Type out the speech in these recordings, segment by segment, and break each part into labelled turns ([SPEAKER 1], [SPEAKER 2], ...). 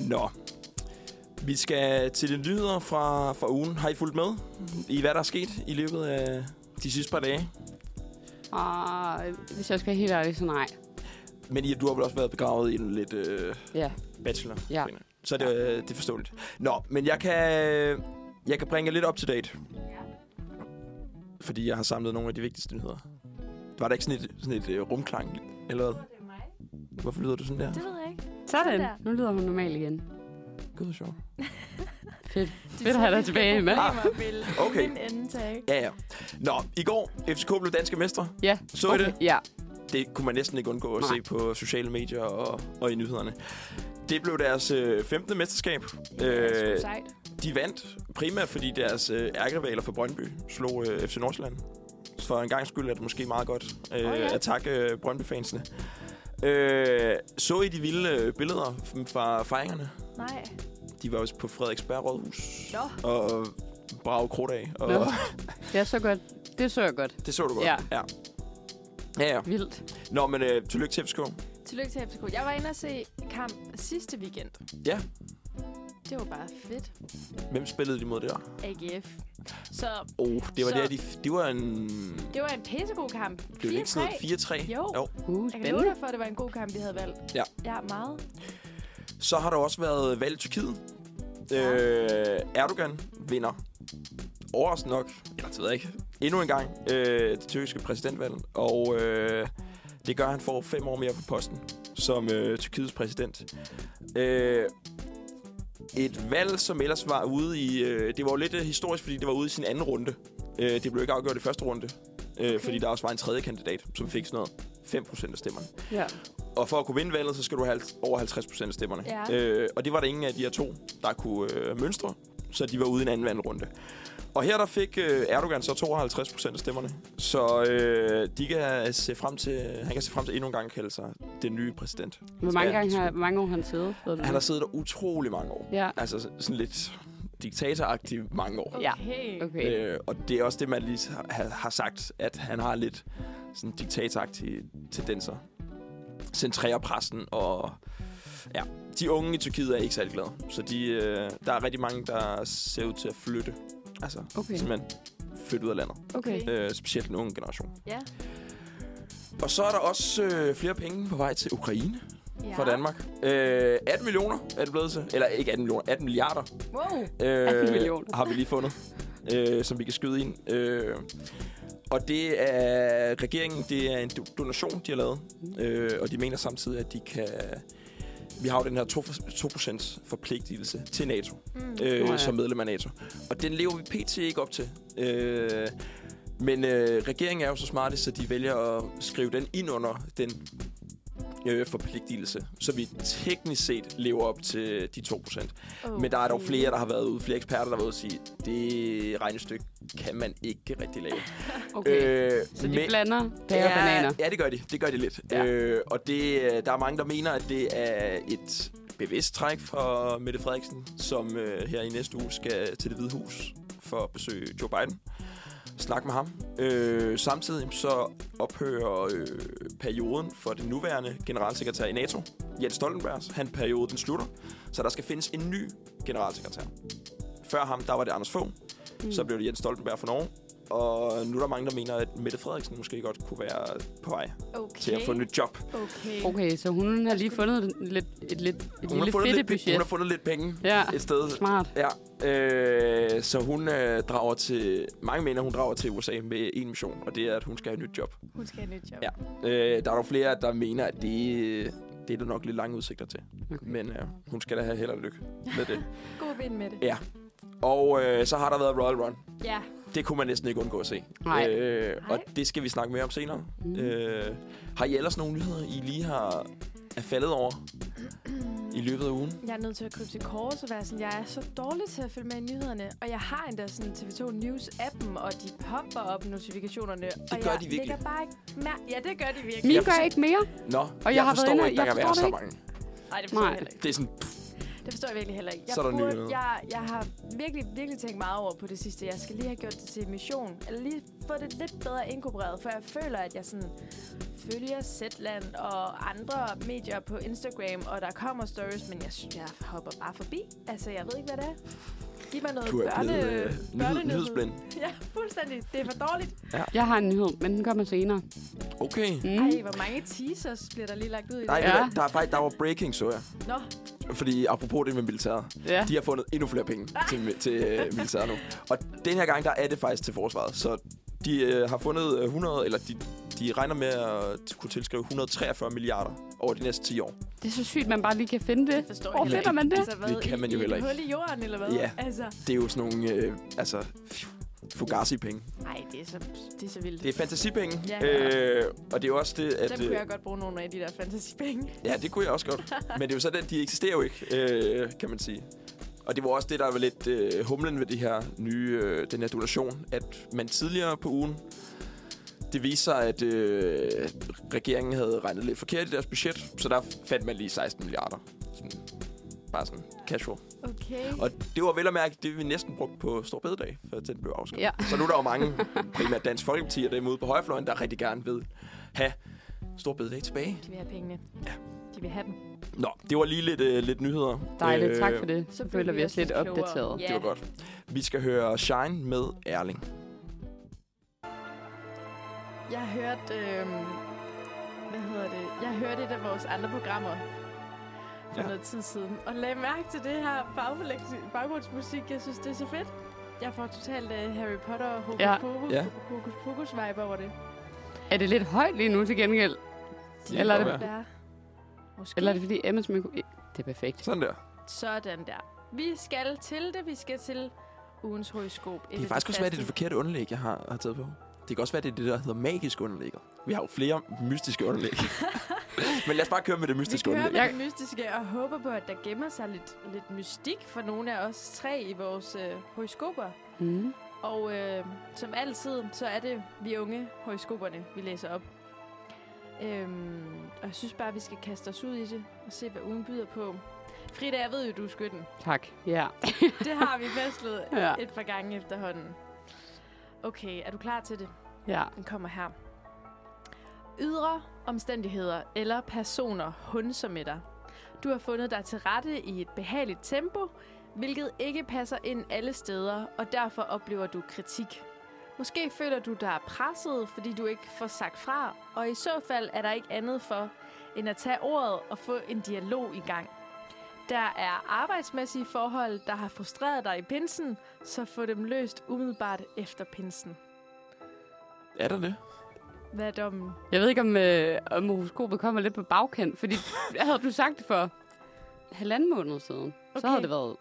[SPEAKER 1] Nå. Vi skal til de nyheder fra, fra ugen. Har I fulgt med i, hvad der er sket i løbet af de sidste par dage?
[SPEAKER 2] Og Ah, hvis jeg skal være helt ærlig, så nej.
[SPEAKER 1] Men I, du har vel også været begravet i en lidt øh,
[SPEAKER 2] Ja.
[SPEAKER 1] bachelor.
[SPEAKER 2] Ja.
[SPEAKER 1] Så det, øh, det er forståeligt. Nå, men jeg kan, jeg kan bringe jer lidt up to date. Fordi jeg har samlet nogle af de vigtigste nyheder. Var der ikke sådan et, sådan et øh, rumklang? Eller hvad? Hvorfor lyder du sådan der?
[SPEAKER 3] Det ved jeg ikke.
[SPEAKER 2] Sådan.
[SPEAKER 3] Sådan.
[SPEAKER 2] Nu lyder hun normal igen.
[SPEAKER 1] Gud, det er sjovt.
[SPEAKER 2] Fedt. Fedt at have dig tilbage med.
[SPEAKER 1] Okay.
[SPEAKER 3] Min ende, tak.
[SPEAKER 1] Ja, ja. Nå, i går, FCK blev danske mestre.
[SPEAKER 2] Ja.
[SPEAKER 1] Så I det?
[SPEAKER 2] Ja.
[SPEAKER 1] Det kunne man næsten ikke undgå at
[SPEAKER 2] Nej.
[SPEAKER 1] se på sociale medier og, og i nyhederne. Det blev deres øh, femte mesterskab. Øh,
[SPEAKER 3] sejt.
[SPEAKER 1] de vandt primært, fordi deres øh, ærkerivaler fra Brøndby slog øh, FC Nordsjælland. Så for en gang skyld er det måske meget godt øh, oh,
[SPEAKER 3] Åh,
[SPEAKER 1] ja.
[SPEAKER 3] ja.
[SPEAKER 1] at takke øh, Brøndby-fansene. Øh, så I de vilde øh, billeder f- fra fejringerne?
[SPEAKER 3] Nej.
[SPEAKER 1] De var også på Frederiksberg Rådhus
[SPEAKER 3] Nå.
[SPEAKER 1] og brage krudt af. Og
[SPEAKER 2] Nå. Det er så godt. Det så jeg godt.
[SPEAKER 1] det så du godt.
[SPEAKER 2] Ja.
[SPEAKER 1] ja. Ja, ja.
[SPEAKER 2] Vildt.
[SPEAKER 1] Nå, men øh, tillykke til FCK.
[SPEAKER 3] Tillykke til FCK. Jeg var inde og se kamp sidste weekend.
[SPEAKER 1] Ja.
[SPEAKER 3] Det var bare fedt.
[SPEAKER 1] Hvem spillede de mod der?
[SPEAKER 3] AGF. Så
[SPEAKER 1] Oh, det var
[SPEAKER 3] Så-
[SPEAKER 1] der, de, det var en...
[SPEAKER 3] det var en pissegod kamp. 4-3.
[SPEAKER 1] Det var ikke sådan noget 4-3.
[SPEAKER 3] Jo.
[SPEAKER 1] jo.
[SPEAKER 2] Uh,
[SPEAKER 3] Jeg kan love
[SPEAKER 2] spændende.
[SPEAKER 3] dig for, at det var en god kamp, vi havde valgt.
[SPEAKER 1] Ja.
[SPEAKER 3] Ja, meget.
[SPEAKER 1] Så har der også været valg i Tyrkiet.
[SPEAKER 3] Ja.
[SPEAKER 1] Øh, Erdogan vinder. Overraskende nok. Eller det ved jeg ikke. Endnu en gang øh, det tyrkiske præsidentvalg. Og øh, det gør, at han får fem år mere på posten som øh, Tyrkiets præsident. Øh, et valg, som ellers var ude i... Øh, det var jo lidt øh, historisk, fordi det var ude i sin anden runde. Øh, det blev ikke afgjort i første runde. Øh, okay. Fordi der også var en tredje kandidat, som fik sådan noget 5% af stemmerne.
[SPEAKER 2] Ja.
[SPEAKER 1] Og for at kunne vinde valget, så skal du have halv- over 50 procent af stemmerne.
[SPEAKER 3] Ja.
[SPEAKER 1] Øh, og det var der ingen af de her to, der kunne øh, mønstre, så de var ude i en anden vandrunde. Og her der fik øh, Erdogan så 52 procent af stemmerne, så øh, de kan se frem til, han kan se frem til endnu en gang at kalde sig den nye præsident.
[SPEAKER 2] Hvor mange,
[SPEAKER 1] Ja,
[SPEAKER 2] gange har,
[SPEAKER 1] sgu.
[SPEAKER 2] hvor mange år har han siddet? ved du
[SPEAKER 1] Han har
[SPEAKER 2] det?
[SPEAKER 1] siddet der utrolig mange år.
[SPEAKER 2] Ja.
[SPEAKER 1] Altså sådan lidt diktatoragtigt mange år.
[SPEAKER 2] Ja.
[SPEAKER 3] Okay.
[SPEAKER 2] Okay.
[SPEAKER 1] Øh, og det er også det, man lige har, har- har sagt, at han har lidt sådan diktatoragtige tendenser. Centrerer pressen, og ja, de unge i Tyrkiet er ikke særlig glade. Så de, øh, der er rigtig mange, der ser ud til at flytte. Altså,
[SPEAKER 2] Okay.
[SPEAKER 1] okay. simpelthen flytte ud af landet.
[SPEAKER 2] Okay.
[SPEAKER 1] Øh, specielt den unge generation.
[SPEAKER 3] Ja.
[SPEAKER 1] Og så er der også øh, flere penge på vej til Ukraine
[SPEAKER 3] ja.
[SPEAKER 1] ja. fra Danmark. Øh, 18 millioner er det blevet til. Eller ikke 18 millioner, 18 milliarder
[SPEAKER 3] Wow.
[SPEAKER 1] øh,
[SPEAKER 2] 18 millioner.
[SPEAKER 1] har vi lige fundet, øh, som vi kan skyde ind. Øh, og det er regeringen, det er en do- donation, de har lavet. Øh, og de mener samtidig, at de kan... Vi har jo den her 2% forpligtelse til NATO,
[SPEAKER 3] Mm.
[SPEAKER 1] øh,
[SPEAKER 2] Nå ja.
[SPEAKER 1] som medlem af NATO. Og den lever vi pt. ikke op til. Øh, men øh, regeringen er jo så smarte, så de vælger at skrive den ind under den øh, forpligtelse, så vi teknisk set lever op til de 2%.
[SPEAKER 3] Okay.
[SPEAKER 1] Øh, Men der er dog flere, der har været ude, flere eksperter, der har været ude og sige, det regnestykke kan man ikke rigtig lave.
[SPEAKER 2] okay.
[SPEAKER 1] Øh,
[SPEAKER 2] Så de blander pære og
[SPEAKER 1] ja,
[SPEAKER 2] bananer.
[SPEAKER 1] Ja, det gør de. Det gør de lidt.
[SPEAKER 2] Ja.
[SPEAKER 1] Ja. Øh, og det, øh, der er mange, der mener, at det er et bevidst træk fra Mette Frederiksen, som øh, her i næste uge skal til det hvide hus for at besøge Joe Biden. Snak med ham. Øh, samtidig så ophører øh, perioden for den nuværende generalsekretær i NATO, Jens Stoltenbergs. Han periode, den slutter. Så der skal findes en ny generalsekretær. Før ham, der var det Anders Fogh. Mm. Så blev det Jens Stoltenberg for Norge. Og nu er der mange, der mener, at Mette Frederiksen måske godt kunne være på vej okay.
[SPEAKER 3] okay.
[SPEAKER 1] til at få et nyt job.
[SPEAKER 3] Okay.
[SPEAKER 2] Okay, så hun har lige fundet en- lidt, et, lidt, et
[SPEAKER 1] Hun har,
[SPEAKER 2] lille
[SPEAKER 1] fundet
[SPEAKER 2] fedt
[SPEAKER 1] lidt, hun
[SPEAKER 2] budget.
[SPEAKER 1] har fundet lidt penge
[SPEAKER 2] Ja,
[SPEAKER 1] et sted.
[SPEAKER 2] smart.
[SPEAKER 1] Ja, øh, så hun øh, drager til... Mange mener, hun drager til USA med en mission, og det er, at hun skal have et nyt job.
[SPEAKER 3] Hun skal have et nyt job.
[SPEAKER 1] Ja. Øh, der er dog flere, der mener, at det, øh, det er der nok lidt lange udsigter til.
[SPEAKER 2] Okay.
[SPEAKER 1] Men øh, hun skal da have held og lykke med det.
[SPEAKER 3] God vind med det.
[SPEAKER 1] Ja. Og øh, så har der været Royal Run.
[SPEAKER 3] Ja.
[SPEAKER 1] Det kunne man næsten ikke undgå at se.
[SPEAKER 2] Nej.
[SPEAKER 1] Øh, og
[SPEAKER 3] Nej.
[SPEAKER 1] det skal vi snakke mere om senere.
[SPEAKER 2] Mm.
[SPEAKER 1] Mm. Øh, har I ellers nogle nyheder, I lige har er faldet over i løbet af ugen?
[SPEAKER 3] Jeg er nødt til at krybe til kors og være sådan, jeg er så dårlig til at følge med i nyhederne. Og jeg har endda sådan TV2 News-appen, og de popper op notifikationerne. Det og
[SPEAKER 1] gør
[SPEAKER 3] jeg
[SPEAKER 1] de virkelig.
[SPEAKER 3] lægger bare ikke mær- ja, det gør de virkelig.
[SPEAKER 2] Min
[SPEAKER 1] Jeg
[SPEAKER 2] gør
[SPEAKER 1] forstår-
[SPEAKER 2] ikke mere.
[SPEAKER 1] Nå,
[SPEAKER 2] jeg
[SPEAKER 1] jeg
[SPEAKER 2] har været
[SPEAKER 1] forstår
[SPEAKER 2] inde-
[SPEAKER 1] ikke, der
[SPEAKER 2] jeg
[SPEAKER 1] kan være
[SPEAKER 2] forstår
[SPEAKER 1] så
[SPEAKER 2] det
[SPEAKER 1] mange.
[SPEAKER 3] Nej, det forstår
[SPEAKER 2] Nej.
[SPEAKER 3] jeg heller ikke.
[SPEAKER 1] Det er sådan... Pff,
[SPEAKER 3] Det Det forstår jeg virkelig heller ikke. Jeg,
[SPEAKER 1] Så er der nye
[SPEAKER 3] burde,
[SPEAKER 1] nyheder.
[SPEAKER 3] jeg, jeg har virkelig, virkelig tænkt meget over på det sidste. Jeg skal lige have gjort det til mission. Eller lige få det lidt bedre inkorporeret, for jeg føler, at jeg sådan følger Zetland og andre medier på Instagram, og der kommer stories, men jeg, sy- jeg hopper bare forbi. Altså, jeg ved ikke, hvad det er. Giv mig noget
[SPEAKER 1] Du er
[SPEAKER 3] børne,
[SPEAKER 1] blevet øh, nyhed,
[SPEAKER 3] børnenyhed.
[SPEAKER 1] nyhedsblind.
[SPEAKER 3] Ja, fuldstændig. Det er for dårligt.
[SPEAKER 2] Jeg har en nyhed, men den kommer senere.
[SPEAKER 1] Okay.
[SPEAKER 2] Mm.
[SPEAKER 3] Ej, hvor mange teasers bliver der lige lagt ud i
[SPEAKER 1] Nej,
[SPEAKER 3] det?
[SPEAKER 2] Ja.
[SPEAKER 1] ja. der, er faktisk, der var breaking, så jeg.
[SPEAKER 3] Nå,
[SPEAKER 1] Fordi apropos det med militæret.
[SPEAKER 2] Ja.
[SPEAKER 1] De har fundet endnu flere penge til, til øh, militæret nu. Og den her gang, der er det faktisk til forsvaret. Så de øh, har fundet øh, 100, eller de, de regner med at kunne tilskrive 143 milliarder over de næste 10 år.
[SPEAKER 2] Det er så sygt, man bare lige kan finde det.
[SPEAKER 3] det forstår
[SPEAKER 2] Hvor
[SPEAKER 3] jeg heller
[SPEAKER 2] finder
[SPEAKER 3] ikke.
[SPEAKER 2] man det?
[SPEAKER 3] Altså, hvad,
[SPEAKER 1] Det kan man jo
[SPEAKER 3] i,
[SPEAKER 1] heller
[SPEAKER 3] i et
[SPEAKER 1] ikke.
[SPEAKER 3] hul i jorden, eller hvad?
[SPEAKER 1] Ja.
[SPEAKER 3] Altså,
[SPEAKER 1] Det er jo sådan nogle, øh, altså, fugazi-penge.
[SPEAKER 3] nej, det er så, det er så vildt.
[SPEAKER 1] Det er fantasipenge.
[SPEAKER 3] Ja.
[SPEAKER 1] Øh, og det er jo også det, at...
[SPEAKER 3] Dem
[SPEAKER 1] øh,
[SPEAKER 3] kunne jeg godt bruge nogle af de der fantasypenge.
[SPEAKER 1] Ja, det kunne jeg også godt. Men det er jo sådan, de eksisterer jo ikke, øh, kan man sige. Og det var også det, der var lidt øh, humlen ved det her nye, øh, den her donation, at man tidligere på ugen, det viste sig, at øh, regeringen havde regnet lidt forkert i deres budget, så der fandt man lige 16 milliarder. Sådan, bare sådan casual.
[SPEAKER 3] Okay.
[SPEAKER 1] Og det var vel at mærke, det vi næsten brugte på Stor Bededag, for den blev afskaffet.
[SPEAKER 2] Ja.
[SPEAKER 1] Så nu er der jo mange, primært Dansk Folkeparti og dem ude på højrefløjen, der rigtig gerne vil have Stor Bededag tilbage.
[SPEAKER 3] De vil have pengene. Ja. De vil have dem.
[SPEAKER 1] Nå, det var lige lidt, øh, lidt nyheder. Øh,
[SPEAKER 2] Dejligt, tak for det.
[SPEAKER 3] så
[SPEAKER 2] Så
[SPEAKER 3] bliver
[SPEAKER 2] føler
[SPEAKER 3] vi
[SPEAKER 2] vi os
[SPEAKER 3] Øh, også
[SPEAKER 2] lidt
[SPEAKER 3] lidt klogere.
[SPEAKER 2] opdateret.
[SPEAKER 3] Ja.
[SPEAKER 1] Det var godt. Vi skal høre Shine med Erling.
[SPEAKER 3] Jeg hørte... Øh, hvad hedder det? Jeg hørte et af vores andre programmer for
[SPEAKER 1] Ja.
[SPEAKER 3] ja. noget tid siden. Og lagde mærke til det her baggrunds- baggrundsmusik. Jeg synes, det er så fedt. Jeg får totalt øh, Harry Potter og hokus
[SPEAKER 2] Ja.
[SPEAKER 3] pokus,
[SPEAKER 1] Ja.
[SPEAKER 3] hokus pokus vibe over det.
[SPEAKER 2] Er det lidt højt lige nu til gengæld?
[SPEAKER 1] kan
[SPEAKER 2] Eller er
[SPEAKER 1] godt
[SPEAKER 2] det,
[SPEAKER 1] være.
[SPEAKER 3] Ja. Måske.
[SPEAKER 2] eller er det fordi Emmas mikro... Det er perfekt.
[SPEAKER 1] Sådan der.
[SPEAKER 3] Sådan der. Vi skal til det. Vi skal til ugens horoskop.
[SPEAKER 1] Det kan faktisk også være, det er det forkerte underlæg, jeg har, har taget på. Det kan også være, det er det, der hedder magisk underlæg. Vi har jo flere mystiske underlæg. Men lad os bare køre med det
[SPEAKER 3] Vi
[SPEAKER 1] mystiske
[SPEAKER 3] kører
[SPEAKER 1] underlæg.
[SPEAKER 3] med
[SPEAKER 2] Jeg-
[SPEAKER 3] det mystiske og håber på, at der gemmer sig lidt, lidt mystik for nogle af os tre i vores øh, horoskoper.
[SPEAKER 2] Mm.
[SPEAKER 3] Og øh, som altid, så er det vi unge horoskoperne, vi læser op. Øhm, og jeg synes bare, vi skal kaste os ud i det og se, hvad ugen byder på. Frida, jeg ved jo, du er skytten.
[SPEAKER 2] Tak. Ja.
[SPEAKER 3] Det har vi fastlet
[SPEAKER 2] Ja.
[SPEAKER 3] et par gange efterhånden. Okay, er du klar til det?
[SPEAKER 2] ja.
[SPEAKER 3] Den kommer her. Ydre omstændigheder eller personer hunser med dig. Du har fundet dig til rette i et behageligt tempo, hvilket ikke passer ind alle steder, og derfor oplever du kritik. Måske føler du dig presset, fordi du ikke får sagt fra, og i så fald er der ikke andet for, end at tage ordet og få en dialog i gang. Der er arbejdsmæssige forhold, der har frustreret dig i pinsen, så få dem løst umiddelbart efter pinsen.
[SPEAKER 1] Er der det?
[SPEAKER 3] Hvad er dommen?
[SPEAKER 2] Jeg ved ikke, om, øh, om horoskopet kommer lidt på bagkant, fordi hvad havde du sagt det for halvanden måned siden? Okay. Så
[SPEAKER 3] Okay.
[SPEAKER 2] havde det været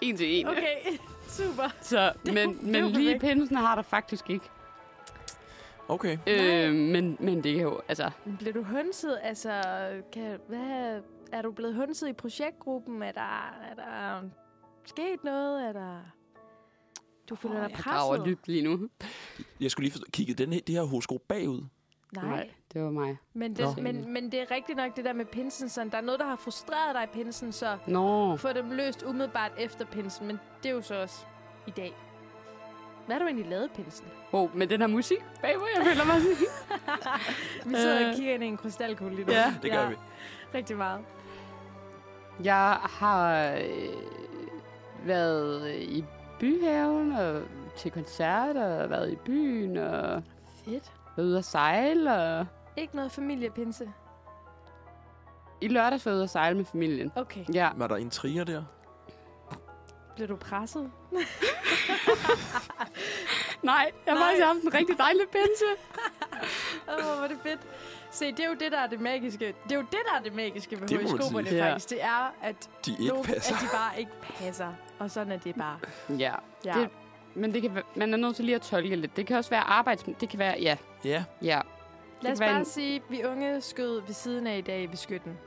[SPEAKER 2] en til en.
[SPEAKER 3] Okay, super.
[SPEAKER 2] Så,
[SPEAKER 3] er
[SPEAKER 2] men,
[SPEAKER 3] jo- det er
[SPEAKER 2] men
[SPEAKER 3] jo
[SPEAKER 2] lige
[SPEAKER 3] perfekt.
[SPEAKER 2] pinsen har der faktisk ikke.
[SPEAKER 1] Okay.
[SPEAKER 3] Nej.
[SPEAKER 2] Øh, men, men det er jo, altså,
[SPEAKER 3] Bliver du hønset? Altså, kan, hvad, er du blevet hønset i projektgruppen? Er der, er der sket noget? Er der... Du føler
[SPEAKER 2] åh,
[SPEAKER 3] dig
[SPEAKER 2] jeg graver
[SPEAKER 3] presset?
[SPEAKER 2] dybt lige nu.
[SPEAKER 1] Jeg skulle lige forstå, kigge den her, det her horoskop bagud.
[SPEAKER 3] Nej. Nej.
[SPEAKER 2] det var mig.
[SPEAKER 3] Men,
[SPEAKER 1] Nå.
[SPEAKER 3] det, men, men det er rigtigt nok det der med pinsen. Sådan. Der er noget, der har frustreret dig i pinsen, så
[SPEAKER 2] Nå,
[SPEAKER 3] få dem løst umiddelbart efter pinsen. Men det er jo så også i dag. Hvad har du egentlig lavet i pinsen?
[SPEAKER 2] wow, men den her musik bagved, jeg føler mig sådan.
[SPEAKER 3] Vi sidder
[SPEAKER 2] Øh.
[SPEAKER 3] og kigger ind i en krystalkugle lige nu.
[SPEAKER 2] Ja.
[SPEAKER 1] Det gør vi.
[SPEAKER 3] Rigtig meget.
[SPEAKER 2] Jeg har øh, været øh, i byhaven og til koncerter og været i byen og
[SPEAKER 3] Fedt.
[SPEAKER 2] været ude at sejle. Og
[SPEAKER 3] Ikke noget familiepinse.
[SPEAKER 2] I lørdags var jeg ude at sejle med familien.
[SPEAKER 3] Okay.
[SPEAKER 2] Ja,
[SPEAKER 1] Var der intriger der?
[SPEAKER 3] Bliver du presset?
[SPEAKER 2] nej, jeg har
[SPEAKER 3] Nej.
[SPEAKER 2] faktisk haft en rigtig dejlig pinse.
[SPEAKER 3] Åh, oh, hvor er det fedt. Se, det er jo det, der er det magiske. Det er jo det, der er det magiske ved
[SPEAKER 1] Det må man
[SPEAKER 3] horoskoperne,
[SPEAKER 2] sige. Ja.
[SPEAKER 3] faktisk. Det er, at,
[SPEAKER 1] De ikke
[SPEAKER 3] nogle-
[SPEAKER 1] passer.
[SPEAKER 3] at de bare ikke passer. Og sådan er det bare.
[SPEAKER 2] Ja,
[SPEAKER 3] Ja.
[SPEAKER 2] Det- men det kan, væ- man er nødt til lige at tolke lidt. Det kan også være arbejds... Det kan være, ja,
[SPEAKER 1] Ja.
[SPEAKER 2] ja.
[SPEAKER 3] Lad os
[SPEAKER 2] kan være
[SPEAKER 3] bare
[SPEAKER 2] en-
[SPEAKER 3] sige, at vi unge skød ved siden af i dag ved skytten.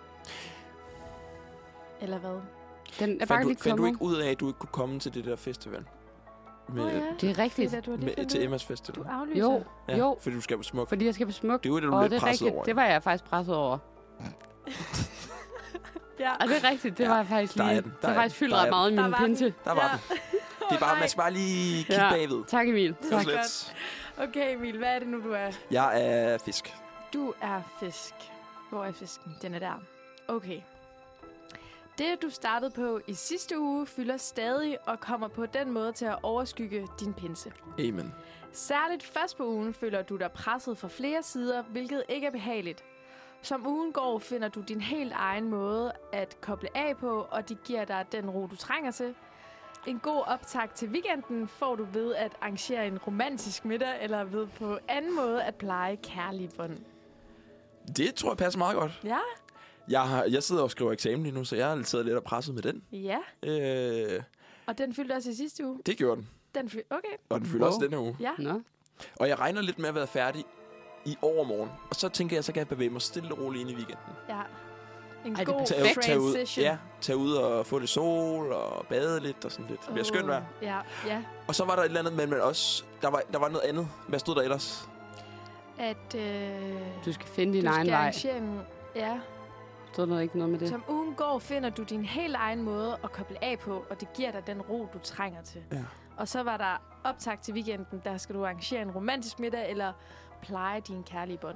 [SPEAKER 3] Eller hvad?
[SPEAKER 2] Den er
[SPEAKER 1] Fandt,
[SPEAKER 2] faktisk
[SPEAKER 1] du,
[SPEAKER 2] lige
[SPEAKER 1] fandt du
[SPEAKER 2] kommet.
[SPEAKER 1] ikke ud af, at du ikke kunne komme til det der festival? Med,
[SPEAKER 3] Åh, ja.
[SPEAKER 2] Det er rigtigt.
[SPEAKER 3] Frida, du har lige
[SPEAKER 1] med,
[SPEAKER 3] fundet
[SPEAKER 1] til
[SPEAKER 3] ud.
[SPEAKER 1] Emmas festival?
[SPEAKER 3] Du aflyser.
[SPEAKER 2] Jo, jo.
[SPEAKER 1] Fordi du skal på smuk.
[SPEAKER 2] Fordi jeg skal på smuk.
[SPEAKER 1] Det er jo det, du
[SPEAKER 2] Åh,
[SPEAKER 1] er lidt
[SPEAKER 2] det er
[SPEAKER 1] presset
[SPEAKER 2] rigtigt.
[SPEAKER 1] over.
[SPEAKER 2] Det var jeg faktisk presset over.
[SPEAKER 3] Ja.
[SPEAKER 2] Og det er rigtigt, det ja, var jeg faktisk
[SPEAKER 1] der
[SPEAKER 2] lige.
[SPEAKER 1] er den, der
[SPEAKER 2] det har
[SPEAKER 1] er
[SPEAKER 2] faktisk
[SPEAKER 1] den,
[SPEAKER 2] fyldt
[SPEAKER 1] der
[SPEAKER 2] ret
[SPEAKER 1] er
[SPEAKER 2] meget i
[SPEAKER 3] Der
[SPEAKER 2] min
[SPEAKER 3] var den.
[SPEAKER 2] pinte.
[SPEAKER 1] Der var
[SPEAKER 3] Ja.
[SPEAKER 1] den. Det er bare,
[SPEAKER 3] Nej.
[SPEAKER 1] man skal bare lige kigge
[SPEAKER 2] Ja.
[SPEAKER 1] bagved.
[SPEAKER 2] Tak Emil.
[SPEAKER 1] Det er
[SPEAKER 2] Tak.
[SPEAKER 1] så lidt.
[SPEAKER 3] Okay, Emil, hvad er det nu, du er?
[SPEAKER 1] Jeg er fisk.
[SPEAKER 3] Du er fisk. Hvor er fisken? Den er der. Okay. Det, du startede på i sidste uge, fylder stadig og kommer på den måde til at overskygge din pinse.
[SPEAKER 1] Amen.
[SPEAKER 3] Særligt først på ugen føler du dig presset fra flere sider, hvilket ikke er behageligt. Som ugen går, finder du din helt egen måde at koble af på, og det giver dig den ro, du trænger til. En god optag til weekenden får du ved at arrangere en romantisk middag, eller ved på anden måde at pleje kærlige bånd.
[SPEAKER 1] Det tror jeg passer meget godt.
[SPEAKER 3] Ja,
[SPEAKER 1] Jeg, har, jeg sidder og skriver eksamen lige nu, så jeg har siddet lidt og presset med den.
[SPEAKER 3] ja.
[SPEAKER 1] Øh,
[SPEAKER 3] Og den fyldte også i sidste uge.
[SPEAKER 1] det gjorde den.
[SPEAKER 3] Den fyldte, okay,
[SPEAKER 1] Og den fylder
[SPEAKER 2] Wow.
[SPEAKER 1] også denne uge.
[SPEAKER 3] ja.
[SPEAKER 2] Nå.
[SPEAKER 1] Og jeg regner lidt med at være færdig i overmorgen. Og så tænker jeg, så kan jeg bevæge mig stille og roligt ind i weekenden.
[SPEAKER 3] ja. En
[SPEAKER 2] Ej, det
[SPEAKER 3] god
[SPEAKER 2] er
[SPEAKER 1] Tag, tag ud,
[SPEAKER 3] transition.
[SPEAKER 1] ja, tag ud og få lidt sol og bade lidt og sådan lidt. Det bliver skønt vejr.
[SPEAKER 3] Åh, Ja, ja.
[SPEAKER 1] Og så var der et eller andet, men, men også, der var, der var noget andet. Hvad stod der ellers?
[SPEAKER 3] At, øh,
[SPEAKER 2] Du skal finde din
[SPEAKER 3] du
[SPEAKER 2] egen
[SPEAKER 3] skal
[SPEAKER 2] vej.
[SPEAKER 3] arrangere en, ja.
[SPEAKER 2] Stod der ikke noget med det?
[SPEAKER 3] Som ugen går, finder du din helt egen måde at koble af på, og det giver dig den ro, du trænger til.
[SPEAKER 1] Ja.
[SPEAKER 3] Og så var der optag til weekenden, der skal du arrangere en romantisk middag, eller pleje dine kærlige bånd.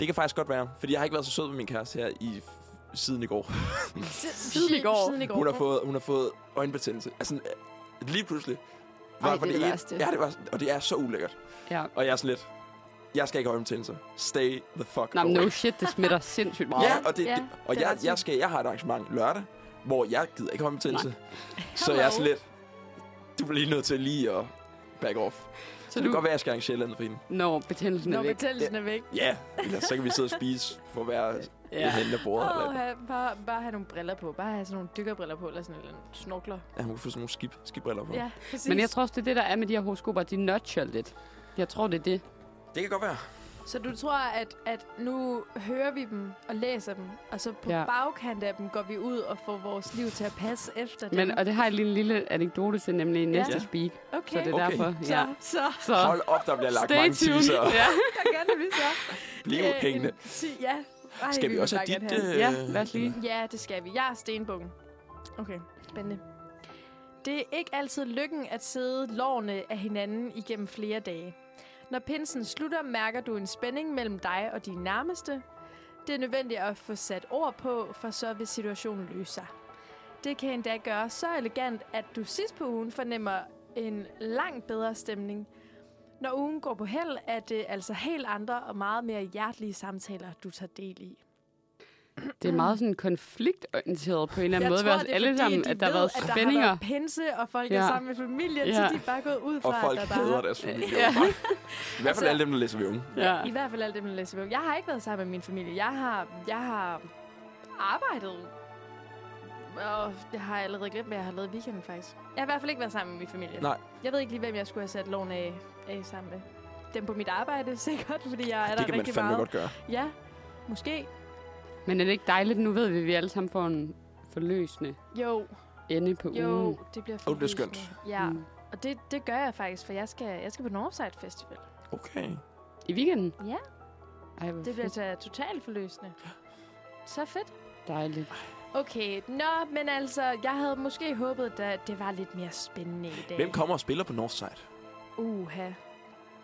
[SPEAKER 1] Det kan faktisk godt være, fordi jeg har ikke været så sød med min kæreste her i f- siden i går.
[SPEAKER 3] Siden
[SPEAKER 2] i går.
[SPEAKER 3] Siden i går.
[SPEAKER 1] Hun har fået, hun har fået øjenbetændelse. Altså, øh, lige pludselig.
[SPEAKER 2] Ej,
[SPEAKER 1] fra
[SPEAKER 2] det er det
[SPEAKER 1] ene-
[SPEAKER 2] værste.
[SPEAKER 1] Ja, det var, og det er så ulækkert.
[SPEAKER 2] Ja.
[SPEAKER 1] Og jeg er sådan lidt, jeg skal ikke have øjenbetændelse. Stay the fuck
[SPEAKER 2] Nå, men
[SPEAKER 1] away.
[SPEAKER 2] no shit, det smitter sindssygt meget.
[SPEAKER 1] Ja, og, det,
[SPEAKER 3] Ja,
[SPEAKER 1] ja, det, og
[SPEAKER 3] det er
[SPEAKER 1] jeg,
[SPEAKER 3] rigtigt.
[SPEAKER 1] jeg, skal, jeg har et arrangement lørdag, hvor jeg gider ikke have øjenbetændelse. Så
[SPEAKER 3] Hello.
[SPEAKER 1] jeg er sådan lidt, du bliver lige nødt til lige at back off. Så,
[SPEAKER 2] så
[SPEAKER 1] det
[SPEAKER 2] du
[SPEAKER 1] kan godt være, jeg skal arrangere et eller andet for hende.
[SPEAKER 2] når betændelsen
[SPEAKER 3] Når
[SPEAKER 2] er væk.
[SPEAKER 3] betændelsen er væk.
[SPEAKER 1] Ja, ellers så kan vi sidde og spise for hver ja.
[SPEAKER 2] Ja.
[SPEAKER 1] hende af bordet.
[SPEAKER 3] Åh,
[SPEAKER 1] Eller,
[SPEAKER 3] ha, bare, bare have nogle briller på. Bare have sådan nogle dykkerbriller på, eller sådan nogle snorkler.
[SPEAKER 1] ja, hun kan få sådan nogle skib, skibbriller på. Ja.
[SPEAKER 3] Ja, præcis.
[SPEAKER 2] Men jeg tror også, det er det, der er med de her horoskoper. De nudger lidt. Jeg tror, det er det.
[SPEAKER 1] Det kan godt være.
[SPEAKER 3] Så du tror, at, at nu hører vi dem og læser dem, og så på ja.
[SPEAKER 2] Ja.
[SPEAKER 3] bagkant af dem går vi ud og får vores liv til at passe efter dem.
[SPEAKER 2] Men, og det har jeg lige en lille anekdote til, nemlig i næste
[SPEAKER 1] Ja.
[SPEAKER 2] speak.
[SPEAKER 3] okay,
[SPEAKER 2] Så det er
[SPEAKER 1] Okay.
[SPEAKER 2] derfor.
[SPEAKER 3] så,
[SPEAKER 2] Ja.
[SPEAKER 3] så,
[SPEAKER 2] Så
[SPEAKER 1] Hold op, der bliver lagt
[SPEAKER 2] stay
[SPEAKER 1] mange
[SPEAKER 2] tuned.
[SPEAKER 1] teaser.
[SPEAKER 2] Ja.
[SPEAKER 3] der gerne vi så.
[SPEAKER 1] Bliv
[SPEAKER 3] øh, en
[SPEAKER 1] hængende.
[SPEAKER 3] ti- ja. Ej,
[SPEAKER 1] Skal vi
[SPEAKER 3] vil
[SPEAKER 1] også have
[SPEAKER 3] bare
[SPEAKER 1] dit...
[SPEAKER 3] gerne have
[SPEAKER 2] Ja,
[SPEAKER 1] Øh.
[SPEAKER 2] lad os lige.
[SPEAKER 3] den. Ja, det skal vi. Jeg er stenbukken. Okay, spændende. Det er ikke altid lykken at sidde lårene af hinanden igennem flere dage. Når pinsen slutter, mærker du en spænding mellem dig og dine nærmeste. Det er nødvendigt at få sat ord på, for så vil situationen løse sig. Det kan endda gøre så elegant, at du sidst på ugen fornemmer en langt bedre stemning. Når ugen går på held, er det altså helt andre og meget mere hjertelige samtaler, du tager del i.
[SPEAKER 2] Det er meget sådan konfliktorienteret på en eller anden måde. ved os
[SPEAKER 3] det er,
[SPEAKER 2] alle
[SPEAKER 3] fordi,
[SPEAKER 2] sammen,
[SPEAKER 3] de
[SPEAKER 2] at der har
[SPEAKER 3] ved,
[SPEAKER 2] været
[SPEAKER 3] at Der
[SPEAKER 2] spændinger.
[SPEAKER 3] har været pinse, og folk ja. er
[SPEAKER 2] Ja.
[SPEAKER 3] sammen med familien, ja. så
[SPEAKER 2] Ja.
[SPEAKER 3] de er bare gået ud fra,
[SPEAKER 1] Og folk
[SPEAKER 3] at der bare...
[SPEAKER 1] hader deres familie.
[SPEAKER 2] Ja.
[SPEAKER 1] åbenbart. I hvert
[SPEAKER 3] Altså-
[SPEAKER 1] fald alle dem, der læser ved unge.
[SPEAKER 2] Ja.
[SPEAKER 3] I hvert fald alt det, man læser bøger. Jeg har ikke været sammen med min familie. Jeg har, jeg har arbejdet. Og jeg har allerede glemt, hvad jeg har lavet i weekenden, faktisk. Jeg har i hvert fald ikke været sammen med min familie.
[SPEAKER 1] Nej.
[SPEAKER 3] Jeg ved ikke lige, hvem jeg skulle have sat loven af, af sammen med. Dem på mit arbejde, sikkert, fordi jeg er der
[SPEAKER 1] Det kan man
[SPEAKER 3] rigtig
[SPEAKER 1] fandme
[SPEAKER 3] meget.
[SPEAKER 1] godt gøre.
[SPEAKER 3] Ja, måske.
[SPEAKER 2] Men er det ikke dejligt? Nu ved vi, at vi alle sammen får en forløsende
[SPEAKER 3] Jo,
[SPEAKER 2] ende på
[SPEAKER 3] jo,
[SPEAKER 2] ugen.
[SPEAKER 3] det bliver
[SPEAKER 1] Åh, det er skønt.
[SPEAKER 3] forløsende. Ja,
[SPEAKER 2] Mm.
[SPEAKER 3] og det, det gør jeg faktisk, for jeg skal, jeg skal på Northside Festival.
[SPEAKER 1] Okay.
[SPEAKER 2] I weekenden?
[SPEAKER 3] Ja.
[SPEAKER 2] Ej, hvor
[SPEAKER 3] Det bliver
[SPEAKER 2] fedt.
[SPEAKER 3] da totalt forløsende. Så fedt.
[SPEAKER 2] dejligt.
[SPEAKER 3] Okay, nå, men altså, jeg havde måske håbet, at det var lidt mere spændende i dag.
[SPEAKER 1] Hvem kommer og spiller på Northside?
[SPEAKER 3] Uha,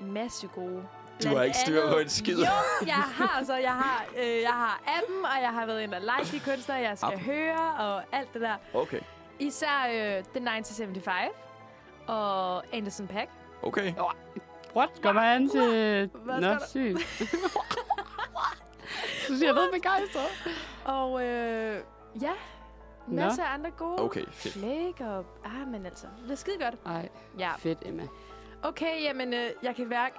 [SPEAKER 3] en masse gode.
[SPEAKER 1] Du har ikke styr på en skid.
[SPEAKER 3] Jo, jeg har så. Jeg har, øh, jeg har appen, og jeg har været inde og like de kunstnere, jeg skal
[SPEAKER 1] Appen.
[SPEAKER 3] høre, og alt det der.
[SPEAKER 1] Okay.
[SPEAKER 3] Især øh, The 1975 og Anderson Pack.
[SPEAKER 1] Okay.
[SPEAKER 2] What? Går man an til... Nå,
[SPEAKER 3] Hvad skal der-
[SPEAKER 2] sygt. Så siger jeg noget begejstret.
[SPEAKER 3] Og øh, ja, masser af andre gode.
[SPEAKER 1] Okay, fedt.
[SPEAKER 3] Flake og... Ah, men altså, det er skide godt.
[SPEAKER 2] Ej,
[SPEAKER 3] Ja.
[SPEAKER 2] fedt, Emma.
[SPEAKER 3] Okay, jamen, øh, jeg kan mærke...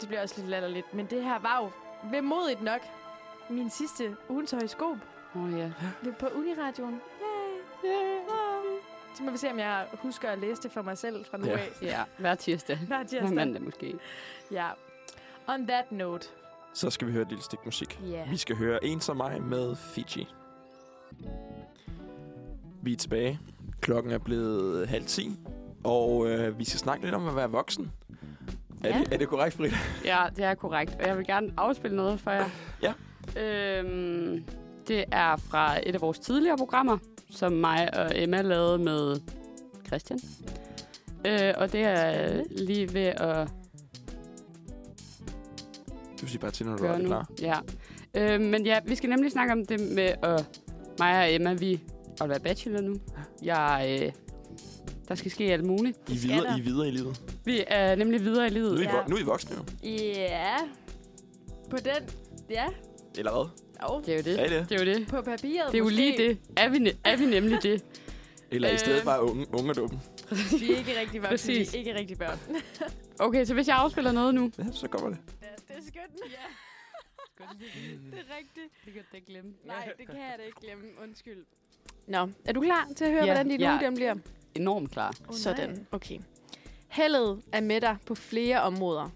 [SPEAKER 3] Det bliver også lidt latterligt, men det her var jo vemodigt nok min sidste ugens højskob
[SPEAKER 2] Åh, oh, ja.
[SPEAKER 3] ved- på Uniradioen. Yay. Så må vi se, om jeg husker at læse det for mig selv fra nu
[SPEAKER 1] Ja.
[SPEAKER 3] af.
[SPEAKER 2] Ja, hver tirsdag.
[SPEAKER 3] Hver
[SPEAKER 2] Hver
[SPEAKER 3] tirsdag.
[SPEAKER 2] mandag måske.
[SPEAKER 3] Ja. On that note.
[SPEAKER 1] Så skal vi høre et lille stykke musik.
[SPEAKER 3] Ja.
[SPEAKER 1] Vi skal høre En som mig med Fiji. Vi er tilbage. Klokken er blevet halv ti. Og øh, vi skal snakke lidt om at være voksen. Er,
[SPEAKER 3] Ja.
[SPEAKER 1] det, er det korrekt, Britt?
[SPEAKER 2] Ja, det er korrekt. Og jeg vil gerne afspille noget for jer.
[SPEAKER 1] Ja.
[SPEAKER 2] Øhm, det Det er fra et af vores tidligere programmer, som mig og Emma lavede med Christian. Øh, og det er
[SPEAKER 3] Spændende.
[SPEAKER 2] lige ved at
[SPEAKER 1] Du siger bare til, når du er
[SPEAKER 2] gøre nu.
[SPEAKER 1] klar.
[SPEAKER 2] Ja. Øh, men ja, vi skal nemlig snakke om det med, at mig og Emma, vi er være bachelor nu. Jeg, øh, der skal ske alt muligt.
[SPEAKER 1] I er
[SPEAKER 3] skal
[SPEAKER 1] videre,
[SPEAKER 3] der.
[SPEAKER 1] I er videre i livet.
[SPEAKER 2] Vi er nemlig videre i
[SPEAKER 1] Nu
[SPEAKER 2] livet.
[SPEAKER 1] er I,
[SPEAKER 3] Ja.
[SPEAKER 1] vo- nu er I voksne jo.
[SPEAKER 3] Ja. På den, ja.
[SPEAKER 1] Eller hvad?
[SPEAKER 3] Og
[SPEAKER 2] Det er jo det.
[SPEAKER 1] Er I det?
[SPEAKER 2] Det er jo det.
[SPEAKER 3] på papiret
[SPEAKER 2] Det er jo
[SPEAKER 3] måske.
[SPEAKER 2] lige det. Er vi, ne- er vi nemlig det?
[SPEAKER 1] Eller øh... i
[SPEAKER 2] Øh.
[SPEAKER 1] stedet bare unge, unge og dumme.
[SPEAKER 3] Vi er ikke rigtig børn. Vi
[SPEAKER 2] Præcis.
[SPEAKER 3] er ikke rigtig børn.
[SPEAKER 2] Okay, så hvis jeg afspiller noget nu.
[SPEAKER 1] Ja, så kommer det.
[SPEAKER 3] Ja, det er skønt. Ja. Det er rigtigt.
[SPEAKER 2] Det kan du ikke glemme.
[SPEAKER 3] Nej, det kan jeg da ikke glemme. Undskyld. Nå, er du klar til at høre,
[SPEAKER 2] Ja,
[SPEAKER 3] ja, hvordan dit
[SPEAKER 2] jeg-
[SPEAKER 3] ja. uge den bliver?
[SPEAKER 2] Enormt klar.
[SPEAKER 3] Oh, Sådan, okay. Heldet er med dig på flere områder.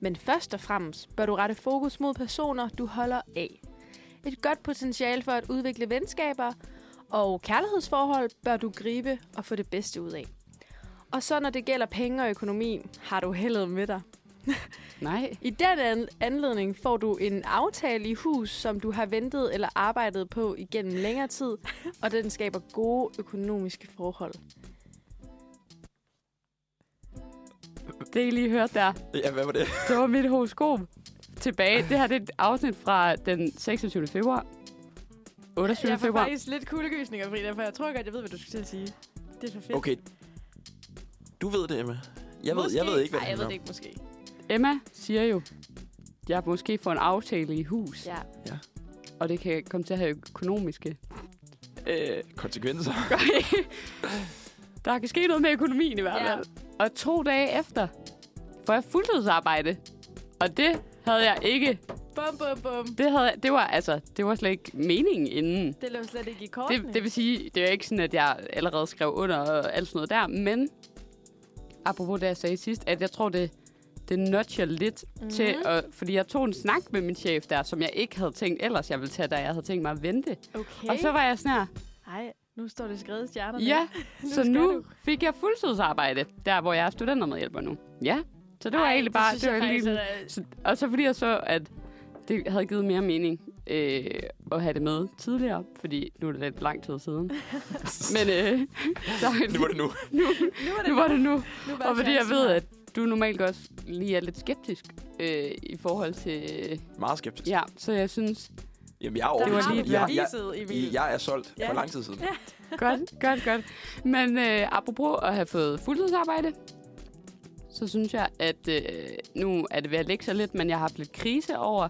[SPEAKER 3] Men først og fremmest bør du rette fokus mod personer, du holder af. Et godt potentiale for at udvikle venskaber og kærlighedsforhold bør du gribe og få det bedste ud af. Og så når det gælder penge og økonomi, har du heldet med dig.
[SPEAKER 2] Nej.
[SPEAKER 3] I den an- anledning får du en aftale i hus, som du har ventet eller arbejdet på igennem længere tid, og den skaber gode økonomiske forhold.
[SPEAKER 2] Det I lige hørte der,
[SPEAKER 1] Ja, hvad var det?
[SPEAKER 2] det var mit horoskop. Tilbage. Det her det er et afsnit fra den 26. februar. 28.
[SPEAKER 3] Jeg får
[SPEAKER 2] februar.
[SPEAKER 3] faktisk lidt kuldegysninger, Frida, for jeg tror godt, jeg ved, hvad du skal til at sige. Det er for fedt.
[SPEAKER 1] Okay. Du ved det, Emma. Jeg ved, jeg ved ikke, hvad det
[SPEAKER 3] Nej, jeg ved
[SPEAKER 1] handler
[SPEAKER 3] det
[SPEAKER 1] om.
[SPEAKER 3] ikke måske.
[SPEAKER 2] Emma siger jo, jeg måske får en aftale i hus,
[SPEAKER 3] Ja.
[SPEAKER 2] og det kan komme til at have økonomiske. Øh,
[SPEAKER 1] Konsekvenser.
[SPEAKER 2] der kan ske noget med økonomien i hvert
[SPEAKER 3] Ja.
[SPEAKER 2] fald. Og to dage efter får jeg fuldtidsarbejde. Og det havde jeg ikke.
[SPEAKER 3] Bum, bum, bum.
[SPEAKER 2] Det, havde, det, var, altså, det var slet ikke meningen inden.
[SPEAKER 3] Det lå slet ikke i kortene.
[SPEAKER 2] Det, det vil sige, det er jo ikke sådan, at jeg allerede skrev under og alt sådan noget der, men apropos det, jeg sagde sidst, at jeg tror, det, det nudger lidt mm-hmm. til,
[SPEAKER 3] Mhm.
[SPEAKER 2] at, fordi jeg tog en snak med min chef der, som jeg ikke havde tænkt ellers, jeg ville tage, da jeg havde tænkt mig at vente. Okay.
[SPEAKER 3] Okay.
[SPEAKER 2] Og så var jeg sådan her,
[SPEAKER 3] Ej, nu står det skrevet i stjernerne.
[SPEAKER 2] ja, så
[SPEAKER 3] skal
[SPEAKER 2] nu
[SPEAKER 3] du.
[SPEAKER 2] fik jeg fuldtidsarbejde, der hvor jeg er studentermedhjælper nu. Ja, så det var
[SPEAKER 3] Ej,
[SPEAKER 2] egentlig bare...
[SPEAKER 3] Det, synes
[SPEAKER 2] var
[SPEAKER 3] jeg
[SPEAKER 2] egentlig-
[SPEAKER 3] faktisk, er-
[SPEAKER 2] så, og så fordi jeg så, at det havde givet mere mening øh, at have det med tidligere, fordi nu er det lidt lang tid siden. Men øh, der,
[SPEAKER 1] Nu var det nu.
[SPEAKER 2] nu,
[SPEAKER 3] øh, nu er det,
[SPEAKER 2] nu var det nu.
[SPEAKER 3] nu var
[SPEAKER 2] Og fordi jeg
[SPEAKER 3] chancen
[SPEAKER 2] ved,
[SPEAKER 3] her.
[SPEAKER 2] at du normalt også lige er lidt skeptisk øh, i forhold til...
[SPEAKER 1] Meget skeptisk.
[SPEAKER 2] Ja, så jeg synes...
[SPEAKER 1] Jamen, jeg er
[SPEAKER 3] der
[SPEAKER 2] det var
[SPEAKER 1] overbevist.
[SPEAKER 3] har
[SPEAKER 2] lige-
[SPEAKER 3] du
[SPEAKER 1] jeg, jeg,
[SPEAKER 3] beviset, Emil.
[SPEAKER 1] jeg er solgt
[SPEAKER 3] Ja.
[SPEAKER 1] for lang tid siden.
[SPEAKER 2] Godt, godt, godt. Men øh, apropos at have fået fuldtidsarbejde, så synes jeg, at øh, nu er det ved at lægge sig lidt, men jeg har haft lidt krise over,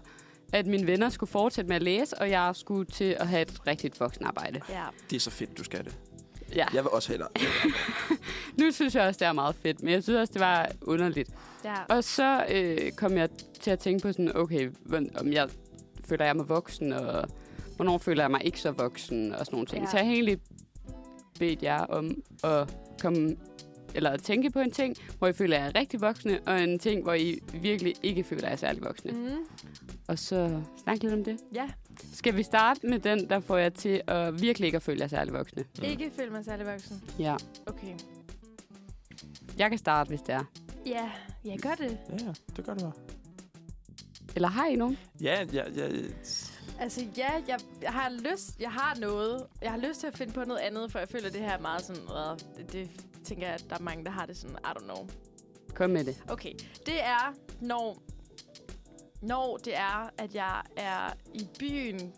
[SPEAKER 2] at mine venner skulle fortsætte med at læse, og jeg skulle til at have et rigtigt voksenarbejde.
[SPEAKER 3] Ja.
[SPEAKER 1] Det er så fedt, du skal det.
[SPEAKER 2] Ja.
[SPEAKER 1] Jeg vil også hellere.
[SPEAKER 2] Nu synes jeg også, det er meget fedt, men jeg synes også, det var underligt.
[SPEAKER 3] ja.
[SPEAKER 2] Og så øh, kom jeg til at tænke på sådan, okay, hvordan- om jeg føler jeg mig voksen, og hvornår føler jeg mig ikke så voksen, og sådan nogle ting. Ja.
[SPEAKER 3] Ja.
[SPEAKER 2] Så jeg har egentlig bedt jer om at komme eller at tænke på en ting, hvor I føler, at jeg er rigtig voksne, og en ting, hvor I virkelig ikke føler, at jeg er særlig voksne. Mm.
[SPEAKER 3] Mm.
[SPEAKER 2] Og så snakke lidt om det.
[SPEAKER 3] Ja,
[SPEAKER 2] Skal vi starte med den, der får jeg til at virkelig ikke at føle, at jeg er særlig voksne?
[SPEAKER 1] Mm.
[SPEAKER 3] ikke føl mig særlig voksen.
[SPEAKER 2] Ja.
[SPEAKER 3] Okay.
[SPEAKER 2] Jeg kan starte, hvis det er.
[SPEAKER 3] Ja, jeg gør det.
[SPEAKER 1] Ja, ja, det gør du bare.
[SPEAKER 2] Eller har I nogen?
[SPEAKER 1] Ja, ja, ja.
[SPEAKER 3] Altså ja, jeg, jeg har lyst, jeg har noget. Jeg har lyst til at finde på noget andet, for jeg føler, at det her er meget sådan, øh, det, det tænker jeg, at der er mange, der har det sådan, I don't know.
[SPEAKER 2] Kom med det.
[SPEAKER 3] Okay, det er, når, når det er, at jeg er i byen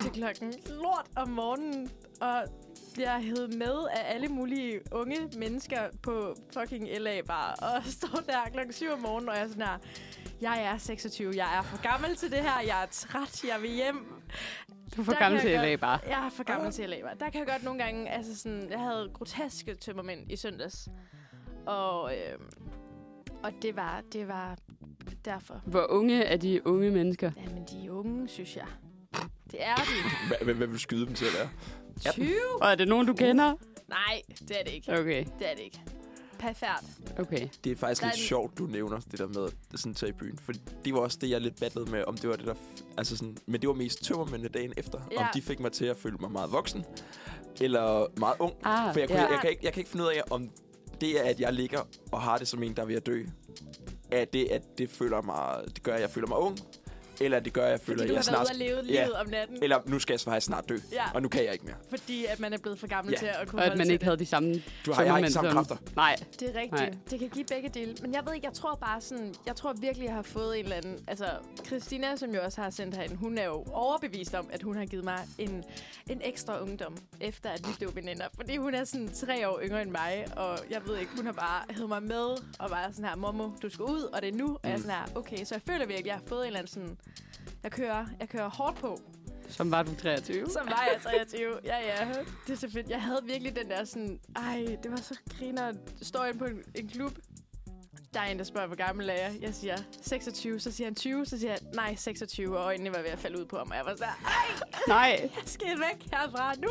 [SPEAKER 3] til klokken lort om morgenen, og bliver hævet med af alle mulige unge mennesker på fucking LA bare, og står der klokken 7 om morgenen, og jeg er sådan her, jeg er 26, jeg er for gammel til det her, jeg er træt, jeg vil hjem,
[SPEAKER 2] Du får
[SPEAKER 3] Der
[SPEAKER 2] gammel
[SPEAKER 3] kan
[SPEAKER 2] til
[SPEAKER 3] jeg
[SPEAKER 2] LA
[SPEAKER 3] godt-
[SPEAKER 2] bare.
[SPEAKER 3] jeg er for gammel til at lave. Der kan jeg godt nogle gange, altså sådan, jeg havde groteske tømmermænd i søndags. Og, øh, og det var, det var derfor.
[SPEAKER 2] Hvor unge er de unge mennesker?
[SPEAKER 3] Jamen, de er unge, synes jeg. Det er de.
[SPEAKER 1] Hva- Hvem, hvem vil skyde dem til at være?
[SPEAKER 3] 20?
[SPEAKER 2] Og er det nogen, du kender?
[SPEAKER 3] Nej, det er det ikke.
[SPEAKER 2] Okay,
[SPEAKER 3] Det er det ikke. Perfekt.
[SPEAKER 2] okay.
[SPEAKER 1] Det er faktisk
[SPEAKER 3] Der er
[SPEAKER 1] lidt
[SPEAKER 3] en-
[SPEAKER 1] sjovt, du nævner det der med at sådan tage i byen. For det var også det, jeg lidt battlede med, om det var det der... f- Altså sådan, men det var mest tømmermændene dagen efter. Ja. Om
[SPEAKER 3] Ja.
[SPEAKER 1] de fik mig til at føle mig meget voksen, eller meget ung.
[SPEAKER 2] Ah,
[SPEAKER 1] For jeg, kunne,
[SPEAKER 2] ja.
[SPEAKER 1] ja. jeg, kan ikke, jeg kan ikke finde ud af, om det er, at jeg ligger og har det som en, der er ved at dø. Er det, at det, føler mig, det gør, at jeg føler mig ung? eller det gør jeg, føler,
[SPEAKER 3] Fordi du
[SPEAKER 1] jeg
[SPEAKER 3] har været
[SPEAKER 1] snart...
[SPEAKER 3] ude og leve
[SPEAKER 1] Ja.
[SPEAKER 3] livet om natten,
[SPEAKER 1] Eller nu skal jeg faktisk snart dø,
[SPEAKER 3] Ja.
[SPEAKER 1] og nu kan jeg ikke mere.
[SPEAKER 3] fordi at man er blevet for gammel
[SPEAKER 1] Ja.
[SPEAKER 3] til at kunne
[SPEAKER 2] Og at
[SPEAKER 3] holde
[SPEAKER 2] man
[SPEAKER 3] til
[SPEAKER 2] ikke
[SPEAKER 3] det.
[SPEAKER 2] havde de samme
[SPEAKER 1] Du har, jeg har ikke samme
[SPEAKER 2] tømmermænd
[SPEAKER 1] kræfter.
[SPEAKER 2] som- Nej,
[SPEAKER 3] Det er rigtigt. Nej. Det kan give begge dele. Men jeg ved ikke, jeg tror bare sådan, jeg tror virkelig, jeg har fået en eller anden... Altså, Christina, som jo også har sendt herind, hun er jo overbevist om, at hun har givet mig en, en ekstra ungdom, efter at vi blev veninder. Fordi hun er sådan tre år yngre end mig, og jeg ved ikke, hun har bare hævet mig med, og var sådan her, mommo, du skal ud, og det er nu. Og jeg er sådan her, okay, så jeg føler virkelig, jeg har fået en eller anden sådan... Jeg kører, jeg kører hårdt på.
[SPEAKER 2] som var du 23.
[SPEAKER 3] Som var jeg 23. Ja, ja. Det er så fedt. Jeg havde virkelig den der sådan... Ej, det var så griner. Står inde på en, en klub. Der er en, der spørger, hvor gammel er jeg? Jeg siger 26, så siger han 20, så siger jeg nej, 26, og øjnene var ved at falde ud på ham, og jeg var sådan, ej,
[SPEAKER 2] Nej.
[SPEAKER 3] jeg skal væk herfra nu.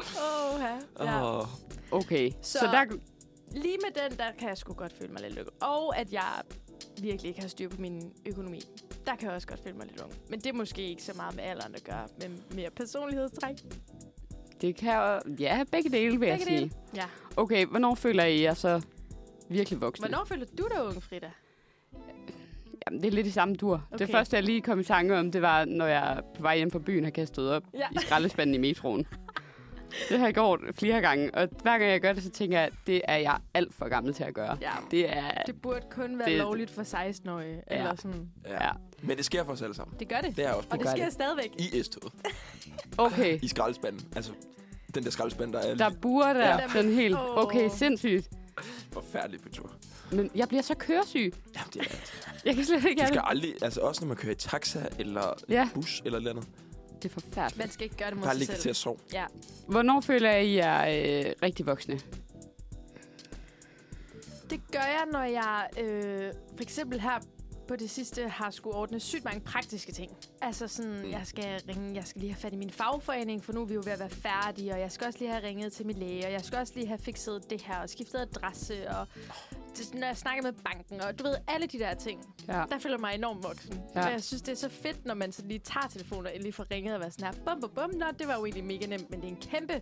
[SPEAKER 3] Åh, ja. ja.
[SPEAKER 1] Åh,
[SPEAKER 2] Okay, så,
[SPEAKER 3] Så-
[SPEAKER 2] så der...
[SPEAKER 3] Lige med den, der kan jeg sgu godt føle mig lidt lukket. Og at jeg virkelig ikke har styr på min økonomi. Der kan jeg også godt føle mig lidt ung. Men det er måske ikke så meget med alderen at gøre, men mere personlighedstræk.
[SPEAKER 2] Det kan jo... Ja, begge dele, vil jeg
[SPEAKER 3] Begge
[SPEAKER 2] sige.
[SPEAKER 3] dele. Ja.
[SPEAKER 2] Okay, hvornår føler I jer så virkelig voksen?
[SPEAKER 3] Hvornår føler du dig ung, Frida?
[SPEAKER 2] Jamen, det er lidt i samme tur. Okay. Det
[SPEAKER 3] Okay.
[SPEAKER 2] første, jeg lige kom i tanke om, det var, når jeg på vej hjem fra byen har kastet op
[SPEAKER 3] Ja.
[SPEAKER 2] ja. i skraldespanden i metroen. Det har jeg gjort flere gange, og hver gang jeg gør det, så tænker jeg, at det er jeg alt for gammel til at gøre.
[SPEAKER 3] Ja.
[SPEAKER 2] Det er...
[SPEAKER 3] Det burde kun være det...
[SPEAKER 2] Det-
[SPEAKER 3] lovligt for 16-årige. Ja. Eller sådan.
[SPEAKER 1] ja.
[SPEAKER 2] Ja.
[SPEAKER 1] Men det sker for os alle sammen.
[SPEAKER 3] Det gør det.
[SPEAKER 1] Det er også
[SPEAKER 3] og det
[SPEAKER 2] gør
[SPEAKER 3] sker
[SPEAKER 2] det.
[SPEAKER 3] stadigvæk.
[SPEAKER 1] i S-toget.
[SPEAKER 2] Okay,
[SPEAKER 1] I skraldespanden. Altså, den der skraldespand, der er
[SPEAKER 2] der
[SPEAKER 1] der...
[SPEAKER 2] burde
[SPEAKER 1] Ja.
[SPEAKER 2] der sådan helt...
[SPEAKER 3] Åh.
[SPEAKER 2] Okay, sindssygt.
[SPEAKER 1] forfærdelig på tur.
[SPEAKER 2] Men jeg bliver så køresyg.
[SPEAKER 1] Jamen, det er,
[SPEAKER 2] Jeg kan slet ikke
[SPEAKER 1] du
[SPEAKER 2] have
[SPEAKER 1] skal
[SPEAKER 2] det.
[SPEAKER 1] aldrig... Altså, også når man kører i taxa eller
[SPEAKER 2] Ja,
[SPEAKER 1] bus eller et eller andet.
[SPEAKER 2] det er forfærdeligt.
[SPEAKER 3] Man skal ikke gøre det mod
[SPEAKER 1] Bare
[SPEAKER 3] sig
[SPEAKER 1] ligge
[SPEAKER 3] selv.
[SPEAKER 1] til at sove.
[SPEAKER 3] Ja.
[SPEAKER 2] Hvornår føler jeg, I er øh, rigtig voksne?
[SPEAKER 3] Det gør jeg, når jeg øh, for eksempel her på det sidste har skulle ordne sygt mange praktiske ting. Altså sådan, jeg skal ringe, jeg skal lige have fat i min fagforening, for nu er vi jo ved at være færdige, og jeg skal også lige have ringet til min læge, og jeg skal også lige have fikset det her, og skiftet adresse, og det, når jeg snakker med banken, og du ved, alle de der ting.
[SPEAKER 2] Ja.
[SPEAKER 3] Der føler jeg mig enormt voksen. Ja.
[SPEAKER 2] Ja.
[SPEAKER 3] Og jeg synes, det er så fedt, når man så lige tager telefonen og lige får ringet og være sådan her, bum, bum, bum, nå, det var jo egentlig mega nemt, men det er en kæmpe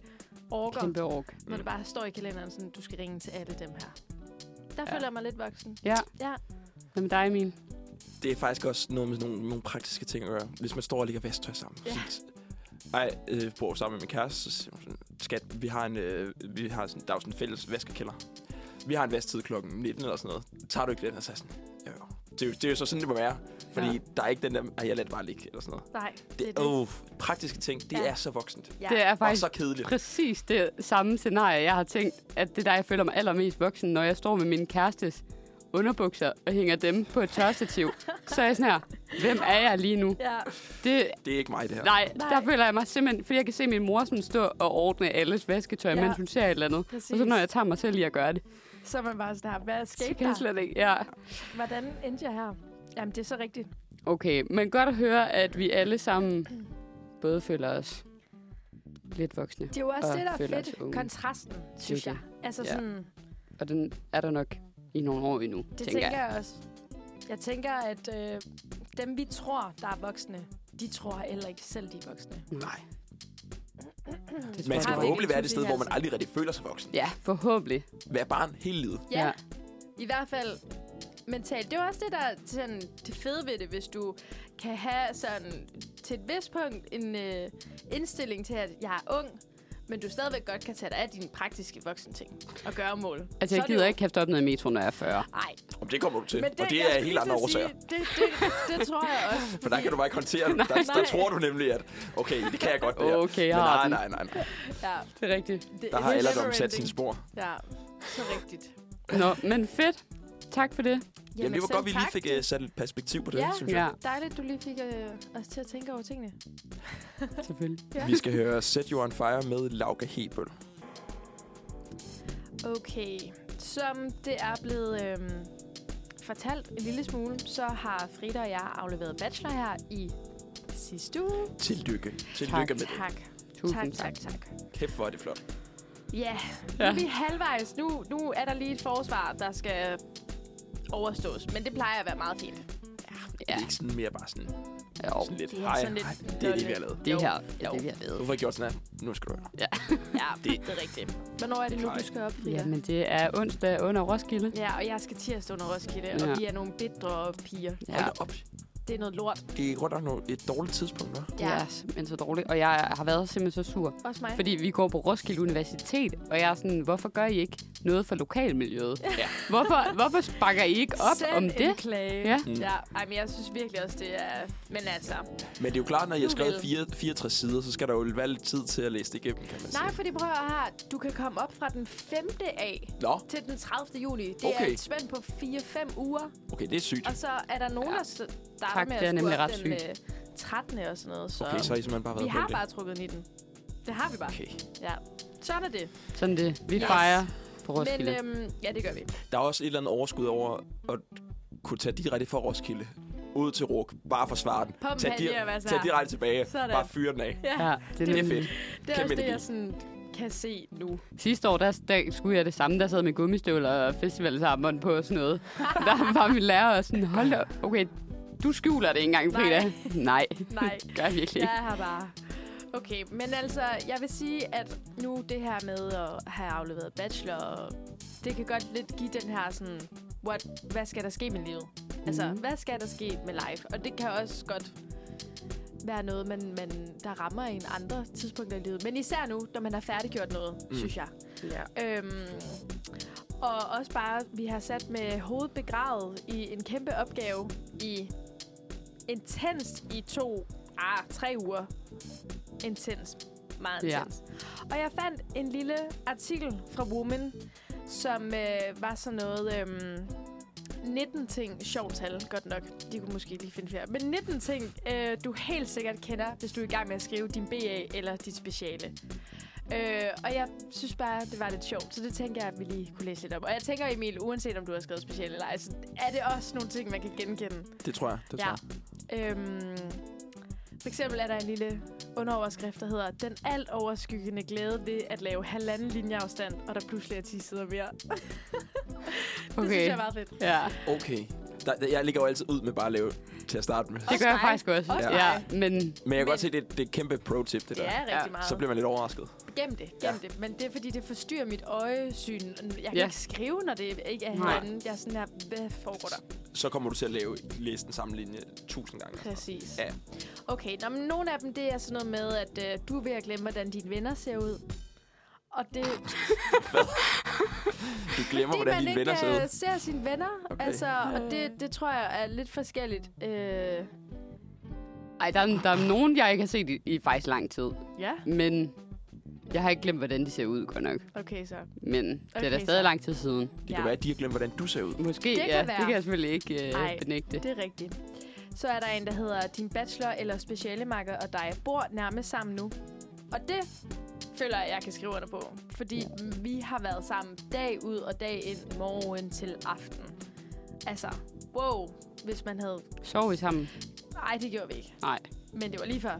[SPEAKER 3] orker, kæmpe.
[SPEAKER 2] Kæmpe ork.
[SPEAKER 3] når det bare står i kalenderen sådan, du skal ringe til alle dem her. Der ja. føler jeg mig lidt voksen.
[SPEAKER 2] Ja.
[SPEAKER 3] Ja.
[SPEAKER 2] Hvad med dig, Emil?
[SPEAKER 1] Det er faktisk også noget med nogle, nogle praktiske ting at gøre. Hvis man står og ligger vasktøj sammen.
[SPEAKER 3] Ja.
[SPEAKER 1] Ja. Ej, øh, jeg bor sammen med min kæreste, så siger hun sådan, skat, vi har en, øh, vi har sådan, der er jo sådan en fælles vaskekælder. Vi har en vasktid klokken 19 eller sådan noget. Tager du ikke den? Og så er jeg sådan, jo, jo. Det, er jo- det er jo så sådan, det må være. Fordi
[SPEAKER 2] Ja.
[SPEAKER 1] ja. der er ikke den der, at jeg lader det bare ligge eller sådan noget.
[SPEAKER 3] Nej,
[SPEAKER 1] Det, det,
[SPEAKER 3] det.
[SPEAKER 1] oh, praktiske ting, det
[SPEAKER 3] Ja.
[SPEAKER 1] ja. er så voksent.
[SPEAKER 3] Ja.
[SPEAKER 2] Det er
[SPEAKER 1] Og
[SPEAKER 2] faktisk
[SPEAKER 1] så kedeligt.
[SPEAKER 2] præcis det samme scenarie, jeg har tænkt, at det er der, jeg føler mig allermest voksen, når jeg står med min kærestes underbukser og hænger dem på et tørstativ. så er jeg sådan her, hvem er jeg lige nu?
[SPEAKER 3] Ja.
[SPEAKER 2] Det,
[SPEAKER 1] Det er ikke mig, det her.
[SPEAKER 2] nej,
[SPEAKER 3] Nej.
[SPEAKER 2] nej, der føler jeg mig simpelthen, fordi jeg kan se min mor sådan stå og ordne alles vasketøj,
[SPEAKER 3] Ja.
[SPEAKER 2] ja. mens hun ser et eller andet.
[SPEAKER 3] Præcis.
[SPEAKER 2] Og så når jeg tager mig selv i at gøre det,
[SPEAKER 3] Så er man bare sådan her, hvad
[SPEAKER 2] så
[SPEAKER 3] skete
[SPEAKER 2] kan jeg
[SPEAKER 3] der?
[SPEAKER 2] slet ikke. Ja.
[SPEAKER 3] Hvordan endte jeg her? Jamen, det er så rigtigt.
[SPEAKER 2] Okay, men godt at høre, at vi alle sammen både føler os lidt voksne.
[SPEAKER 3] Det er jo også
[SPEAKER 2] Og
[SPEAKER 3] det, der er
[SPEAKER 2] føler os
[SPEAKER 3] fedt.
[SPEAKER 2] unge.
[SPEAKER 3] Kontrasten, synes
[SPEAKER 2] det.
[SPEAKER 3] jeg. Altså
[SPEAKER 2] Ja.
[SPEAKER 3] sådan,
[SPEAKER 2] Og den er der nok i nogle år endnu,
[SPEAKER 3] Det tænker, tænker jeg også. Jeg tænker, at øh, dem, vi tror, der er voksne, de tror heller ikke selv, de er voksne.
[SPEAKER 1] Nej.
[SPEAKER 2] Det tror
[SPEAKER 1] Man
[SPEAKER 2] jeg,
[SPEAKER 1] skal
[SPEAKER 2] det er.
[SPEAKER 3] Har vi ikke
[SPEAKER 1] forhåbentlig være
[SPEAKER 3] en
[SPEAKER 1] det sted, hvor man
[SPEAKER 3] tilværelse?
[SPEAKER 1] aldrig rigtig føler sig voksen.
[SPEAKER 2] Ja, forhåbentlig.
[SPEAKER 1] Vær barn hele livet.
[SPEAKER 3] Ja, ja. i hvert fald mentalt. Det er jo også det, der er sådan, det fede ved det, hvis du kan have sådan til et vist punkt en øh, indstilling til, at jeg er ung, men du stadigvæk godt kan tage dig af dine praktiske voksne ting og gøre mål.
[SPEAKER 2] Altså, jeg gider ikke kaste op noget i metro, når jeg er 40.
[SPEAKER 3] Nej,
[SPEAKER 1] Om det kommer du til.
[SPEAKER 3] men
[SPEAKER 1] og det
[SPEAKER 3] jeg
[SPEAKER 1] er
[SPEAKER 3] skulle
[SPEAKER 1] helt
[SPEAKER 3] lige
[SPEAKER 1] andre
[SPEAKER 3] til at
[SPEAKER 1] årsager.
[SPEAKER 3] sige, Det, det, det tror jeg også.
[SPEAKER 1] For der kan du bare ikke håndtere det. Der, der
[SPEAKER 3] Nej.
[SPEAKER 1] tror du nemlig, at okay, det kan jeg godt det her.
[SPEAKER 2] Okay, jeg
[SPEAKER 1] Men
[SPEAKER 2] har
[SPEAKER 1] nej,
[SPEAKER 2] den.
[SPEAKER 1] nej, nej, nej.
[SPEAKER 3] Ja,
[SPEAKER 2] Det er rigtigt.
[SPEAKER 3] det,
[SPEAKER 1] Der har
[SPEAKER 3] det er
[SPEAKER 1] alderdom sat
[SPEAKER 3] never-ending.
[SPEAKER 1] sine spor.
[SPEAKER 3] Ja, så rigtigt.
[SPEAKER 2] Nå, men fedt. Tak for det.
[SPEAKER 1] Jamen, det var
[SPEAKER 3] selv
[SPEAKER 1] godt, vi lige
[SPEAKER 3] tak.
[SPEAKER 1] fik uh, sat et perspektiv på det,
[SPEAKER 3] Ja.
[SPEAKER 1] synes jeg.
[SPEAKER 2] Ja,
[SPEAKER 3] Dejligt, du lige fik øh, os til at tænke over tingene.
[SPEAKER 2] selvfølgelig.
[SPEAKER 3] Ja.
[SPEAKER 1] Vi skal høre Set You On Fire med Lauke Hebel.
[SPEAKER 3] Okay, som det er blevet øh, fortalt en lille smule, så har Frida og jeg afleveret bachelor her i sidste uge.
[SPEAKER 1] Tillykke. Tillykke med det.
[SPEAKER 3] Tak, tak,
[SPEAKER 2] Tusind
[SPEAKER 3] tak, tak.
[SPEAKER 1] Kæft, hvor er det flot.
[SPEAKER 3] Ja, nu
[SPEAKER 2] Ja.
[SPEAKER 3] er vi halvvejs. Nu, nu er der lige et forsvar, der skal overstås, men det plejer at være meget fint.
[SPEAKER 1] Det
[SPEAKER 2] Ja,
[SPEAKER 1] er ikke sådan mere bare sådan,
[SPEAKER 2] jo.
[SPEAKER 1] sådan lidt,
[SPEAKER 3] Det er
[SPEAKER 1] hej,
[SPEAKER 3] sådan lidt
[SPEAKER 1] hej, det er det, vi har lavet.
[SPEAKER 2] Det
[SPEAKER 3] Jo,
[SPEAKER 2] her
[SPEAKER 3] jo.
[SPEAKER 2] er det, vi har lavet.
[SPEAKER 1] Hvorfor har I gjort sådan her? Nu skal du høre.
[SPEAKER 3] Ja, det,
[SPEAKER 1] Det-
[SPEAKER 3] det er rigtigt. Hvornår er det nu, du skal op, Frida?
[SPEAKER 2] Jamen, det er onsdag under Roskilde.
[SPEAKER 3] Ja, og jeg skal tirsdag under Roskilde, ja.
[SPEAKER 2] Ja.
[SPEAKER 3] og vi er nogle bitre piger.
[SPEAKER 1] Hold da op.
[SPEAKER 3] Det er noget lort.
[SPEAKER 1] Det er godt nok noget- et dårligt tidspunkt, hva'?
[SPEAKER 2] Det er simpelthen så dårligt. Og jeg har været simpelthen så sur.
[SPEAKER 3] Også mig.
[SPEAKER 2] Fordi vi går på Roskilde Universitet, og jeg er sådan, hvorfor gør I ikke noget for lokalmiljøet? Ja. Hvorfor, hvorfor sparker I ikke op
[SPEAKER 3] Send
[SPEAKER 2] om
[SPEAKER 3] en
[SPEAKER 2] det?
[SPEAKER 3] klage.
[SPEAKER 2] Ja.
[SPEAKER 1] Mm.
[SPEAKER 3] ja. Ej, men jeg synes virkelig også, det er... Men altså...
[SPEAKER 1] Men det er jo klart, når jeg har
[SPEAKER 3] Nu
[SPEAKER 1] skrevet
[SPEAKER 3] vel.
[SPEAKER 1] fire- 64 sider, så skal der jo være lidt tid til at læse det igennem, kan man
[SPEAKER 3] Nej,
[SPEAKER 1] sige.
[SPEAKER 3] fordi prøv at høre her. Du kan komme op fra den 5. af
[SPEAKER 1] Nå,
[SPEAKER 3] til den 30. juli. Det er
[SPEAKER 1] Okay.
[SPEAKER 3] et spænd på 4-5 uger.
[SPEAKER 1] okay, det er sygt.
[SPEAKER 3] Og så er der nogen,
[SPEAKER 2] Ja.
[SPEAKER 3] der starter
[SPEAKER 2] Tak,
[SPEAKER 3] med
[SPEAKER 2] det er
[SPEAKER 3] at skulle
[SPEAKER 2] nemlig
[SPEAKER 3] op
[SPEAKER 2] ret
[SPEAKER 3] den øh, 13. og sådan noget. Så,
[SPEAKER 1] Okay, så har I simpelthen bare
[SPEAKER 3] vi
[SPEAKER 1] været
[SPEAKER 3] har
[SPEAKER 1] på
[SPEAKER 3] bare trukket 19. Det har vi bare.
[SPEAKER 1] Okay.
[SPEAKER 3] Ja. Sådan er det.
[SPEAKER 2] Sådan det. Vi
[SPEAKER 3] Yes.
[SPEAKER 2] fejrer på
[SPEAKER 3] Men
[SPEAKER 2] Roskilde.
[SPEAKER 3] øhm, ja, det gør vi.
[SPEAKER 1] Der er også et eller andet overskud over at kunne tage direkte fra Roskilde ud til Ruk, bare forsvare den.
[SPEAKER 3] På
[SPEAKER 1] Tag,
[SPEAKER 3] Palje og være så
[SPEAKER 1] tag
[SPEAKER 3] her.
[SPEAKER 1] direkte tilbage,
[SPEAKER 3] Sådan.
[SPEAKER 1] bare fyre den af.
[SPEAKER 2] ja, det er
[SPEAKER 1] Det er
[SPEAKER 2] nemlig-
[SPEAKER 1] fedt.
[SPEAKER 3] Det er
[SPEAKER 1] Kæmpe
[SPEAKER 3] også det,
[SPEAKER 1] energi.
[SPEAKER 3] jeg sådan kan se nu.
[SPEAKER 2] Sidste år, der, der skulle jeg det samme. Der sad jeg med gummistøvler og festivalsarmbånd på og sådan noget. Der var min lærer også sådan, hold da op. Okay, du skjuler det ikke engang,
[SPEAKER 3] Nej.
[SPEAKER 2] Frida. Nej,
[SPEAKER 3] Nej,
[SPEAKER 2] gør jeg virkelig ikke.
[SPEAKER 3] jeg er her bare. Okay, men altså, jeg vil sige, at nu det her med at have afleveret bachelor, det kan godt lidt give den her sådan, what, hvad skal der ske med livet? Altså,
[SPEAKER 2] Mhm.
[SPEAKER 3] hvad skal der ske med life? Og det kan også godt være noget, man, man, der rammer en andre tidspunkter i livet. Men især nu, når man har færdiggjort noget,
[SPEAKER 1] Mm.
[SPEAKER 3] mm. synes jeg.
[SPEAKER 2] Ja.
[SPEAKER 3] Øhm, og også bare, vi har sat med hovedet begravet i en kæmpe opgave i intenst i to, ah, tre uger. Intenst. Meget
[SPEAKER 2] Ja.
[SPEAKER 3] intenst. Og jeg fandt en lille artikel fra Woman, som øh, var sådan noget... Øhm, 19 ting, sjovt tal, godt nok. De kunne måske lige finde flere. Men 19 ting, øh, du helt sikkert kender, hvis du er i gang med at skrive din BA eller dit speciale. Øh, og jeg synes bare, det var lidt sjovt, så det tænker jeg, at vi lige kunne læse lidt om. Og jeg tænker, Emil, uanset om du har skrevet speciale eller ej, så er det også nogle ting, man kan genkende.
[SPEAKER 1] Det tror jeg. Det tror
[SPEAKER 3] Ja.
[SPEAKER 1] jeg.
[SPEAKER 3] Øhm, for eksempel er der en lille underoverskrift, der hedder Den alt overskyggende glæde ved at lave halvanden linjeafstand, og der pludselig er 10 sider mere. Okay. Det synes jeg
[SPEAKER 2] Okay.
[SPEAKER 3] er meget fedt.
[SPEAKER 2] Ja,
[SPEAKER 1] Okay. Der, der- jeg ligger jo altid ud med bare at lave til at starte med.
[SPEAKER 2] det
[SPEAKER 3] Også
[SPEAKER 2] gør jeg
[SPEAKER 3] mig.
[SPEAKER 2] faktisk også.
[SPEAKER 3] Også
[SPEAKER 2] ja,
[SPEAKER 3] mig.
[SPEAKER 2] men
[SPEAKER 1] Men jeg kan
[SPEAKER 3] Men-
[SPEAKER 1] godt se, det, det er et kæmpe pro-tip, det
[SPEAKER 3] Det
[SPEAKER 1] der.
[SPEAKER 3] er rigtig
[SPEAKER 2] Ja,
[SPEAKER 3] meget.
[SPEAKER 1] Så bliver man lidt overrasket.
[SPEAKER 3] Gem det, gem ja. det. Men det er, fordi det forstyrrer mit øjesyn. Jeg kan
[SPEAKER 2] Ja.
[SPEAKER 3] ja. ikke skrive, når det ikke er
[SPEAKER 2] Nej.
[SPEAKER 3] herinde. Jeg er sådan her, hvad foregår der?
[SPEAKER 1] Så kommer du til at lave, læse den samme linje tusind gange.
[SPEAKER 3] Præcis.
[SPEAKER 1] Ja.
[SPEAKER 3] Okay, nå, men nogle af dem, det er sådan noget med, at øh, du er ved at glemme, hvordan dine venner ser ud. Og det,
[SPEAKER 1] Du glemmer,
[SPEAKER 3] fordi
[SPEAKER 1] hvordan
[SPEAKER 3] man
[SPEAKER 1] dine venner
[SPEAKER 3] ikke
[SPEAKER 1] ser ud.
[SPEAKER 3] øh, ser sine venner.
[SPEAKER 1] Okay.
[SPEAKER 3] Okay. Altså, og det, det tror jeg er lidt forskelligt. Øh,
[SPEAKER 2] ej, der, er, der er nogen, jeg ikke har set i, i faktisk lang tid.
[SPEAKER 3] ja,
[SPEAKER 2] Men jeg har ikke glemt, hvordan de ser ud, godt nok.
[SPEAKER 3] okay så.
[SPEAKER 2] Men det er da
[SPEAKER 3] Okay,
[SPEAKER 2] stadig
[SPEAKER 3] så.
[SPEAKER 2] lang tid siden.
[SPEAKER 1] Det kan være, at de har glemt, hvordan du ser ud.
[SPEAKER 2] Måske,
[SPEAKER 3] Det kan
[SPEAKER 2] ja.
[SPEAKER 3] være.
[SPEAKER 2] Det kan jeg selvfølgelig ikke
[SPEAKER 3] Ej.
[SPEAKER 2] øh, benægte.
[SPEAKER 3] Det er rigtigt. Så er der en, der hedder, din bachelor eller specialemakker og dig bor nærmest sammen nu. Og det føler jeg, jeg kan skrive under på. Fordi vi har været sammen dag ud og dag ind, morgen til aften. Altså, wow, hvis man havde...
[SPEAKER 2] Sov vi sammen?
[SPEAKER 3] Nej, det gjorde vi ikke.
[SPEAKER 2] Nej.
[SPEAKER 3] Men det var lige før.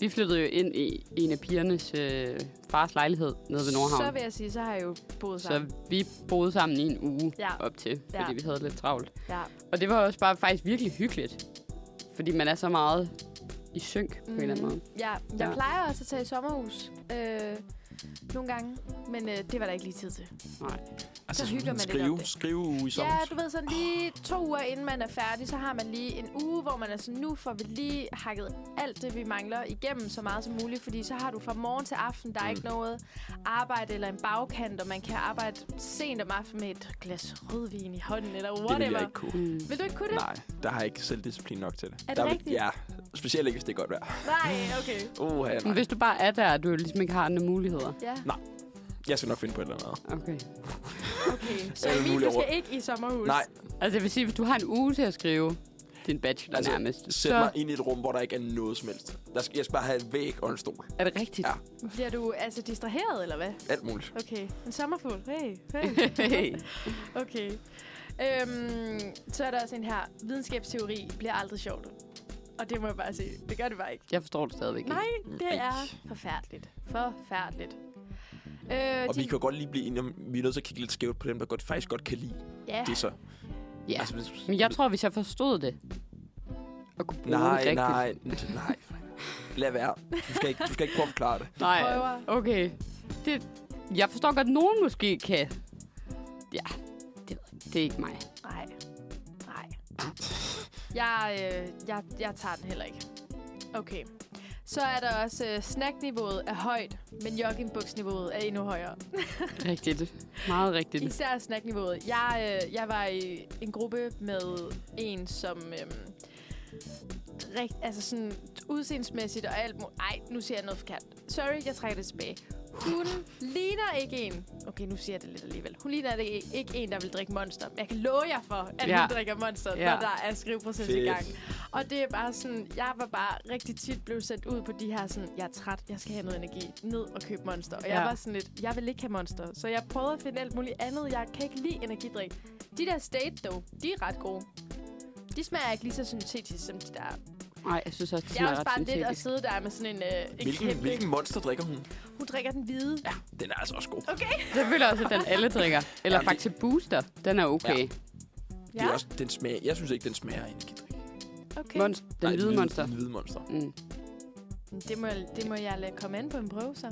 [SPEAKER 2] Vi flyttede jo ind i en af pigernes øh, fars lejlighed nede ved Nordhavn.
[SPEAKER 3] Så vil jeg sige, så har jeg jo boet
[SPEAKER 2] Så
[SPEAKER 3] sammen.
[SPEAKER 2] vi boede sammen i en uge
[SPEAKER 3] Ja.
[SPEAKER 2] op til, fordi
[SPEAKER 3] Ja.
[SPEAKER 2] vi havde lidt travlt.
[SPEAKER 3] Ja.
[SPEAKER 2] Og det var også bare faktisk virkelig hyggeligt, fordi man er så meget i synk på en eller anden
[SPEAKER 3] Mhm.
[SPEAKER 2] måde.
[SPEAKER 3] Ja, jeg
[SPEAKER 2] Ja.
[SPEAKER 3] ja. plejer også at tage i sommerhus øh, nogle gange. Men øh, det var der ikke lige tid til.
[SPEAKER 2] Nej.
[SPEAKER 1] Altså,
[SPEAKER 3] hygger man lidt
[SPEAKER 1] skrive,
[SPEAKER 3] om det.
[SPEAKER 1] skrive uge i sommer.
[SPEAKER 3] Ja, du ved sådan lige to uger inden man er færdig, så har man lige en uge, hvor man er sådan, nu får vi lige hakket alt det, vi mangler igennem så meget som muligt, fordi så har du fra morgen til aften, der er
[SPEAKER 1] Mm.
[SPEAKER 3] ikke noget arbejde eller en bagkant, og man kan arbejde sent om aftenen med et glas rødvin i hånden, eller
[SPEAKER 1] det vil
[SPEAKER 3] whatever.
[SPEAKER 1] jeg ikke kunne.
[SPEAKER 2] Mm.
[SPEAKER 3] Vil du ikke kunne det?
[SPEAKER 1] Nej, der har jeg ikke selvdisciplin nok til det.
[SPEAKER 3] det
[SPEAKER 1] der vil-
[SPEAKER 3] rigtigt?
[SPEAKER 1] Ja, specielt ikke, hvis det er godt vejr.
[SPEAKER 3] Nej, okay.
[SPEAKER 1] Uh,
[SPEAKER 2] Men
[SPEAKER 1] nej.
[SPEAKER 2] hvis du bare er der, og du ligesom ikke har andre muligheder.
[SPEAKER 3] Ja,
[SPEAKER 1] Jeg skal nok finde på et eller andet.
[SPEAKER 2] Okay.
[SPEAKER 3] okay. Så
[SPEAKER 1] Alle
[SPEAKER 3] Emil,
[SPEAKER 1] mulige
[SPEAKER 3] du skal ikke i sommerhus.
[SPEAKER 1] Nej,
[SPEAKER 2] Altså det vil sige, hvis du har en uge til at skrive din bachelor
[SPEAKER 1] Altså,
[SPEAKER 2] altså, nærmest,
[SPEAKER 1] sæt
[SPEAKER 2] så
[SPEAKER 1] mig ind i et rum, hvor der ikke er noget som helst. Der skal, jeg skal bare have en væg og en stol.
[SPEAKER 2] er det rigtigt.
[SPEAKER 1] Ja.
[SPEAKER 3] Bliver du altså distraheret, eller hvad?
[SPEAKER 1] Alt muligt.
[SPEAKER 3] Okay, en sommerfugl. Hey, hey.
[SPEAKER 2] Hey.
[SPEAKER 3] Okay. Øhm, så er der også en her. Videnskabsteori bliver aldrig sjovt. Og det må jeg bare sige. Det gør det bare ikke.
[SPEAKER 2] Jeg forstår det stadigvæk ikke.
[SPEAKER 3] Nej, det
[SPEAKER 1] Ej.
[SPEAKER 3] er forfærdeligt. Forfærdeligt. Øh,
[SPEAKER 1] Og
[SPEAKER 3] de-
[SPEAKER 1] vi kan godt lige blive enige om, vi er nødt til at kigge lidt skævt på dem, der godt, faktisk godt kan lide
[SPEAKER 3] Ja,
[SPEAKER 1] det så.
[SPEAKER 2] Ja.
[SPEAKER 1] Altså, hvis,
[SPEAKER 2] Men jeg tror, hvis jeg forstod det, og kunne bruge det
[SPEAKER 1] Nej,
[SPEAKER 2] rigtigt.
[SPEAKER 1] nej, nej. Lad være. Du skal ikke, du skal ikke prøve at forklare det.
[SPEAKER 2] Nej,
[SPEAKER 3] Prøver.
[SPEAKER 2] okay. Det, jeg forstår godt, at nogen måske kan. Ja, det, det er ikke mig.
[SPEAKER 3] nej. Nej. Jeg, øh, jeg, jeg tager den heller ikke. Okay. Så er der også øh, snackniveauet er højt, men joggingbuksniveauet er endnu højere.
[SPEAKER 2] Rigtigt. Meget rigtigt.
[SPEAKER 3] Især snackniveauet. Jeg, øh, jeg var i en gruppe med en, som øh, rigt, altså sådan udseendsmæssigt og alt muligt. Ej, nu siger jeg noget forkert. Sorry, jeg trækker det tilbage. Hun ligner ikke en. Okay, nu siger jeg det lidt alligevel. Hun ligner ikke, ikke en, der vil drikke monster. Men jeg kan love jer for, at ja.
[SPEAKER 2] Ja.
[SPEAKER 3] hun drikker monster, ja.
[SPEAKER 2] Ja.
[SPEAKER 3] når der er skriveproces i
[SPEAKER 1] Fedt.
[SPEAKER 3] gang. Og det er bare sådan, jeg var bare rigtig tit blevet sendt ud på de her sådan, jeg er træt, jeg skal have noget energi, ned og købe monster. Og ja. jeg
[SPEAKER 2] Ja.
[SPEAKER 3] var sådan lidt, jeg vil ikke have monster. Så jeg prøvede at finde alt muligt andet. Jeg kan ikke lide energidrik. De der state, dog, de er ret gode. De smager ikke lige så syntetisk som de der.
[SPEAKER 2] Nej, jeg synes også, det
[SPEAKER 3] Det er
[SPEAKER 2] smager
[SPEAKER 3] også
[SPEAKER 2] ret
[SPEAKER 3] bare lidt at
[SPEAKER 2] syntetisk.
[SPEAKER 3] sidde der med sådan en, øh, en
[SPEAKER 1] Hvilken,
[SPEAKER 3] kæmpe...
[SPEAKER 1] hvilken monster drikker hun?
[SPEAKER 3] Hun drikker den hvide. Ja.
[SPEAKER 1] Den er altså også god.
[SPEAKER 3] Okay.
[SPEAKER 2] Jeg føler også, at den alle drikker. Eller
[SPEAKER 1] Jamen, det-
[SPEAKER 2] faktisk Booster. Den er okay. Ja.
[SPEAKER 1] Det er også, den smager, jeg synes ikke, den smager af energidrik.
[SPEAKER 3] okay.
[SPEAKER 2] Monst, den
[SPEAKER 1] Nej,
[SPEAKER 2] hvide monster.
[SPEAKER 1] Den hvide monster.
[SPEAKER 2] Mm.
[SPEAKER 3] Det må, jeg- det må jeg lade komme an på en prøve, så.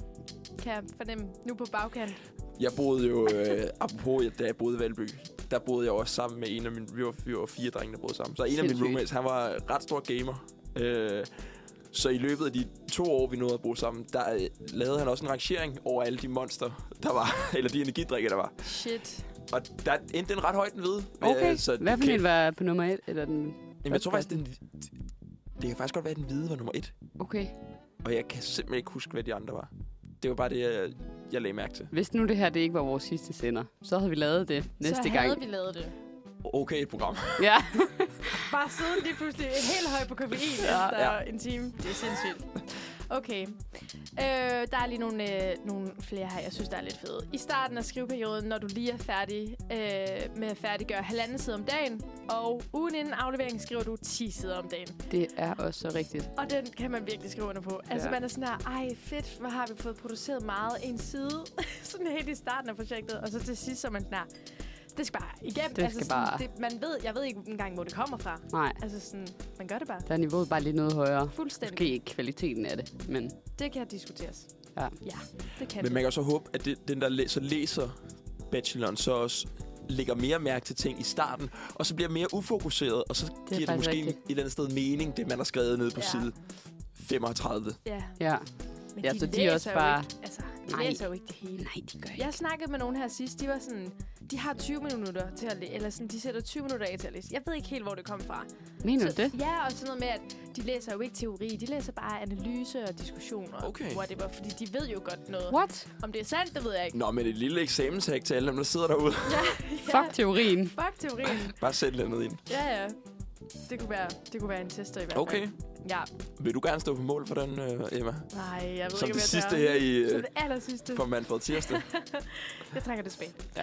[SPEAKER 3] Kan jeg fornemme nu på bagkant.
[SPEAKER 1] Jeg boede jo, øh, apropos, jeg- da jeg boede i Valby, der boede jeg også sammen med en af mine, vi var, vi var fire drenge, der boede sammen. Så en af mine
[SPEAKER 2] Sindssygt.
[SPEAKER 1] roommates, han var ret stor gamer. Øh, så i løbet af de to år, vi nåede at bo sammen, der øh, lavede han også en rangering over alle de monster, der var, eller de energidrikker, der var.
[SPEAKER 3] Shit.
[SPEAKER 1] Og der endte den ret højt den hvide.
[SPEAKER 2] Okay,
[SPEAKER 1] Øh, så
[SPEAKER 2] hvad for
[SPEAKER 1] det-
[SPEAKER 2] en var på nummer et? Eller den...
[SPEAKER 1] Jamen, jeg tror faktisk, den, det kan faktisk godt være, at den hvide var nummer et.
[SPEAKER 2] Okay.
[SPEAKER 1] Og jeg kan simpelthen ikke huske, hvad de andre var. Det var bare det, jeg, jeg lagde mærke til.
[SPEAKER 2] Hvis nu det her det ikke var vores sidste sender, så havde vi lavet det næste
[SPEAKER 3] så
[SPEAKER 2] gang.
[SPEAKER 3] havde vi lavet det.
[SPEAKER 1] Okay, et program.
[SPEAKER 2] Ja.
[SPEAKER 3] Bare siden lige pludselig helt høj på koffein ja,
[SPEAKER 2] Ja,
[SPEAKER 3] efter ja.
[SPEAKER 1] ja.
[SPEAKER 3] en time. Det er sindssygt. Okay. Øh, der er lige nogle, øh, nogle flere her, jeg synes, der er lidt fede. I starten af skriveperioden, når du lige er færdig øh, med at færdiggøre halvanden side om dagen, og ugen inden afleveringen skriver du 10 sider om dagen.
[SPEAKER 2] Det er også så rigtigt.
[SPEAKER 3] Og den kan man virkelig skrive under på. Altså, ja.
[SPEAKER 2] Ja.
[SPEAKER 3] man er sådan her, ej fedt, hvor har vi fået produceret meget en side. sådan helt i starten af projektet, og så til sidst, så er man sådan her, det skal bare igennem. Altså,
[SPEAKER 2] Det skal
[SPEAKER 3] sådan,
[SPEAKER 2] bare-
[SPEAKER 3] Det, man ved, jeg ved ikke engang, hvor det kommer fra.
[SPEAKER 2] Nej,
[SPEAKER 3] Altså sådan, man gør det bare.
[SPEAKER 2] der er niveauet bare lidt noget højere.
[SPEAKER 3] Fuldstændig.
[SPEAKER 2] Måske ikke kvaliteten af det, men
[SPEAKER 3] Det kan diskuteres.
[SPEAKER 2] Ja.
[SPEAKER 3] Ja, det kan
[SPEAKER 1] Men
[SPEAKER 3] det.
[SPEAKER 1] man kan også håbe, at det, den, der læ- så læser bacheloren, så også lægger mere mærke til ting i starten, og så bliver mere ufokuseret, og så det giver det
[SPEAKER 2] faktisk
[SPEAKER 1] måske
[SPEAKER 2] rigtigt.
[SPEAKER 1] et eller andet sted mening, det man har skrevet nede på
[SPEAKER 3] Ja.
[SPEAKER 1] ja. side 35.
[SPEAKER 3] Ja,
[SPEAKER 2] ja.
[SPEAKER 3] men
[SPEAKER 2] Ja,
[SPEAKER 3] de,
[SPEAKER 2] så de er
[SPEAKER 3] læser
[SPEAKER 2] også
[SPEAKER 3] jo
[SPEAKER 2] bare-
[SPEAKER 3] Ikke, altså, de
[SPEAKER 2] Nej.
[SPEAKER 3] læser jo ikke det hele.
[SPEAKER 2] Nej, de gør
[SPEAKER 3] Jeg snakkede med nogen her sidst, de var sådan, de har 20 minutter til at læse, eller sådan, de sætter 20 minutter af til at læse. Jeg ved ikke helt, hvor det kom fra.
[SPEAKER 2] Mener du
[SPEAKER 3] så,
[SPEAKER 2] det?
[SPEAKER 3] Ja, og sådan noget med, at de læser jo ikke teori, de læser bare analyse og diskussioner.
[SPEAKER 1] Okay.
[SPEAKER 3] Whatever, fordi de ved jo godt noget.
[SPEAKER 2] What?
[SPEAKER 3] Om det er sandt, det ved jeg ikke.
[SPEAKER 1] Nå, men et lille eksamenshæk til alle dem, der sidder derude.
[SPEAKER 3] Ja,
[SPEAKER 2] Fuck teorien.
[SPEAKER 3] Fuck teorien.
[SPEAKER 1] Bare sæt et eller andet ind.
[SPEAKER 3] Ja, ja. Det kunne være, det kunne være en tester i hvert fald.
[SPEAKER 1] Okay.
[SPEAKER 3] Ja.
[SPEAKER 1] Vil du gerne stå på mål for den, øh, Emma?
[SPEAKER 3] Nej, jeg ved
[SPEAKER 1] Som det
[SPEAKER 3] ikke, hvad
[SPEAKER 1] sidste her i, øh,
[SPEAKER 3] Som det aller sidste.
[SPEAKER 1] For Manfred Tirsdag.
[SPEAKER 3] Jeg trækker det tilbage.
[SPEAKER 1] Ja.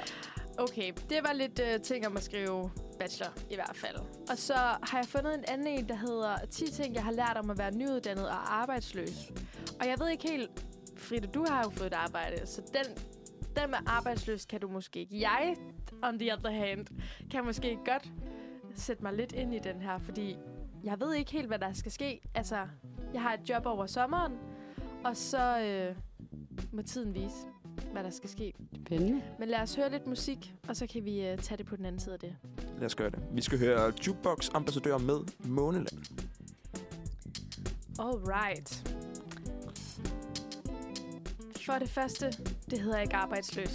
[SPEAKER 3] Okay, det var lidt øh, ting om at skrive bachelor i hvert fald. Og så har jeg fundet en anden en, der hedder 10 ting, jeg har lært om at være nyuddannet og arbejdsløs. Og jeg ved ikke helt, Frida, du har jo fået et arbejde, så den, den med arbejdsløs kan du måske ikke. Jeg, on the other hand, kan måske godt sætte mig lidt ind i den her, fordi jeg ved ikke helt, hvad der skal ske. Altså, jeg har et job over sommeren, og så øh, må tiden vise, hvad der skal ske.
[SPEAKER 2] Spændende.
[SPEAKER 3] Men lad os høre lidt musik, og så kan vi uh, tage det på den anden side af det.
[SPEAKER 1] Lad os gøre det. Vi skal høre Jukebox Ambassadør med Måneland.
[SPEAKER 3] Alright. For det første, det hedder ikke arbejdsløs.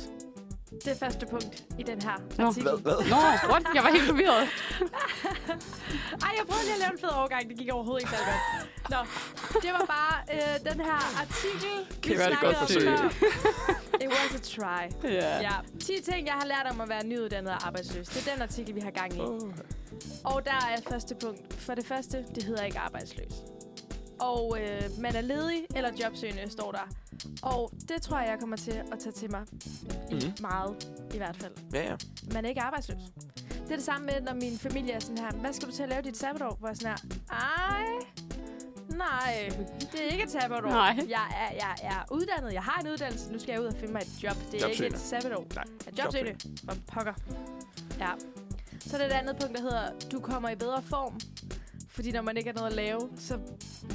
[SPEAKER 3] Det er første punkt i den her
[SPEAKER 2] Nå.
[SPEAKER 3] artikel.
[SPEAKER 1] Hvad? hvad?
[SPEAKER 2] Nå, what? Jeg var helt forvirret.
[SPEAKER 3] Ej, jeg prøvede lige at lave en fed overgang. Det gik overhovedet ikke særlig godt. Nå, det var bare øh, den her artikel, vi
[SPEAKER 1] Kæmpe
[SPEAKER 3] snakkede
[SPEAKER 1] godt
[SPEAKER 3] om
[SPEAKER 1] forsøg.
[SPEAKER 3] før. It was a try.
[SPEAKER 2] Ja.
[SPEAKER 3] Ja. 10 ting, jeg har lært om at være nyuddannet og arbejdsløs. Det er den artikel, vi har gang i.
[SPEAKER 1] Åh,
[SPEAKER 3] Og der er første punkt. For det første, det hedder ikke arbejdsløs. Og øh, man er ledig eller jobsøgende, står der. Og det tror jeg, jeg kommer til at tage til mig.
[SPEAKER 1] Mhm.
[SPEAKER 3] Mm. Meget, i hvert fald.
[SPEAKER 1] Ja, ja.
[SPEAKER 3] Man er ikke arbejdsløs. Det er det samme med, når min familie er sådan her, hvad skal du til at lave dit sabbatår? Hvor jeg er sådan her, ej, nej, det er ikke et sabbatår.
[SPEAKER 2] Nej.
[SPEAKER 3] Jeg er, jeg er uddannet, jeg har en uddannelse, nu skal jeg ud og finde mig et job. Det er ikke
[SPEAKER 1] Jobsøgende.
[SPEAKER 3] et sabbatår.
[SPEAKER 1] Nej,
[SPEAKER 3] Jeg er jobsøgende. For pokker. Ja. Så er der et andet punkt, der hedder, du kommer i bedre form. Fordi når man ikke har noget at lave, så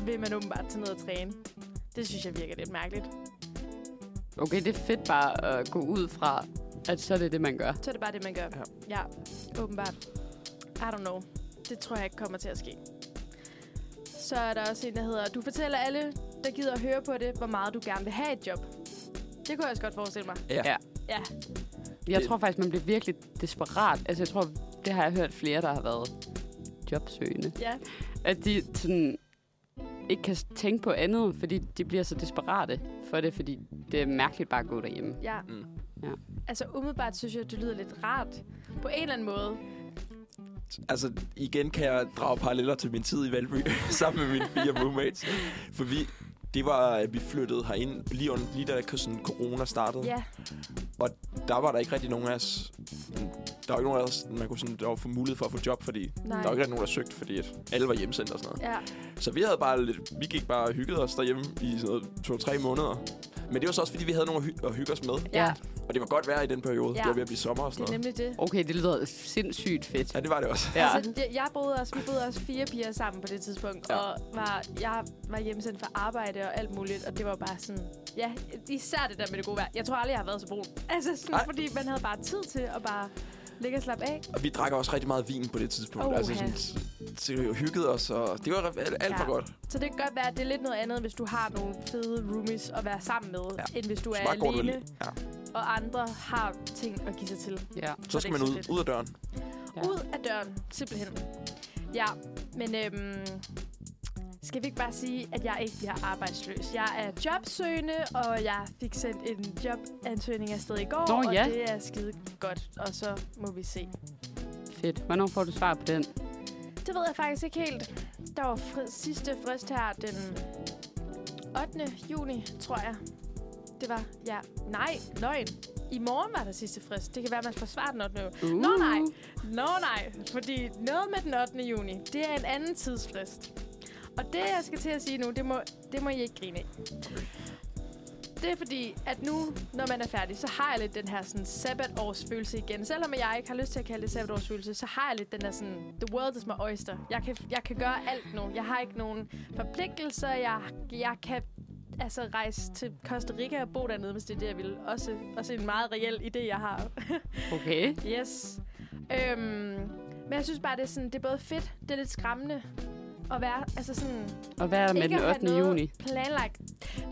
[SPEAKER 3] vil man åbenbart tage ned og træne. Det synes jeg virker lidt mærkeligt.
[SPEAKER 2] Okay, det er fedt bare at gå ud fra, at så er det det, man gør.
[SPEAKER 3] Så er det bare det, man gør. Ja. ja åbenbart. I don't know. Det tror jeg ikke kommer til at ske. Så er der også en, der hedder, du fortæller alle, der gider at høre på det, hvor meget du gerne vil have et job. Det kunne jeg også godt forestille mig.
[SPEAKER 1] Ja.
[SPEAKER 2] Ja.
[SPEAKER 3] Ja.
[SPEAKER 2] Jeg
[SPEAKER 1] Det-
[SPEAKER 2] tror faktisk, man bliver virkelig desperat. Altså, jeg tror, det har jeg hørt flere, der har været jobsøgende.
[SPEAKER 3] Ja.
[SPEAKER 2] At de sådan ikke kan tænke på andet, fordi de bliver så desperate for det, fordi det er mærkeligt bare at gå derhjemme.
[SPEAKER 3] Ja.
[SPEAKER 1] Mm.
[SPEAKER 2] Ja.
[SPEAKER 3] Altså umiddelbart synes jeg, det lyder lidt rart. På en eller anden måde.
[SPEAKER 1] Altså, igen kan jeg drage paralleller til min tid i Valby sammen med mine fire roommates. For vi, det var, at vi flyttede herind lige, under, lige da sådan, corona startede.
[SPEAKER 3] Ja.
[SPEAKER 1] Der var der ikke rigtig nogen af os. Der var ikke nogen af os, man kunne sådan, der var for mulighed for at få job, fordi
[SPEAKER 3] Nej.
[SPEAKER 1] der var ikke rigtig nogen, der søgte, fordi at alle var hjemsendt og sådan noget.
[SPEAKER 3] Ja.
[SPEAKER 1] Så vi havde bare lidt, vi gik bare og hyggede os derhjemme i sådan noget to-tre måneder. Men det var så også, fordi vi havde nogen at, hy- at hygge os med.
[SPEAKER 3] Ja.
[SPEAKER 1] Og det var godt vejr i den periode.
[SPEAKER 3] Ja.
[SPEAKER 1] Ja. Det var ved at blive sommer og
[SPEAKER 3] Det
[SPEAKER 1] sådan
[SPEAKER 3] er
[SPEAKER 1] noget.
[SPEAKER 3] nemlig det.
[SPEAKER 2] Okay, det lyder sindssygt fedt.
[SPEAKER 1] Ja, det var det også.
[SPEAKER 2] Ja.
[SPEAKER 3] Altså, jeg, jeg boede også, vi boede også fire piger sammen på det tidspunkt, ja.
[SPEAKER 1] Ja.
[SPEAKER 3] og var, jeg var hjemmesendt for arbejde og alt muligt, og det var bare sådan, ja, især det der med det gode vejr. Jeg tror aldrig, jeg har været så brun. Altså, sådan,
[SPEAKER 1] Nej.
[SPEAKER 3] fordi man havde bare tid til at bare ligge og slappe af.
[SPEAKER 1] Og vi drak også rigtig meget vin på det tidspunkt.
[SPEAKER 3] Oha.
[SPEAKER 1] Altså sådan, så vi hyggede os, og det var re- alt, alt for
[SPEAKER 3] Ja.
[SPEAKER 1] godt.
[SPEAKER 3] Så det kan godt være, at det er lidt noget andet, hvis du har nogle fede roomies at være sammen med, ja.
[SPEAKER 1] Ja.
[SPEAKER 3] end hvis du
[SPEAKER 1] Så
[SPEAKER 3] er
[SPEAKER 1] meget godt at
[SPEAKER 3] alene,
[SPEAKER 1] lide. ja.
[SPEAKER 3] og andre har ting at give sig til.
[SPEAKER 2] Ja.
[SPEAKER 1] Så
[SPEAKER 3] det
[SPEAKER 1] skal
[SPEAKER 3] ikke
[SPEAKER 1] man
[SPEAKER 3] så
[SPEAKER 1] ud,
[SPEAKER 3] fedt.
[SPEAKER 1] ud af døren.
[SPEAKER 2] Ja.
[SPEAKER 3] Ja. Ud af døren, simpelthen. Ja, men øhm, skal vi ikke bare sige, at jeg ikke bliver arbejdsløs? Jeg er jobsøgende, og jeg fik sendt en jobansøgning afsted i går,
[SPEAKER 2] Nå,
[SPEAKER 3] og
[SPEAKER 2] ja.
[SPEAKER 3] det er skide godt, og så må vi se.
[SPEAKER 2] Fedt. Hvornår får du svar på den?
[SPEAKER 3] Det ved jeg faktisk ikke helt. Der var fri- sidste frist her den 8. juni, tror jeg. Det var, ja, nej, løgn. I morgen var der sidste frist. Det kan være, man får svar den 8. juni.
[SPEAKER 2] Uh.
[SPEAKER 3] Nå, nej. Nå nej, fordi noget med den 8. juni, det er en anden tidsfrist. Og det, jeg skal til at sige nu, det må, det må I ikke grine af. Det er fordi, at nu, når man er færdig, så har jeg lidt den her sådan, sabbatårsfølelse igen. Selvom jeg ikke har lyst til at kalde det sabbatårsfølelse, så har jeg lidt den der sådan, the world is my oyster. Jeg kan, jeg kan gøre alt nu. Jeg har ikke nogen forpligtelser. Jeg, jeg kan altså rejse til Costa Rica og bo dernede, hvis det er det, jeg vil. Også, også en meget reel idé, jeg har.
[SPEAKER 2] Okay.
[SPEAKER 3] Yes. Øhm, men jeg synes bare, det er, sådan, det er både fedt, det er lidt skræmmende at være, altså sådan,
[SPEAKER 2] Og hvad er der med
[SPEAKER 3] ikke
[SPEAKER 2] den
[SPEAKER 3] at have
[SPEAKER 2] 8.
[SPEAKER 3] noget
[SPEAKER 2] juni?
[SPEAKER 3] planlagt.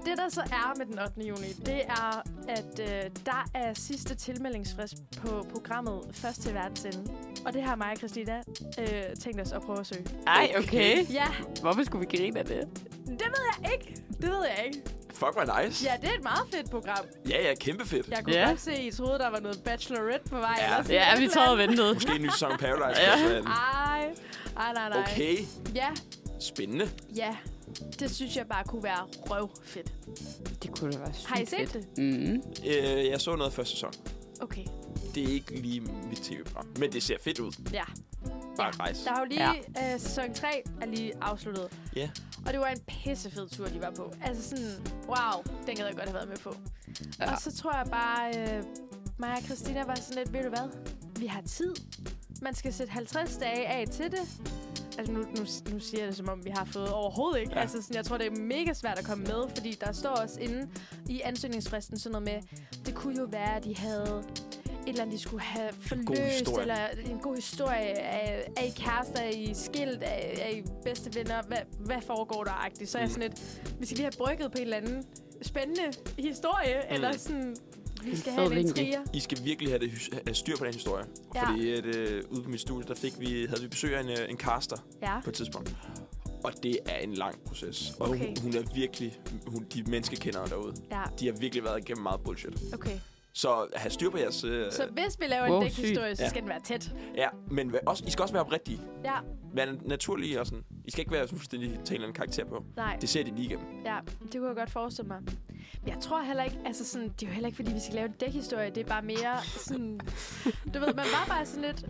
[SPEAKER 3] Det, der så er med den 8. juni, det er, at øh, der er sidste tilmeldingsfrist på programmet Først til verdens ende. Og det har mig og Christina øh, tænkt os at prøve at søge.
[SPEAKER 2] Ej, okay.
[SPEAKER 3] Ja,
[SPEAKER 2] Hvorfor skulle vi grine af det?
[SPEAKER 3] det ved jeg ikke. Det ved jeg ikke.
[SPEAKER 1] Fuck, hvor nice.
[SPEAKER 3] Ja, det er et meget fedt program.
[SPEAKER 1] Ja, ja, kæmpe fedt.
[SPEAKER 3] Jeg kunne
[SPEAKER 2] Ja.
[SPEAKER 3] godt se, at I troede, der var noget bachelorette på vej. eller sådan
[SPEAKER 2] Ja,
[SPEAKER 3] et
[SPEAKER 2] vi
[SPEAKER 3] eller
[SPEAKER 2] sad og
[SPEAKER 3] andet.
[SPEAKER 2] ventede.
[SPEAKER 1] Måske en ny sæson Paradise.
[SPEAKER 2] Ja.
[SPEAKER 1] ja. sådan.
[SPEAKER 3] Ej, ej, Ah, nej, nej.
[SPEAKER 1] Okay,
[SPEAKER 3] Ja,
[SPEAKER 1] spændende.
[SPEAKER 3] Ja, det synes jeg bare kunne være røvfedt.
[SPEAKER 2] Det kunne da være sygt
[SPEAKER 3] Har I set
[SPEAKER 2] fedt.
[SPEAKER 3] det?
[SPEAKER 2] Mm.
[SPEAKER 1] Øh, jeg så noget første sæson.
[SPEAKER 3] Okay,
[SPEAKER 1] Det er ikke lige mit tv-program, men det ser fedt ud.
[SPEAKER 3] ja.
[SPEAKER 1] Bare
[SPEAKER 3] ja.
[SPEAKER 1] rejse.
[SPEAKER 3] Der har jo lige ja. øh, sæson 3 er lige afsluttet.
[SPEAKER 1] Ja.
[SPEAKER 3] Og det var en pissefed tur, de var på. Altså sådan, wow, den gad jeg godt have været med på. Ja.
[SPEAKER 2] Ja.
[SPEAKER 3] Og så tror jeg bare, øh, mig og Christina var sådan lidt, ved du hvad? Vi har tid. Man skal sætte 50 dage af til det. Altså nu, nu, nu siger jeg det, som om vi har fået overhovedet ikke. Ja.
[SPEAKER 1] Ja.
[SPEAKER 3] Altså sådan, jeg tror, det er mega svært at komme med, fordi der står også inde i ansøgningsfristen sådan noget med, det kunne jo være, at de havde et eller andet, de skulle have forløst,
[SPEAKER 1] historie.
[SPEAKER 3] eller Øh, en god historie. Er, er I kærester? Er I skilt? Er, er I bedste venner? Hvad, hvad foregår der? -agtigt? Så er jeg
[SPEAKER 1] Mm.
[SPEAKER 3] sådan lidt, vi skal lige have brygget på en eller anden spændende historie, mm. eller sådan, vi skal have
[SPEAKER 2] fed
[SPEAKER 3] en
[SPEAKER 2] vinkel.
[SPEAKER 3] intriger.
[SPEAKER 1] I skal virkelig have, det, hys- have styr på den historie.
[SPEAKER 3] Ja.
[SPEAKER 1] Ja. Fordi at, øh, ude på mit studie, der fik vi, havde vi besøg af en, øh, en caster
[SPEAKER 3] Ja.
[SPEAKER 1] på et tidspunkt. Og det er en lang proces. Og
[SPEAKER 3] Okay.
[SPEAKER 1] hun, hun er virkelig... Hun, de menneskekendere derude,
[SPEAKER 3] Ja,
[SPEAKER 1] de har virkelig været igennem meget bullshit.
[SPEAKER 3] okay.
[SPEAKER 1] Så have styr på jeres... Øh,
[SPEAKER 3] Så hvis vi laver en
[SPEAKER 2] Wow,
[SPEAKER 3] dækhistorie, så
[SPEAKER 1] Ja.
[SPEAKER 3] skal den være tæt.
[SPEAKER 1] Ja, men vær- også, I skal også være oprigtige.
[SPEAKER 3] Ja,
[SPEAKER 1] Være naturlige og sådan. I skal ikke være sådan fuldstændig tage en eller anden karakter på.
[SPEAKER 3] nej,
[SPEAKER 1] Det ser de lige igennem.
[SPEAKER 3] ja, det kunne jeg godt forestille mig. Men Jeg tror heller ikke, altså sådan, det er jo heller ikke, fordi vi skal lave en dækhistorie. Det er bare mere sådan, du ved, man var bare sådan lidt,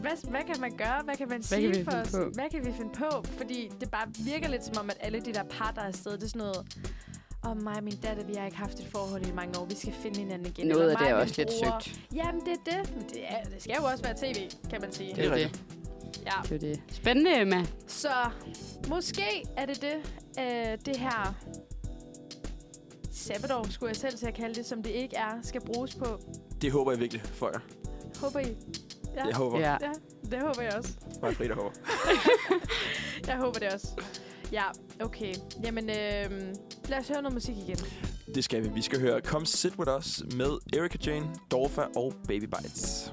[SPEAKER 3] hvad, hvad kan man gøre? Hvad kan man
[SPEAKER 2] Hvad
[SPEAKER 3] sige
[SPEAKER 2] kan vi
[SPEAKER 3] for
[SPEAKER 2] finde
[SPEAKER 3] os?
[SPEAKER 2] på?
[SPEAKER 3] Hvad kan vi finde på? Fordi det bare virker lidt som om, at alle de der par, der er afsted, det er sådan noget, og mig og min datter, vi har ikke haft et forhold i mange år. Vi skal finde hinanden igen.
[SPEAKER 2] Noget
[SPEAKER 3] Eller
[SPEAKER 2] af
[SPEAKER 3] mig
[SPEAKER 2] det er
[SPEAKER 3] og min
[SPEAKER 2] også lidt
[SPEAKER 3] bror.
[SPEAKER 2] søgt.
[SPEAKER 3] Jamen, det er det. Men Det, er, det skal jo også være tv, kan man sige.
[SPEAKER 2] Det er
[SPEAKER 1] Det er
[SPEAKER 2] det.
[SPEAKER 3] Ja.
[SPEAKER 2] Det er det. Spændende, Emma.
[SPEAKER 3] Så måske er det det, øh, det her sabbatår, skulle jeg selv til at kalde det, som det ikke er, skal bruges på.
[SPEAKER 1] Det håber jeg virkelig for jer.
[SPEAKER 3] Håber I? Ja,
[SPEAKER 1] Jeg håber.
[SPEAKER 2] Ja.
[SPEAKER 3] ja det håber jeg også.
[SPEAKER 1] Mig, Frida Hård.
[SPEAKER 3] Jeg håber det også. Ja, okay. Jamen, øh, lad os høre noget musik igen.
[SPEAKER 1] Det skal vi. Vi skal høre Come Sit With Us med Erika Jane, Dorfa og Baby Bites.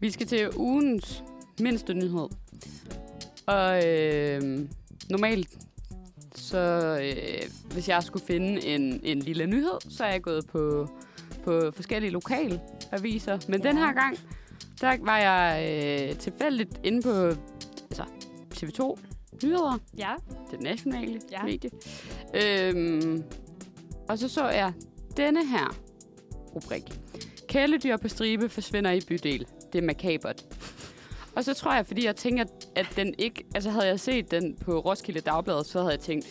[SPEAKER 2] Vi skal til ugens mindste nyhed. Og øh, normalt, så øh, hvis jeg skulle finde en, en lille nyhed, så er jeg gået på, på forskellige lokale aviser. Men ja. den her gang, der var jeg øh, tilfældigt inde på altså, TV2 Nyheder,
[SPEAKER 3] Ja.
[SPEAKER 2] det nationale
[SPEAKER 3] Ja.
[SPEAKER 2] ja. medie. Øhm, og så så jeg denne her rubrik. Kæledyr på stribe forsvinder i bydel. Det er makabert. Og så tror jeg, fordi jeg tænker, at den ikke... Altså havde jeg set den på Roskilde Dagblad, så havde jeg tænkt,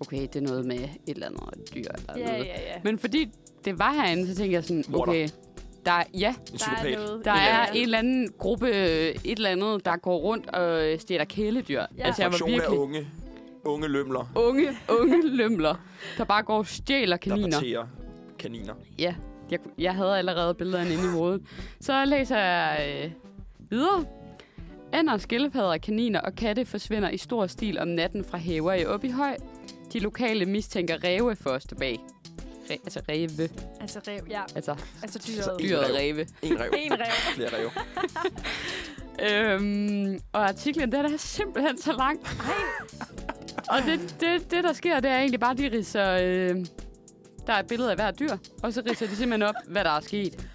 [SPEAKER 2] okay, det er noget med et eller andet dyr eller
[SPEAKER 3] Ja,
[SPEAKER 2] noget.
[SPEAKER 3] ja, ja.
[SPEAKER 2] Men fordi det var herinde, så tænkte jeg sådan,
[SPEAKER 1] Morder.
[SPEAKER 2] okay, der er, ja,
[SPEAKER 1] En psykopat. Et eller
[SPEAKER 2] der er
[SPEAKER 1] andet.
[SPEAKER 2] en eller anden gruppe, øh, et eller andet, der går rundt og øh, stjæler kæledyr.
[SPEAKER 3] Ja.
[SPEAKER 2] Altså, jeg var
[SPEAKER 1] Fraktion af
[SPEAKER 2] virkelig
[SPEAKER 1] unge. Unge lømler,
[SPEAKER 2] unge, unge lømler, der bare går og stjæler
[SPEAKER 1] der
[SPEAKER 2] kaniner.
[SPEAKER 1] parterer kaniner.
[SPEAKER 2] Ja, jeg, jeg havde allerede billederne inde i hovedet. Så læser jeg øh, videre. Ænder, skildpadder, kaniner og katte forsvinder i stor stil om natten fra haver i Åbyhøj. De lokale mistænker ræve for os tilbage. Re, altså ræve,
[SPEAKER 3] Altså rev, ja.
[SPEAKER 2] altså
[SPEAKER 3] Altså dyret.
[SPEAKER 1] dyr.
[SPEAKER 2] dyret
[SPEAKER 1] ræv.
[SPEAKER 2] ræve.
[SPEAKER 1] En rev.
[SPEAKER 3] En rev.
[SPEAKER 1] Flere rev.
[SPEAKER 2] Øhm, og artiklen, den er simpelthen så lang. og det, det, det, der sker, det er egentlig bare, de ridser... Øh, der er et billede af hver dyr, og så ridser de simpelthen op, hvad der er sket.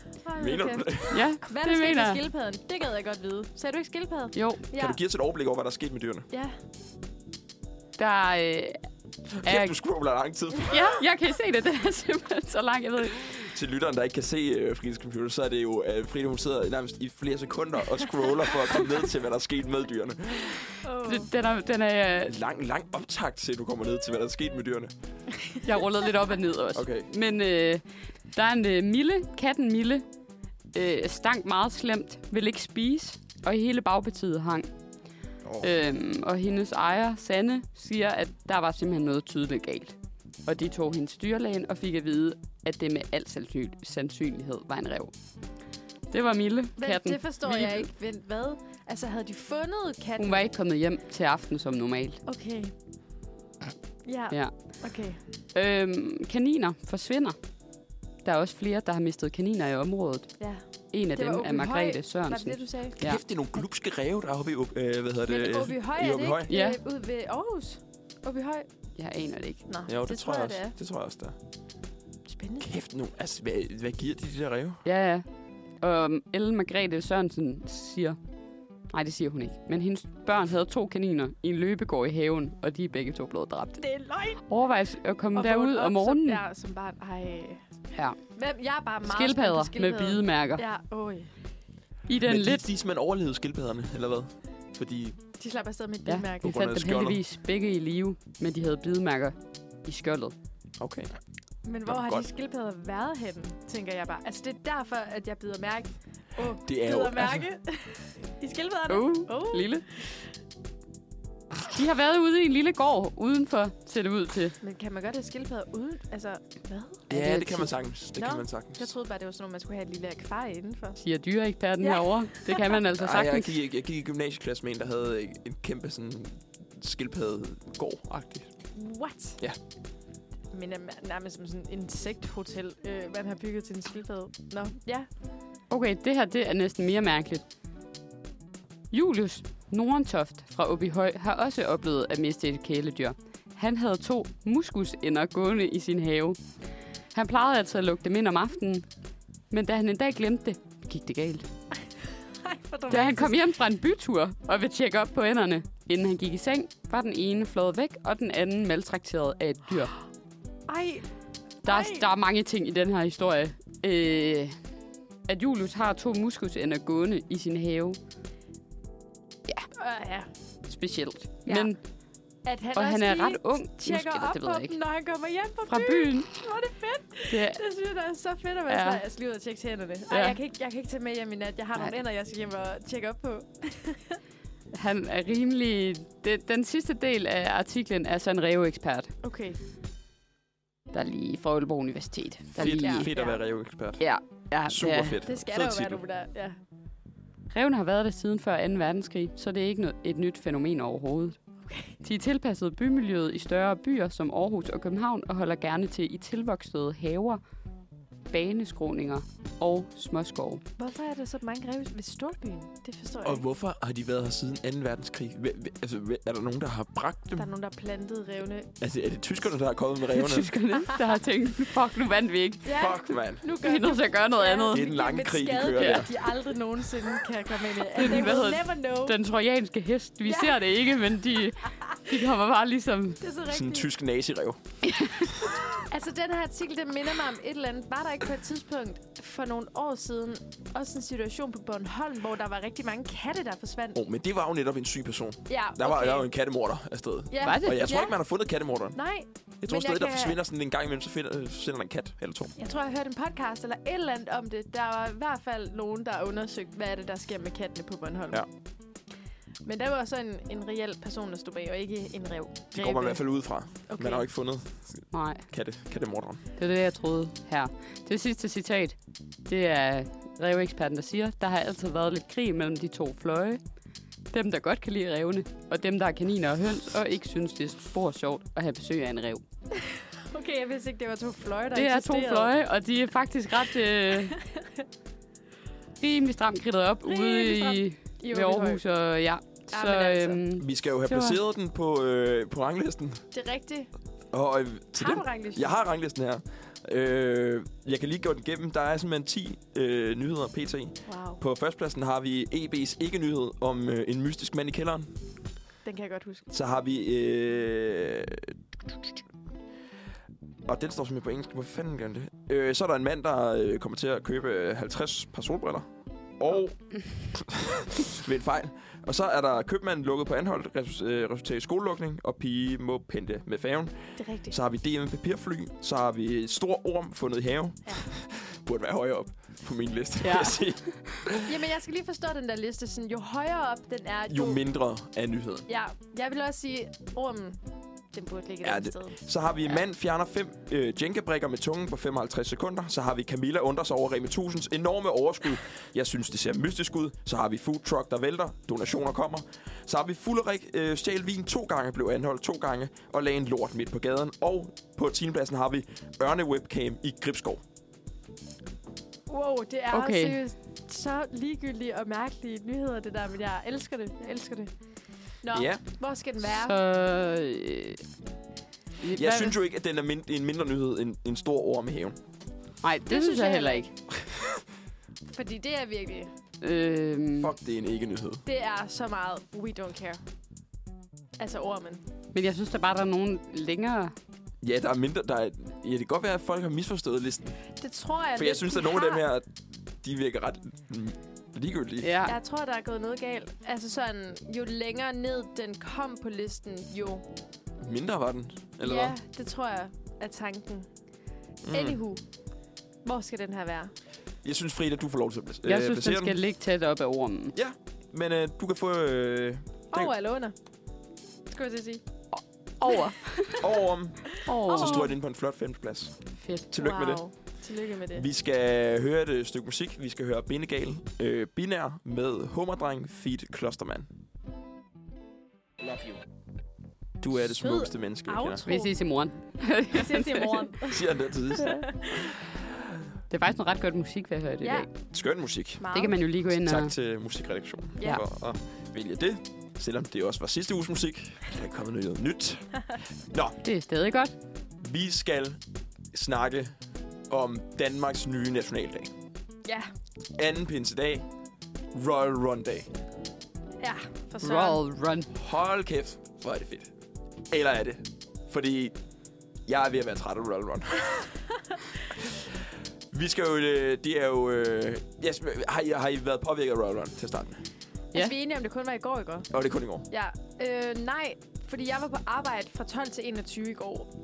[SPEAKER 1] Mener du det?
[SPEAKER 2] Ja,
[SPEAKER 3] Hvad er
[SPEAKER 2] det
[SPEAKER 3] der
[SPEAKER 2] mener
[SPEAKER 3] sket med
[SPEAKER 2] jeg.
[SPEAKER 3] skildpadden? Det gad jeg godt vide. Sagde du ikke skildpadden?
[SPEAKER 2] Jo,
[SPEAKER 3] Ja.
[SPEAKER 1] Kan du give os et overblik over, hvad der er sket med dyrene?
[SPEAKER 3] Ja.
[SPEAKER 2] der øh, er...
[SPEAKER 1] Kæft, du scroller lang tid.
[SPEAKER 2] Ja, jeg kan se det. Det er simpelthen så langt, jeg ved ikke.
[SPEAKER 1] Til lytteren, der ikke kan se uh, Fridas computer, så er det jo, at uh, Frida hun sidder nærmest i flere sekunder og scroller for at komme ned til, hvad der er sket med dyrene.
[SPEAKER 3] Oh.
[SPEAKER 2] Det- Den er, den er, øh,
[SPEAKER 1] Lang, lang optakt til, at du kommer ned til, hvad der er sket med dyrene.
[SPEAKER 2] jeg rullede lidt op og ned også.
[SPEAKER 1] Okay.
[SPEAKER 2] Men øh, der er en øh, Mille, katten Mille, øh, stank meget slemt, vil ikke spise, og hele bagpartiet hang.
[SPEAKER 1] Oh.
[SPEAKER 2] Øhm, og hendes ejer, Sanne, siger, at der var simpelthen noget tydeligt galt. Og de tog hendes dyrlægen og fik at vide, at det med al sandsyn- sandsynlighed var en rev. Det var Mille,
[SPEAKER 3] Vent,
[SPEAKER 2] katten.
[SPEAKER 3] det forstår
[SPEAKER 2] Mille.
[SPEAKER 3] jeg ikke. Vent, hvad? Altså, havde de fundet katten?
[SPEAKER 2] Hun var ikke kommet hjem til aften som normalt.
[SPEAKER 3] Okay. Ja,
[SPEAKER 2] Ja.
[SPEAKER 3] okay.
[SPEAKER 2] Øhm, kaniner forsvinder. Der er også flere, der har mistet kaniner i området.
[SPEAKER 3] Ja.
[SPEAKER 2] En af
[SPEAKER 3] Det
[SPEAKER 2] dem
[SPEAKER 3] var
[SPEAKER 2] er
[SPEAKER 3] Åbyhøj.
[SPEAKER 2] Margrethe
[SPEAKER 3] Var det
[SPEAKER 2] Sørensen.
[SPEAKER 3] det, du sagde?
[SPEAKER 2] Ja.
[SPEAKER 1] Kæft, det er nogle glupske ræve, der er oppe i, Åb- øh, hvad hedder
[SPEAKER 3] Men
[SPEAKER 1] det?
[SPEAKER 3] Åby Høj
[SPEAKER 1] i
[SPEAKER 3] er
[SPEAKER 1] Åbyhøj.
[SPEAKER 3] det ikke?
[SPEAKER 2] Ja.
[SPEAKER 3] Øh, ude ved Aarhus? Åby Høj?
[SPEAKER 2] Jeg aner det ikke.
[SPEAKER 3] Nå,
[SPEAKER 1] Jo, det, det tror jeg
[SPEAKER 3] det
[SPEAKER 1] også.
[SPEAKER 3] er.
[SPEAKER 1] Det tror jeg også, der.
[SPEAKER 3] Spændende.
[SPEAKER 1] Kæft nu. Altså, hvad, hvad giver de, de der ræve?
[SPEAKER 2] Ja, ja. Og um, Ellen Margrethe Sørensen siger... Nej, det siger hun ikke. Men hendes børn havde to kaniner i en løbegård i haven, og de er begge to blevet dræbt.
[SPEAKER 3] Det er løgn.
[SPEAKER 2] Overvej at komme
[SPEAKER 3] Og
[SPEAKER 2] derud
[SPEAKER 3] vågne op
[SPEAKER 2] om morgenen.
[SPEAKER 3] Som, ja, som barn. Ej.
[SPEAKER 2] Ja.
[SPEAKER 3] Hvem? Jeg er bare meget
[SPEAKER 2] Skildpadder
[SPEAKER 3] spændt på
[SPEAKER 2] med bidemærker. Ja.
[SPEAKER 3] Ja, øj.
[SPEAKER 2] I den
[SPEAKER 1] Men
[SPEAKER 2] lidt...
[SPEAKER 1] de, de er simpelthen overlevet skildpadderne, eller hvad? Fordi
[SPEAKER 3] De slapper afsted med et
[SPEAKER 2] Ja,
[SPEAKER 3] bidemærke.
[SPEAKER 2] vi
[SPEAKER 1] grund af
[SPEAKER 2] fandt dem
[SPEAKER 1] skjoldet.
[SPEAKER 2] heldigvis begge i live, men de havde bidemærker i skjoldet.
[SPEAKER 1] Okay.
[SPEAKER 3] Men hvor
[SPEAKER 1] Nå,
[SPEAKER 3] har
[SPEAKER 1] godt.
[SPEAKER 3] de skildpadder været henne, tænker jeg bare. Altså, det er derfor, at jeg bider mærke. Åh, oh,
[SPEAKER 1] Det er jo-
[SPEAKER 3] bider mærke. I skildpadderne.
[SPEAKER 2] Oh,
[SPEAKER 3] Oh.
[SPEAKER 2] oh. lille. De har været ude i en lille gård udenfor, ser det ud til.
[SPEAKER 3] Men kan man godt have skildpadder uden? Altså, hvad?
[SPEAKER 1] Ja,
[SPEAKER 2] det er
[SPEAKER 1] det, det kan
[SPEAKER 2] ti-
[SPEAKER 1] man sagens. Det
[SPEAKER 3] Nå,
[SPEAKER 1] kan man sagens.
[SPEAKER 3] Jeg troede bare, det var sådan noget, man skulle have et lille akvarie indenfor.
[SPEAKER 2] Siger dyreeksperten
[SPEAKER 3] Ja.
[SPEAKER 2] ja. herovre. Det kan man altså
[SPEAKER 1] Ej, jeg,
[SPEAKER 2] sagtens.
[SPEAKER 1] gik, jeg, jeg gik i gymnasieklasse med en, der havde øh, en kæmpe sådan skildpadde-gård-agtig.
[SPEAKER 3] What?
[SPEAKER 1] Ja.
[SPEAKER 3] Men er nærmest som sådan et insekthotel, øh, man har bygget til en skildpadde. Nå, ja.
[SPEAKER 2] Okay, det her det er næsten mere mærkeligt. Julius Nordentoft fra Åbyhøj har også oplevet at miste et kæledyr. Han havde to muskusender gående i sin have. Han plejede altså at lukke dem ind om aftenen, men da han en dag glemte det, gik det galt.
[SPEAKER 3] Ej, for
[SPEAKER 2] Da han kom hjem fra en bytur og ville tjekke op på enderne, inden han gik i seng, var den ene flået væk, og den anden maltrakteret af et dyr.
[SPEAKER 3] Ej,
[SPEAKER 2] Der er,
[SPEAKER 3] Ej.
[SPEAKER 2] der er mange ting i den her historie. Øh, at Julius har to muskusender gående i sin have,
[SPEAKER 3] øh, ja.
[SPEAKER 2] specielt.
[SPEAKER 3] Ja.
[SPEAKER 2] Ja. Men,
[SPEAKER 3] At han
[SPEAKER 2] og
[SPEAKER 3] også
[SPEAKER 2] han er
[SPEAKER 3] lige
[SPEAKER 2] ret ung.
[SPEAKER 3] tjekker
[SPEAKER 2] måske, eller
[SPEAKER 3] op
[SPEAKER 2] det ved
[SPEAKER 3] på
[SPEAKER 2] jeg ikke.
[SPEAKER 3] dem, når han kommer hjem fra,
[SPEAKER 2] Fra
[SPEAKER 3] byen.
[SPEAKER 2] byen.
[SPEAKER 3] Hvor er det fedt.
[SPEAKER 2] Det er,
[SPEAKER 3] Det synes jeg, der er så fedt, at man
[SPEAKER 2] Ja.
[SPEAKER 3] ja. jeg skal lige ud og tjekke tænderne. Ej,
[SPEAKER 2] Ja.
[SPEAKER 3] jeg, kan ikke, jeg kan ikke tage med hjem i nat. Jeg har
[SPEAKER 2] Nej.
[SPEAKER 3] nogle ender, jeg skal hjem og tjekke op på.
[SPEAKER 2] han er rimelig... Det, den sidste del af artiklen er så en reveekspert,
[SPEAKER 3] Okay.
[SPEAKER 2] der er lige fra Aalborg Universitet. Der er
[SPEAKER 1] Fedt,
[SPEAKER 2] lige,
[SPEAKER 1] fedt at
[SPEAKER 3] Ja.
[SPEAKER 1] være reveekspert.
[SPEAKER 2] Ja, ja,
[SPEAKER 1] Super
[SPEAKER 2] det er-
[SPEAKER 1] fedt.
[SPEAKER 3] Det skal
[SPEAKER 1] Fed
[SPEAKER 3] der jo
[SPEAKER 1] titel.
[SPEAKER 3] være, du der. Ja.
[SPEAKER 2] Reven har været der siden før 2. verdenskrig, så det er ikke noget, et nyt fænomen overhovedet. De er tilpasset bymiljøet i større byer som Aarhus og København og holder gerne til i tilvoksede haver, baneskroninger og småskove.
[SPEAKER 3] Hvorfor er der så mange ræve ved Storbyen? Det forstår jeg
[SPEAKER 1] Og
[SPEAKER 3] ikke.
[SPEAKER 1] hvorfor har de været her siden 2. verdenskrig? Hve- hve- Altså, hve- er der nogen, der har bragt dem?
[SPEAKER 3] Der er nogen, der har plantet revne.
[SPEAKER 1] Altså, er det tyskerne, der er kommet med
[SPEAKER 2] Det er
[SPEAKER 1] reverne?
[SPEAKER 2] tyskerne, der har tænkt, fuck, nu vandt vi ikke.
[SPEAKER 3] Ja,
[SPEAKER 1] Fuck, mand.
[SPEAKER 3] nu
[SPEAKER 2] Vi er nødt til at gøre noget
[SPEAKER 1] Det er
[SPEAKER 2] andet.
[SPEAKER 1] den lange
[SPEAKER 3] Gennem et
[SPEAKER 1] krig, de
[SPEAKER 3] skadedæk,
[SPEAKER 1] kører
[SPEAKER 2] der.
[SPEAKER 3] de aldrig nogensinde kan komme ind i.
[SPEAKER 2] den,
[SPEAKER 3] They
[SPEAKER 2] hvad
[SPEAKER 3] will
[SPEAKER 2] hedder
[SPEAKER 3] never know.
[SPEAKER 2] Den trojanske hest, vi ser det ikke, men de, de kommer bare ligesom...
[SPEAKER 3] Det er så
[SPEAKER 1] Sådan en
[SPEAKER 3] rigtigt.
[SPEAKER 1] tysk nazirev.
[SPEAKER 3] Altså, den her artikel, den minder mig om et eller andet. Var der ikke på et tidspunkt for nogle år siden også en situation på Bornholm, hvor der var rigtig mange katte, der forsvandt?
[SPEAKER 1] Oh, men det var jo netop en syg person.
[SPEAKER 3] Ja,
[SPEAKER 1] Der var,
[SPEAKER 3] okay.
[SPEAKER 1] der var jo en kattemorder af stedet.
[SPEAKER 3] Ja.
[SPEAKER 2] Var det?
[SPEAKER 1] Og jeg tror
[SPEAKER 3] Ja.
[SPEAKER 1] ikke, man har fundet kattemorderen.
[SPEAKER 3] Nej,
[SPEAKER 1] Jeg tror
[SPEAKER 3] Men jeg
[SPEAKER 1] stadig, der
[SPEAKER 3] kan-
[SPEAKER 1] forsvinder sådan en gang imellem, så finder, øh, forsvinder der en kat eller to.
[SPEAKER 3] jeg tror, jeg hørte en podcast eller et eller andet om det. Der var i hvert fald nogen, der undersøgte, hvad er det, der sker med kattene på Bornholm.
[SPEAKER 1] Ja.
[SPEAKER 3] Men der var så en, en reel person, der stod bag, og ikke en rev.
[SPEAKER 1] Det går man i hvert fald ud fra. Okay. Man har jo
[SPEAKER 3] Okay.
[SPEAKER 1] ikke fundet
[SPEAKER 2] Nej,
[SPEAKER 1] katte, kattemorderen.
[SPEAKER 2] det er det, jeg troede her. Det sidste citat, det er reveeksperten, der siger, der har altid været lidt krig mellem de to fløje. Dem, der godt kan lide revne, og dem, der er kaniner og høns, og ikke synes, det er spor sjovt at have besøg af en rev.
[SPEAKER 3] Okay, jeg vidste ikke, det var to fløje, der
[SPEAKER 2] Det er to
[SPEAKER 3] eksisterede.
[SPEAKER 2] fløje, og de er faktisk ret... Øh, rimelig stramt kridtet op ude
[SPEAKER 3] Rimelig stramt.
[SPEAKER 2] i,
[SPEAKER 3] I
[SPEAKER 2] ved
[SPEAKER 3] Åbyhøj.
[SPEAKER 2] Aarhus, og ja. Så
[SPEAKER 3] altså.
[SPEAKER 2] øhm,
[SPEAKER 1] Vi skal jo have
[SPEAKER 2] Det var-
[SPEAKER 1] placeret den på, øh, på ranglisten.
[SPEAKER 3] Det er rigtigt.
[SPEAKER 1] Og øh, til
[SPEAKER 3] Har
[SPEAKER 1] den,
[SPEAKER 3] du ranglisten?
[SPEAKER 1] jeg har ranglisten her. Øh, jeg kan lige gå den igennem. Der er simpelthen 10 øh, nyheder pt.
[SPEAKER 3] Wow,
[SPEAKER 1] På førstepladsen har vi E EB's ikke-nyhed om øh, en mystisk mand i kælderen.
[SPEAKER 3] den kan jeg godt huske.
[SPEAKER 1] Så har vi... Øh, og den står simpelthen på engelsk. Hvor fanden gør den det? Øh, så er der en mand, der øh, kommer til at købe øh, 50 par solbriller. Og... ved en fejl. Og så er der købmanden lukket på anholdt, res- øh, resulterer i skolelukning, og pige må pente med færgen.
[SPEAKER 3] Det er rigtigt.
[SPEAKER 1] Så har vi DM papirfly. Så har vi et stor orm fundet i have.
[SPEAKER 3] Ja.
[SPEAKER 1] Ja. Burde være højere op på min liste, ja.
[SPEAKER 2] Ja.
[SPEAKER 1] vil jeg sige.
[SPEAKER 3] Jamen, jeg skal lige forstå den der liste. Sådan, jo højere op den er,
[SPEAKER 1] Jo mindre er nyheden.
[SPEAKER 3] Ja, jeg vil også sige, ormen, den burde ligge
[SPEAKER 1] Ja,
[SPEAKER 3] ja, et
[SPEAKER 1] det-
[SPEAKER 3] sted.
[SPEAKER 1] Så har vi
[SPEAKER 2] Ja.
[SPEAKER 1] ja. mand fjerner fem øh, jenkebrikker med tungen på 55 sekunder. Så har vi Camilla undrer sig over Remi 1000's enorme overskud. Jeg synes, det ser mystisk ud. Så har vi food truck, der vælter. Donationer kommer. Så har vi Fullerik øh, stjal vin to gange, blev anholdt to gange og lagde en lort midt på gaden. Og på tiendepladsen har vi ørne-webcam i Gribskov.
[SPEAKER 3] Wow, det er
[SPEAKER 2] Okay.
[SPEAKER 3] okay. seriøst så ligegyldige og mærkelige nyheder, det der. Men jeg elsker det. Jeg elsker det. Nå,
[SPEAKER 1] Ja.
[SPEAKER 3] hvor skal den være?
[SPEAKER 2] Så, øh,
[SPEAKER 1] Jeg synes jo ikke, at den er mind- en mindre nyhed end en stor orm i haven.
[SPEAKER 2] Nej, det, det synes jeg heller ikke.
[SPEAKER 3] Fordi det er virkelig...
[SPEAKER 2] Øhm,
[SPEAKER 1] Fuck, det er en ikke-nyhed.
[SPEAKER 3] Det er så meget we don't care. Altså ormen.
[SPEAKER 2] men jeg synes, der bare der er nogen længere.
[SPEAKER 1] Ja, der er mindre... Der er, ja, det kan godt være, at folk har misforstået listen.
[SPEAKER 3] Det tror jeg
[SPEAKER 1] For jeg
[SPEAKER 3] lidt,
[SPEAKER 1] synes,
[SPEAKER 3] de
[SPEAKER 1] at nogle af dem
[SPEAKER 3] har.
[SPEAKER 1] her, de virker ret mm, ligegyldige.
[SPEAKER 2] Ja.
[SPEAKER 3] Jeg tror, der er gået noget galt. Altså sådan, jo længere ned den kom på listen, jo...
[SPEAKER 1] Mindre var den, eller
[SPEAKER 3] ja,
[SPEAKER 1] hvad?
[SPEAKER 3] det tror jeg er tanken. Mm.
[SPEAKER 1] Mm.
[SPEAKER 3] Anywho, hvor skal den her være?
[SPEAKER 1] Jeg synes, Frida, du får lov til at pla-
[SPEAKER 2] Jeg
[SPEAKER 1] øh,
[SPEAKER 2] synes, den
[SPEAKER 1] placere
[SPEAKER 2] skal ligge tæt op af ormen.
[SPEAKER 1] den. Men øh, du kan få øh,
[SPEAKER 3] Over eller under? Skulle jeg til at sige.
[SPEAKER 2] Over.
[SPEAKER 1] over om,
[SPEAKER 2] Over.
[SPEAKER 1] så
[SPEAKER 3] Åh.
[SPEAKER 1] stod jeg inde på en flot femteplads.
[SPEAKER 2] Fedt.
[SPEAKER 1] Tillykke med det.
[SPEAKER 3] Tillykke med det.
[SPEAKER 1] Vi skal høre et øh, stykke musik. Vi skal høre Bindegal, øh, Binær med Hummerdreng Feed Klosterman.
[SPEAKER 4] Love you.
[SPEAKER 1] Du er det
[SPEAKER 3] Sød
[SPEAKER 1] smukkeste menneske, jeg kender.
[SPEAKER 3] outro.
[SPEAKER 2] Vi ses i morgen.
[SPEAKER 3] Vi ses i morgen.
[SPEAKER 1] Siger han der til sidst.
[SPEAKER 2] Det er faktisk noget ret godt musik, vi har hørt i
[SPEAKER 3] Ja.
[SPEAKER 2] dag.
[SPEAKER 1] Skøn musik.
[SPEAKER 3] Meget.
[SPEAKER 2] Det kan man jo lige gå ind og...
[SPEAKER 1] Tak til musikredaktionen
[SPEAKER 3] øh, Ja.
[SPEAKER 1] for at vælge det. Selvom det også var sidste uges musik, er der er kommet noget nyt.
[SPEAKER 2] Det er stadig godt.
[SPEAKER 1] Vi skal snakke om Danmarks nye nationaldag.
[SPEAKER 3] Ja,
[SPEAKER 1] anden pinsedag, Royal Run Day.
[SPEAKER 3] ja. For søren.
[SPEAKER 2] Roll Run.
[SPEAKER 1] Hold kæft, hvor er det fedt. Eller er det? Fordi jeg er ved at være træt af Royal Run. Vi skal jo, øh, det er jo, øh, yes, har, I, har I været påvirket af Royal Run til starten?
[SPEAKER 3] Ja.
[SPEAKER 2] Ja.
[SPEAKER 3] Altså, vi er enige om, det kun var i går, ikke?
[SPEAKER 1] Og det er kun i går.
[SPEAKER 3] Ja. Øh, nej, fordi jeg var på arbejde fra 12 til 21 i går.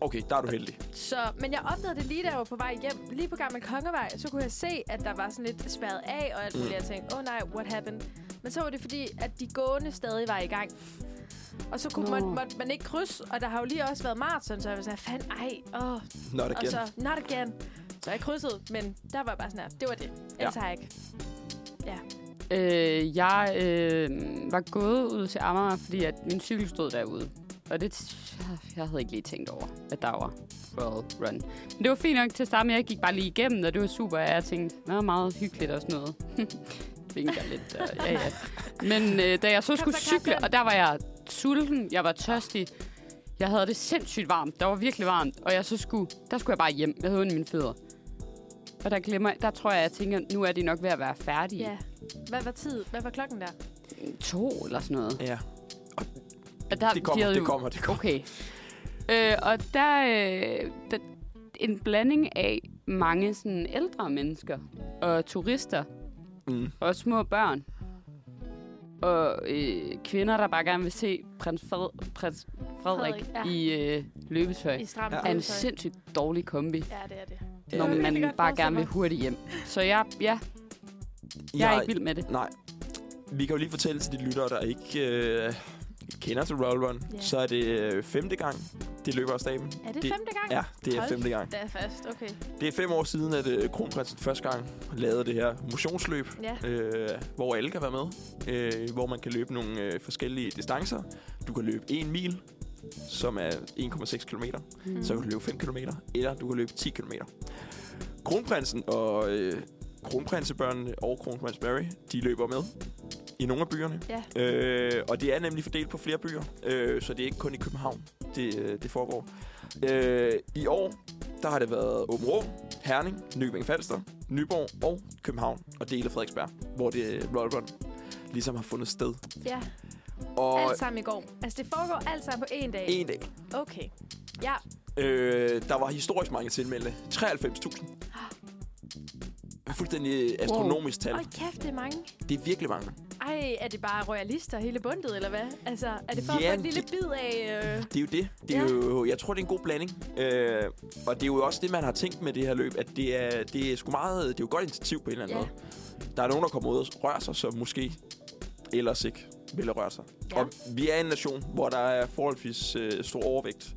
[SPEAKER 1] Okay, der er du heldig.
[SPEAKER 3] Så, men jeg opdagede det lige, da jeg var på vej hjem. Lige på Gammel Kongevej, så kunne jeg se, at der var sådan lidt spærret af og alt muligt. Jeg tænkte, oh nej, what happened? Men så var det fordi, at de gående stadig var i gang. Og så kunne man,
[SPEAKER 2] Nå.
[SPEAKER 3] måtte man ikke krydse, og der har jo lige også været maraton, så jeg var sådan, fanden, ej, åh, oh,
[SPEAKER 1] Not
[SPEAKER 3] Og
[SPEAKER 1] again.
[SPEAKER 3] så, not again. Så jeg krydsede, men der var jeg bare sådan her. Det var det. Ellers
[SPEAKER 1] Ja.
[SPEAKER 3] har jeg ikke. Ja.
[SPEAKER 2] Øh, jeg øh, var gået ud til Amager, fordi at min cykel stod derude. Og det, t- jeg havde ikke lige tænkt over, at der var Royal Run. Men det var fint nok til at starte med. Jeg gik bare lige igennem, og det var super. Og jeg tænkte, nå, meget hyggeligt og sådan noget. Vinker lidt. Og, ja, ja. Men øh, da jeg så
[SPEAKER 3] Kom
[SPEAKER 2] skulle
[SPEAKER 3] så, kom
[SPEAKER 2] cykle,
[SPEAKER 3] så.
[SPEAKER 2] og der var jeg sulten, jeg var tørstig. Jeg havde det sindssygt varmt. Der var virkelig varmt. Og jeg så skulle, der skulle jeg bare hjem. Jeg havde ondt i mine fødder. Og der, glemmer, der tror jeg, jeg tænker, nu er de nok ved at være færdige.
[SPEAKER 3] Ja. Hvad var tid? Hvad var klokken der?
[SPEAKER 2] To eller sådan noget.
[SPEAKER 1] Ja.
[SPEAKER 2] Og der,
[SPEAKER 1] Det kommer,
[SPEAKER 2] de havde
[SPEAKER 1] det
[SPEAKER 2] jo-
[SPEAKER 1] kommer, det kommer.
[SPEAKER 2] Okay. Øh, og der, øh, der en blanding af mange sådan, ældre mennesker og turister
[SPEAKER 1] Mm.
[SPEAKER 2] og små børn. Og øh, kvinder, der bare gerne vil se prins, Fred, prins Frederik,
[SPEAKER 3] Frederik,
[SPEAKER 2] Frederik ja.
[SPEAKER 3] ja.
[SPEAKER 2] i øh, løbetøj.
[SPEAKER 3] I stram
[SPEAKER 1] Ja.
[SPEAKER 3] ja.
[SPEAKER 2] Er en sindssygt dårlig kombi,
[SPEAKER 3] Ja, det er det.
[SPEAKER 1] Ja.
[SPEAKER 2] når
[SPEAKER 3] kan jeg
[SPEAKER 2] man
[SPEAKER 3] godt
[SPEAKER 2] bare
[SPEAKER 3] forestille
[SPEAKER 2] gerne vil
[SPEAKER 3] mig.
[SPEAKER 2] hurtigt hjem. Så jeg, ja, jeg er ikke vild med det.
[SPEAKER 1] Nej. Vi kan jo lige fortælle til de lyttere, der ikke øh, kender til Royal Run,
[SPEAKER 3] Ja.
[SPEAKER 1] yeah. så er det øh, femte gang, det løber af staben.
[SPEAKER 3] Er det,
[SPEAKER 1] Det-
[SPEAKER 3] femte gang?
[SPEAKER 1] Ja, det er
[SPEAKER 3] Hold
[SPEAKER 1] femte gang.
[SPEAKER 3] Det er fast, okay.
[SPEAKER 1] Det er fem år siden, at øh, kronprinsen første gang lavede det her motionsløb,
[SPEAKER 3] Ja.
[SPEAKER 1] øh, hvor alle kan være med. Øh, hvor man kan løbe nogle øh, forskellige distancer. Du kan løbe 1 mil, som er 1,6 km.
[SPEAKER 2] Mm.
[SPEAKER 1] Så kan du løbe 5 km, eller du kan løbe 10 km. Kronprinsen og øh, kronprinsebørnene og kronprins Mary, de løber med i nogle af byerne.
[SPEAKER 3] Ja.
[SPEAKER 1] Øh, og det er nemlig fordelt på flere byer, øh, så det er ikke kun i København, det, øh, det foregår. Øh, I år, der har det været Åben Rå, Herning, Nykøbing Falster, Nyborg og København, og dele af Frederiksberg, hvor det øh, Royal Run ligesom har fundet sted.
[SPEAKER 3] Ja,
[SPEAKER 1] Og
[SPEAKER 3] alt sammen i går. Altså, det foregår alt sammen på én dag.
[SPEAKER 1] en dag,
[SPEAKER 3] Okay. Ja,
[SPEAKER 1] Øh, der var historisk mange tilmeldte. 93.000. Fuldstændig astronomisk wow.
[SPEAKER 3] hold
[SPEAKER 1] tal.
[SPEAKER 3] kæft, det er mange.
[SPEAKER 1] Det er virkelig mange.
[SPEAKER 3] Ej, er det bare royalister hele bundet, eller hvad? Altså, er det for at
[SPEAKER 1] Ja,
[SPEAKER 3] få en lille
[SPEAKER 1] det-
[SPEAKER 3] bid af... Øh...
[SPEAKER 1] Det er jo det. det er
[SPEAKER 3] Ja.
[SPEAKER 1] ja. jo, jeg tror, det er en god blanding. Øh, og det er jo også det, man har tænkt med det her løb, at det er, det er sgu meget... Det er jo et godt initiativ på en eller anden
[SPEAKER 3] Ja.
[SPEAKER 1] måde. Der er nogen, der kommer ud og rører sig, som måske ellers ikke ville røre sig.
[SPEAKER 3] Ja.
[SPEAKER 1] Ja. Og vi er en nation, hvor der er forholdsvis øh, stor overvægt.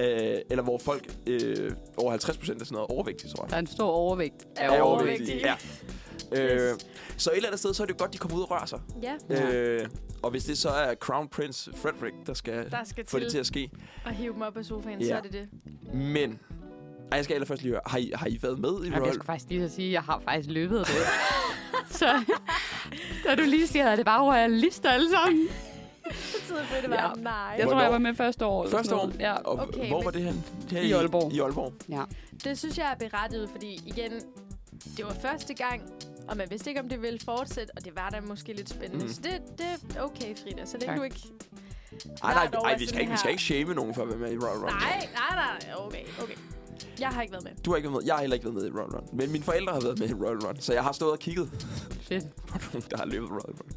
[SPEAKER 1] Øh, eller hvor folk øh, over 50 procent er sådan noget overvægtige, tror jeg.
[SPEAKER 2] Der er en stor overvægt af
[SPEAKER 3] Er
[SPEAKER 1] er
[SPEAKER 2] overvægt.
[SPEAKER 1] overvægtige.
[SPEAKER 3] overvægtige.
[SPEAKER 1] Ja. Øh, så et eller andet sted, så er det jo godt, de kommer ud og rører sig.
[SPEAKER 3] Ja,
[SPEAKER 2] Ja.
[SPEAKER 1] Øh, og hvis det så er Crown Prince Frederik, der skal,
[SPEAKER 3] der skal
[SPEAKER 1] få det til
[SPEAKER 3] til
[SPEAKER 1] at ske.
[SPEAKER 3] at hive dem op af sofaen,
[SPEAKER 1] Ja.
[SPEAKER 3] så er det det.
[SPEAKER 1] Men, ej, jeg skal allerførst lige høre, har I, har I været med i
[SPEAKER 2] Jamen, jeg
[SPEAKER 1] Royal?
[SPEAKER 2] skulle faktisk lige så sige, at jeg har faktisk løbet det. så da du lige siger, at det bare royalister alle sammen.
[SPEAKER 3] Så sidder Britte bare,
[SPEAKER 2] Ja.
[SPEAKER 3] nej.
[SPEAKER 2] Jeg tror,
[SPEAKER 1] Hvornår?
[SPEAKER 2] jeg var med første år. eller
[SPEAKER 1] Første
[SPEAKER 2] sådan
[SPEAKER 1] år?
[SPEAKER 2] noget. Ja.
[SPEAKER 1] Og
[SPEAKER 3] Okay,
[SPEAKER 1] okay, hvor
[SPEAKER 3] men-
[SPEAKER 1] var det hen? Her
[SPEAKER 2] I Aalborg.
[SPEAKER 1] I Aalborg.
[SPEAKER 2] ja.
[SPEAKER 3] Det synes jeg er berettiget, fordi igen, det var første gang, og man vidste ikke, om det ville fortsætte, og det var da måske lidt spændende. Mm.
[SPEAKER 1] Mm.
[SPEAKER 3] Så det, det er okay, Frida, så længe
[SPEAKER 2] Tak.
[SPEAKER 3] du ikke...
[SPEAKER 1] Ej,
[SPEAKER 3] Hvert
[SPEAKER 1] nej,
[SPEAKER 3] år er
[SPEAKER 1] ej, vi,
[SPEAKER 3] sådan
[SPEAKER 1] skal ikke, vi skal
[SPEAKER 3] her.
[SPEAKER 1] ikke shame nogen for at være med i Royal Run.
[SPEAKER 3] Nej, nej, nej, okay, okay. Jeg har ikke været med.
[SPEAKER 1] Du har ikke været med. Jeg har heller ikke været med i Royal Run. Men mine forældre har været med i Royal Run, så jeg har stået og kigget
[SPEAKER 2] Fedt.
[SPEAKER 1] på nogen, der har løbet Royal Run.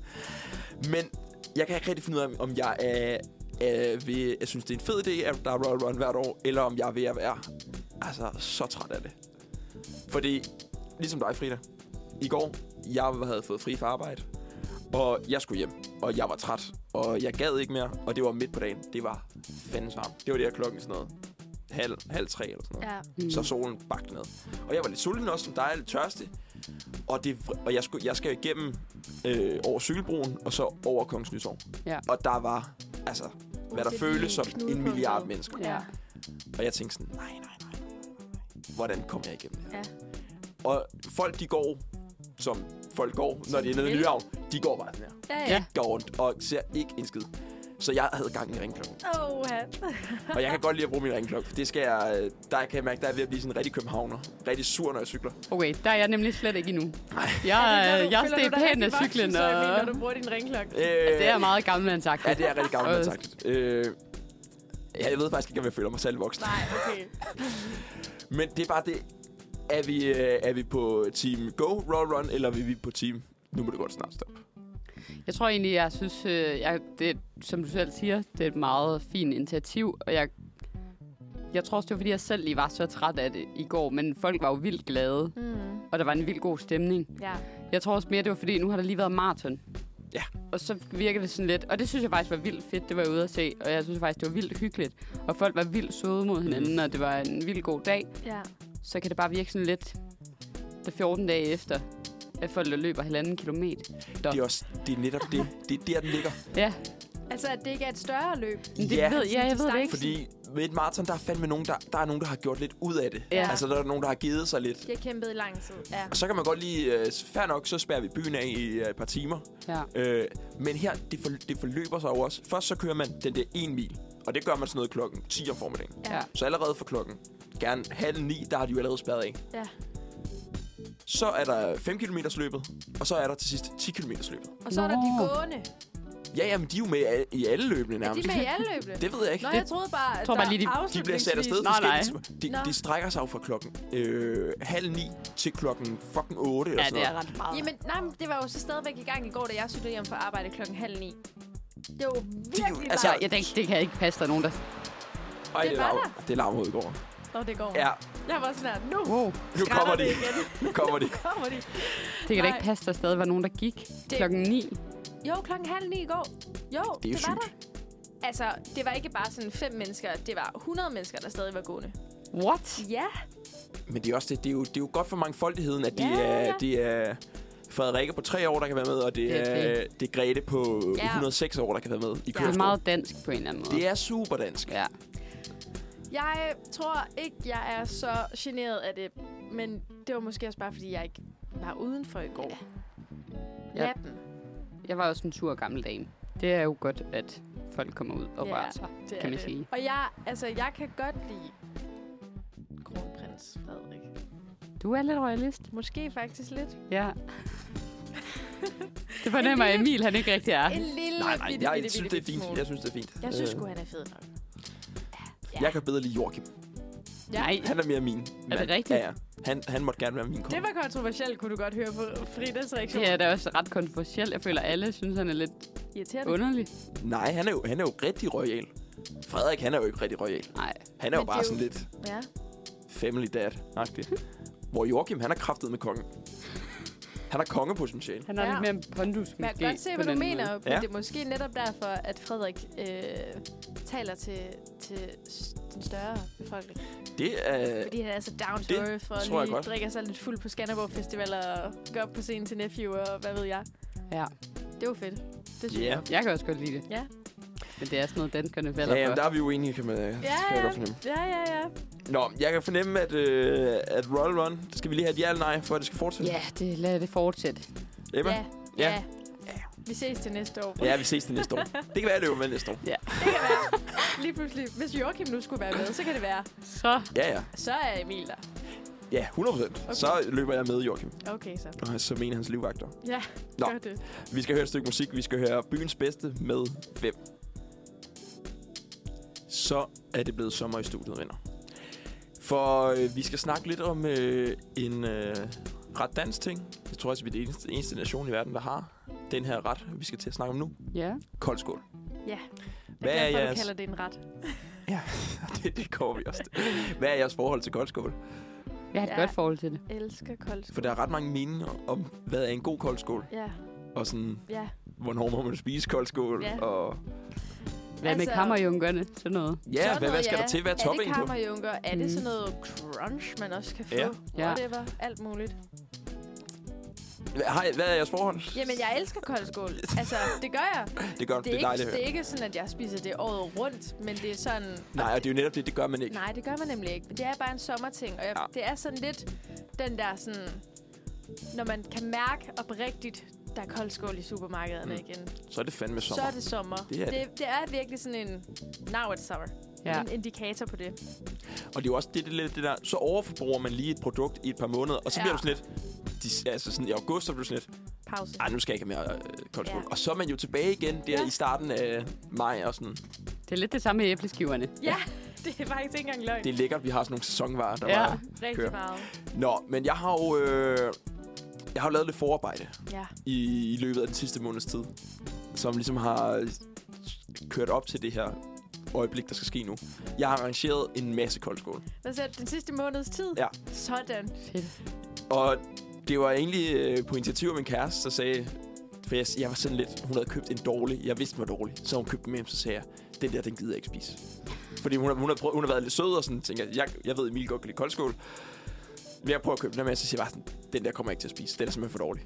[SPEAKER 1] Men jeg kan ikke rigtig finde ud af, om jeg er, er ved, jeg synes, det er en fed idé, at der er Royal Run hvert år, eller om jeg er ved at være altså, så træt af det. Fordi, ligesom dig, Frida, i går, jeg havde fået fri fra arbejde, og jeg skulle hjem, og jeg var træt, og jeg gad ikke mere, og det var midt på dagen. Det var fandens varmt. Det var det her klokken sådan noget. Halv, halv tre eller sådan noget
[SPEAKER 3] Ja.
[SPEAKER 2] Mm.
[SPEAKER 1] så solen bagte ned. Og jeg var lidt sulten også, som dig, lidt tørstig. Og, det, og jeg, skulle, jeg skal igennem øh, over Cykelbroen, og så over Kongens Nytorv.
[SPEAKER 2] Ja.
[SPEAKER 1] Og der var, altså, hvad der
[SPEAKER 3] det er lige
[SPEAKER 1] føles som en
[SPEAKER 3] knudepunktet.
[SPEAKER 1] milliard mennesker.
[SPEAKER 2] Ja.
[SPEAKER 1] Og jeg tænkte sådan, nej, nej, nej, nej, nej. Hvordan kommer jeg igennem det her?
[SPEAKER 3] Ja.
[SPEAKER 1] Og folk, de går, som folk går, når de er nede i
[SPEAKER 3] vil.
[SPEAKER 1] Nyhavn, de går bare sådan her.
[SPEAKER 3] Ja, ja.
[SPEAKER 2] Ja.
[SPEAKER 1] Går rundt og ser ikke en skid. Så jeg havde gang i ringklokken.
[SPEAKER 3] Oh, ja.
[SPEAKER 2] Øh,
[SPEAKER 1] Og jeg kan godt lide at bruge min ringklokke. for Det skal jeg, øh, der kan jeg mærke, der er ved at blive sådan en rigtig københavner. Rigtig sur, når jeg cykler.
[SPEAKER 2] Okay, der er jeg nemlig slet ikke endnu.
[SPEAKER 1] Nej.
[SPEAKER 2] Jeg,
[SPEAKER 3] Er det, når du-
[SPEAKER 2] jeg
[SPEAKER 3] føler
[SPEAKER 2] steg
[SPEAKER 3] du dig
[SPEAKER 2] pænt
[SPEAKER 3] rigtig
[SPEAKER 2] af
[SPEAKER 3] voksen,
[SPEAKER 2] cyklen,
[SPEAKER 3] så,
[SPEAKER 2] og
[SPEAKER 3] Emil, når du bruger din ringklokke.
[SPEAKER 1] Øh,
[SPEAKER 2] det er meget gammel sagt.
[SPEAKER 1] Ja, det er rigtig gammel
[SPEAKER 2] Øh.
[SPEAKER 1] sagt. Øh, ja, jeg ved faktisk ikke, om jeg føler mig særlig voksen.
[SPEAKER 3] Nej, okay.
[SPEAKER 1] Men det er bare det. Er vi, øh, er vi på team Go Roll Run, eller er vi på team nu må det godt snart stoppe?
[SPEAKER 2] Jeg tror egentlig, jeg synes, øh, jeg, det, er- som du selv siger, det er et meget fint initiativ, og jeg, jeg tror også, det var, fordi jeg selv lige var så træt af det i går, men folk var jo vildt glade,
[SPEAKER 3] Mm.
[SPEAKER 2] og der var en vild god stemning.
[SPEAKER 3] Ja.
[SPEAKER 2] Jeg tror også mere, det var fordi, nu har der lige været maraton.
[SPEAKER 1] Ja.
[SPEAKER 2] Og så virker det sådan lidt, og det synes jeg faktisk var vildt fedt, det var jeg ude at se, og jeg synes faktisk, det var vildt hyggeligt. Og folk var vildt søde mod hinanden,
[SPEAKER 1] Mhm.
[SPEAKER 2] og det var en vild god dag.
[SPEAKER 3] ja.
[SPEAKER 2] Så kan det bare virke sådan lidt, der 14 dage efter, af folk, der løber halvanden kilometer.
[SPEAKER 1] Det er, også, det er netop det. Det er der, den ligger.
[SPEAKER 2] Ja,
[SPEAKER 3] Altså, at det ikke er et større løb.
[SPEAKER 2] men det
[SPEAKER 1] Ja.
[SPEAKER 2] ved, ja, jeg ved det ikke.
[SPEAKER 1] Fordi med et maraton, der er fandme nogen, der, der er nogen, der har gjort lidt ud af det.
[SPEAKER 2] Ja.
[SPEAKER 1] Altså, der er nogen, der har givet sig lidt.
[SPEAKER 3] De har kæmpet i lang tid. Ja.
[SPEAKER 1] Og så kan man godt lige, øh, fair nok, så spærer vi byen af i øh, et par timer.
[SPEAKER 2] Ja.
[SPEAKER 1] Øh, men her, det, for, det forløber sig jo også. Først så kører man den der en mil, og det gør man sådan noget klokken 10 om formiddagen.
[SPEAKER 2] Ja.
[SPEAKER 1] Så allerede fra klokken gerne halv ni, der har de jo allerede spærret af.
[SPEAKER 3] ja.
[SPEAKER 1] Så er der 5 km løbet, og så er der til sidst 10 km løbet.
[SPEAKER 3] Og så er der de
[SPEAKER 2] Nå.
[SPEAKER 3] gående.
[SPEAKER 1] Ja, jamen, de er jo med i al- i alle løbene
[SPEAKER 3] Er de
[SPEAKER 1] nærmest.
[SPEAKER 3] med i alle løbene?
[SPEAKER 1] Det ved jeg ikke.
[SPEAKER 3] Nå, jeg troede bare, at
[SPEAKER 2] Tror bare
[SPEAKER 3] der
[SPEAKER 2] lige, de- de
[SPEAKER 1] De bliver sat afsted
[SPEAKER 3] afslutningsvis-
[SPEAKER 2] Nå,
[SPEAKER 1] forskelligt.
[SPEAKER 3] Nå.
[SPEAKER 1] De, de strækker sig jo fra klokken øh, halv ni til klokken fucking otte. eller
[SPEAKER 2] ja,
[SPEAKER 1] sådan
[SPEAKER 2] det er
[SPEAKER 1] noget.
[SPEAKER 2] ret meget.
[SPEAKER 3] Jamen, nej, men det var jo så stadigvæk i gang i går, da jeg cyklede hjem fra arbejde klokken halv ni. Det var virkelig
[SPEAKER 1] altså-
[SPEAKER 3] altså,
[SPEAKER 2] Ja, det, det kan ikke passe, der er nogen, der...
[SPEAKER 1] Ej,
[SPEAKER 3] Det
[SPEAKER 1] det, er
[SPEAKER 3] var
[SPEAKER 1] larm, det er larm i går.
[SPEAKER 3] Nå, det går.
[SPEAKER 1] Ja,
[SPEAKER 3] Jeg var sådan her, nu
[SPEAKER 2] Wow.
[SPEAKER 1] nu
[SPEAKER 3] skræller
[SPEAKER 1] kommer de.
[SPEAKER 3] det igen.
[SPEAKER 1] Nu kommer de.
[SPEAKER 3] kommer de.
[SPEAKER 2] Det kan da
[SPEAKER 3] Nej.
[SPEAKER 2] ikke passe, der stadig var nogen, der gik
[SPEAKER 3] Det-
[SPEAKER 2] klokken 9.
[SPEAKER 3] Jo, klokken halv ni i går. Jo,
[SPEAKER 1] Det er jo
[SPEAKER 3] det var
[SPEAKER 1] sygt.
[SPEAKER 3] der. Altså, det var ikke bare sådan fem mennesker, det var 100 mennesker, der stadig var gående.
[SPEAKER 2] What?
[SPEAKER 3] Ja,
[SPEAKER 1] Men det er, også det, det, er jo, det er jo godt for mangfoldigheden, at det,
[SPEAKER 3] Ja,
[SPEAKER 1] er,
[SPEAKER 3] ja.
[SPEAKER 1] det er Frederikke på tre år, der kan være med, og det,
[SPEAKER 2] Det er
[SPEAKER 1] er, det er Grete på
[SPEAKER 3] Ja.
[SPEAKER 1] 106 år, der kan være med i
[SPEAKER 2] Det
[SPEAKER 1] København.
[SPEAKER 2] er meget dansk på en eller anden måde.
[SPEAKER 1] Det er super dansk.
[SPEAKER 2] Ja.
[SPEAKER 3] jeg tror ikke, jeg er så generet af det, men det var måske også bare, fordi jeg ikke var udenfor i går.
[SPEAKER 2] Ja.
[SPEAKER 3] Natten.
[SPEAKER 2] Jeg var også en tur gammel dame. Det er jo godt, at folk kommer ud og
[SPEAKER 3] Ja,
[SPEAKER 2] rører sig,
[SPEAKER 3] Det er
[SPEAKER 2] kan man
[SPEAKER 3] det.
[SPEAKER 2] sige.
[SPEAKER 3] Og jeg, altså, jeg kan godt lide kronprins Frederik.
[SPEAKER 2] Du er lidt royalist.
[SPEAKER 3] Måske faktisk lidt.
[SPEAKER 2] Ja. Det fornemmer
[SPEAKER 3] En lille-
[SPEAKER 2] Emil, han ikke rigtig er.
[SPEAKER 3] En lille
[SPEAKER 1] Nej, nej,
[SPEAKER 3] bitte,
[SPEAKER 1] jeg
[SPEAKER 3] bitte,
[SPEAKER 1] synes,
[SPEAKER 3] bitte,
[SPEAKER 1] det er
[SPEAKER 3] bitte
[SPEAKER 1] fint. Jeg
[SPEAKER 3] smule.
[SPEAKER 1] synes, det er fint.
[SPEAKER 3] Jeg synes
[SPEAKER 1] Øh,
[SPEAKER 3] sgu, han er fed nok.
[SPEAKER 1] Jeg kan bedre lide Joachim.
[SPEAKER 2] Nej,
[SPEAKER 1] Han er mere min. mand.
[SPEAKER 2] det rigtigt?
[SPEAKER 1] Ja, ja. Han, han måtte gerne være min konge.
[SPEAKER 3] Det var kontroversielt, kunne du godt høre på Fridas reaktion.
[SPEAKER 2] det er da også ret kontroversielt. Jeg føler, alle synes, han er lidt
[SPEAKER 3] Irriterende.
[SPEAKER 2] underlig.
[SPEAKER 1] Nej, han er, jo, han er jo rigtig royal. Frederik, han er jo ikke rigtig royal.
[SPEAKER 2] Nej,
[SPEAKER 1] Han er
[SPEAKER 3] Men
[SPEAKER 1] jo
[SPEAKER 3] det
[SPEAKER 1] bare
[SPEAKER 3] er
[SPEAKER 1] sådan
[SPEAKER 3] jo-
[SPEAKER 1] lidt
[SPEAKER 3] Ja.
[SPEAKER 1] family dad-agtig. Hvor Joachim, han er kraftet med kongen. Han har kongepotentiale.
[SPEAKER 2] han har
[SPEAKER 3] Ja.
[SPEAKER 2] lidt mere en pondus,
[SPEAKER 3] Men jeg
[SPEAKER 2] måske.
[SPEAKER 3] kan godt se,
[SPEAKER 2] på
[SPEAKER 3] hvad du
[SPEAKER 2] den
[SPEAKER 3] mener,
[SPEAKER 2] måde.
[SPEAKER 3] måde. men
[SPEAKER 1] Ja.
[SPEAKER 3] det er måske netop derfor, at Frederik øh, taler til, til s- den større befolkning.
[SPEAKER 1] Det er...
[SPEAKER 3] Fordi han er så down to
[SPEAKER 1] Øh, det
[SPEAKER 3] earth, og
[SPEAKER 1] tror jeg
[SPEAKER 3] lige
[SPEAKER 1] godt.
[SPEAKER 3] drikker sig lidt fuld på Skanderborg Festival, og går op på scenen til Nephew, og hvad ved jeg.
[SPEAKER 2] Ja.
[SPEAKER 3] Det var fedt. Det synes
[SPEAKER 1] Ja.
[SPEAKER 3] jeg.
[SPEAKER 2] Jeg kan også godt lide det.
[SPEAKER 3] Ja.
[SPEAKER 2] Men det er sådan noget, danskerne falder
[SPEAKER 1] Ja, jamen,
[SPEAKER 2] for.
[SPEAKER 1] der er vi jo enige, kan man, ja, kan jeg godt fornemme.
[SPEAKER 3] ja, ja, ja.
[SPEAKER 1] Nå, jeg kan fornemme, at, øh, at Royal Run, det skal vi lige have et ja eller nej, for at det skal fortsætte.
[SPEAKER 2] Ja, det, lad det fortsætte.
[SPEAKER 1] Emma?
[SPEAKER 3] Ja.
[SPEAKER 1] Ja.
[SPEAKER 3] ja. Vi ses til næste år.
[SPEAKER 1] Ja, vi ses til næste år. Det kan være, at det er jo med næste år.
[SPEAKER 3] Lige pludselig, hvis Joachim nu skulle være med, så kan det være.
[SPEAKER 2] Så
[SPEAKER 1] Ja, ja.
[SPEAKER 3] Så er Emil der.
[SPEAKER 1] Ja, 100 procent. Okay. Så løber jeg med Joachim,
[SPEAKER 3] Okay, så.
[SPEAKER 1] og så mener hans livvagter.
[SPEAKER 3] Ja,
[SPEAKER 1] Nå.
[SPEAKER 3] gør det.
[SPEAKER 1] Vi skal høre et stykke musik. Vi skal høre byens bedste med hvem. Så er det blevet sommer i studiet, venner. For øh, vi skal snakke lidt om øh, en øh, ret dansk ting. Jeg tror også, vi er den eneste, eneste nation i verden, der har den her ret, vi skal til at snakke om nu.
[SPEAKER 2] ja,
[SPEAKER 1] Koldskål.
[SPEAKER 3] Ja.
[SPEAKER 1] Hvad er
[SPEAKER 3] jeg er glad for,
[SPEAKER 1] jeres-
[SPEAKER 3] du kalder det en ret.
[SPEAKER 1] det, det kommer vi også til. Hvad er jeres forhold til koldskål?
[SPEAKER 2] jeg har et
[SPEAKER 3] Ja.
[SPEAKER 2] godt forhold til det.
[SPEAKER 3] Elsker koldskål.
[SPEAKER 1] For der er ret mange meninger om, hvad er en god koldskål?
[SPEAKER 3] Ja,
[SPEAKER 1] Og sådan,
[SPEAKER 3] ja.
[SPEAKER 1] hvornår må man spise koldskål?
[SPEAKER 3] Ja.
[SPEAKER 1] Og
[SPEAKER 2] Hvad med
[SPEAKER 3] Altså-
[SPEAKER 2] kammerjunkerne? Sådan noget.
[SPEAKER 1] ja,
[SPEAKER 3] Sådan
[SPEAKER 1] hvad, hvad
[SPEAKER 3] noget,
[SPEAKER 1] skal
[SPEAKER 3] ja.
[SPEAKER 1] der til? Hvad er topping
[SPEAKER 3] Er det
[SPEAKER 1] på?
[SPEAKER 3] kammerjunker? Er det
[SPEAKER 2] Mm.
[SPEAKER 3] sådan noget crunch, man også kan få?
[SPEAKER 1] Ja.
[SPEAKER 2] Ja.
[SPEAKER 3] Whatever. Alt muligt.
[SPEAKER 1] Hvad, har I- hvad er jeres forhold?
[SPEAKER 3] Jamen, jeg elsker koldskål. Altså, det gør jeg.
[SPEAKER 1] Det gør
[SPEAKER 3] Det
[SPEAKER 1] det,
[SPEAKER 3] er,
[SPEAKER 1] det er dejligt at
[SPEAKER 3] ikke, det
[SPEAKER 1] høre.
[SPEAKER 3] er ikke sådan, at jeg spiser det året rundt, men det er sådan...
[SPEAKER 1] Nej, og det er jo netop det, det gør man ikke.
[SPEAKER 3] Nej, det gør man nemlig ikke. Men Det er bare en sommerting, og jeg,
[SPEAKER 1] Ja.
[SPEAKER 3] ja. det er sådan lidt den der sådan... Når man kan mærke oprigtigt, der er koldskål i supermarkederne
[SPEAKER 1] Mm.
[SPEAKER 3] mm. igen,
[SPEAKER 1] Så er det fandme
[SPEAKER 3] sommer.
[SPEAKER 1] sommer.
[SPEAKER 3] så er det sommer.
[SPEAKER 1] Det er det.
[SPEAKER 3] det, det er virkelig sådan en now it's summer.
[SPEAKER 2] Ja.
[SPEAKER 3] Ja. En indikator på det.
[SPEAKER 1] Og det er jo også det, det, det, det der, så overforbruger man lige et produkt i et par måneder, og så
[SPEAKER 3] Ja.
[SPEAKER 1] bliver du sådan lidt, de, altså sådan i august, så bliver du sådan lidt,
[SPEAKER 3] Pause.
[SPEAKER 1] ej, nu skal jeg ikke have mere øh, koldskål.
[SPEAKER 3] Ja.
[SPEAKER 1] Og så er man jo tilbage igen der
[SPEAKER 3] Ja.
[SPEAKER 1] i starten af maj, og sådan,
[SPEAKER 2] Det er lidt det samme med æbleskiverne.
[SPEAKER 3] Ja, det er faktisk ikke engang løgn.
[SPEAKER 1] det er lækkert, vi har sådan nogle sæsonvarer, der
[SPEAKER 2] Ja.
[SPEAKER 1] ja. var.
[SPEAKER 3] Rigtig
[SPEAKER 1] kører.
[SPEAKER 3] meget.
[SPEAKER 1] Nå, men jeg har jo, øh, jeg har jo lavet lidt forarbejde
[SPEAKER 3] Ja.
[SPEAKER 1] i, i løbet af den sidste måneds tid, som ligesom har kørt op til det her øjeblik, der skal ske nu. Jeg har arrangeret en masse koldskål.
[SPEAKER 3] Hvad sagde du, den sidste måneds tid?
[SPEAKER 1] Ja.
[SPEAKER 3] Sådan.
[SPEAKER 2] Fedt.
[SPEAKER 1] Og det var egentlig øh, på initiativ af min kæreste, der sagde... For jeg, jeg var sådan lidt... Hun havde købt en dårlig. Jeg vidste, den var dårlig. Så hun købte den med hjem, så sagde jeg, den der, den gider jeg ikke spise. Fordi hun, har- hun, havde, prøvet, hun havde været lidt sød og sådan tænkte, jeg, jeg, jeg ved, Emil godt kan lide koldskål. Men jeg prøver at købe den der, men jeg så siger jeg bare sådan, den der kommer jeg ikke til at spise. Den er simpelthen for dårlig.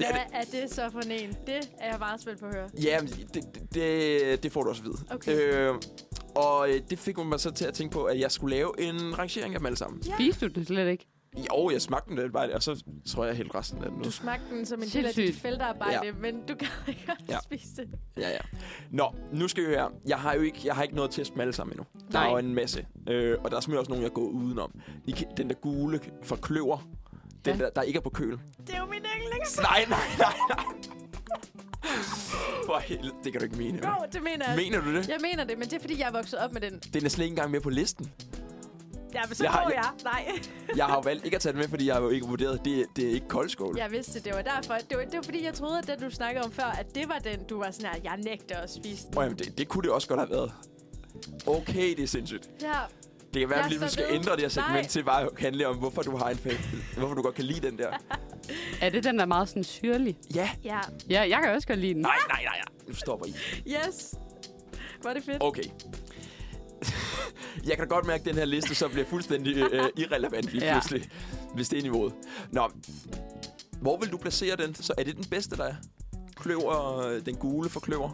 [SPEAKER 1] Ja,
[SPEAKER 3] Hvad er det så for en? Det er jeg meget spændt på at høre.
[SPEAKER 1] Ja, men det, det, det, det får du også at vide.
[SPEAKER 3] Okay.
[SPEAKER 1] Øh, og øh, det fik mig så til at tænke på, at jeg skulle lave en rangering af dem alle sammen.
[SPEAKER 2] Spiste du det slet ikke?
[SPEAKER 1] Jo, jeg smagte den lidt bare, og så tror jeg helt resten af den ud.
[SPEAKER 3] Du smagte den som en del af dit
[SPEAKER 2] Sindssygt.
[SPEAKER 3] feltarbejde, ja. men du kan ikke ja.
[SPEAKER 1] Ja.
[SPEAKER 3] spise det.
[SPEAKER 1] Ja, ja. Nå, nu skal vi høre. Jeg har jo ikke, jeg har ikke noget test med alle sammen endnu. Der
[SPEAKER 2] Nej.
[SPEAKER 1] er jo en masse. Øh, og der er simpelthen også nogen, jeg går udenom. I, kan- den der gule fra kløver. Den
[SPEAKER 2] Ja.
[SPEAKER 1] der, der ikke er på køl.
[SPEAKER 3] Det er jo min yndlings.
[SPEAKER 1] Nej, nej, nej, nej. For helvede, det kan du ikke mene.
[SPEAKER 3] Jo, det mener jeg.
[SPEAKER 1] Mener du det?
[SPEAKER 3] jeg mener det, men det er fordi, jeg er vokset op med den.
[SPEAKER 1] Den er slet ikke engang med på listen.
[SPEAKER 3] Ja, men så
[SPEAKER 1] Jeg
[SPEAKER 3] jeg
[SPEAKER 1] har-
[SPEAKER 3] går
[SPEAKER 1] jeg-
[SPEAKER 3] jeg. Nej.
[SPEAKER 1] Jeg har jo valgt ikke at tage den med, fordi jeg har jo ikke vurderet, det, det er ikke koldskål.
[SPEAKER 3] Jeg vidste, det var derfor. Det var, det var fordi, jeg troede, at den, du snakkede om før, at det var den, du var sådan her, jeg nægter at spise den.
[SPEAKER 1] Oh, jamen, det, det kunne det også godt have været. Okay, det er sindssygt.
[SPEAKER 3] Ja,
[SPEAKER 1] Det kan være,
[SPEAKER 3] Jeg
[SPEAKER 1] at vi lige
[SPEAKER 3] står
[SPEAKER 1] skal
[SPEAKER 3] ved.
[SPEAKER 1] ændre det her segment
[SPEAKER 3] Nej.
[SPEAKER 1] til bare at handle om, hvorfor du har en fan. Hvorfor du godt kan lide den der.
[SPEAKER 2] Er det den, der er meget sådan syrlig?
[SPEAKER 1] Ja.
[SPEAKER 3] ja.
[SPEAKER 2] Ja, jeg kan også godt lide den.
[SPEAKER 1] Nej, nej, nej, nej. Nu stopper I.
[SPEAKER 3] Yes. Var det fedt?
[SPEAKER 1] Okay. Jeg kan da godt mærke, at den her liste så bliver fuldstændig øh, irrelevant lige
[SPEAKER 2] Ja.
[SPEAKER 1] pludselig, hvis det er niveauet. Nå, hvor vil du placere den? Så er det den bedste, der er? Kløver, øh, den gule for kløver?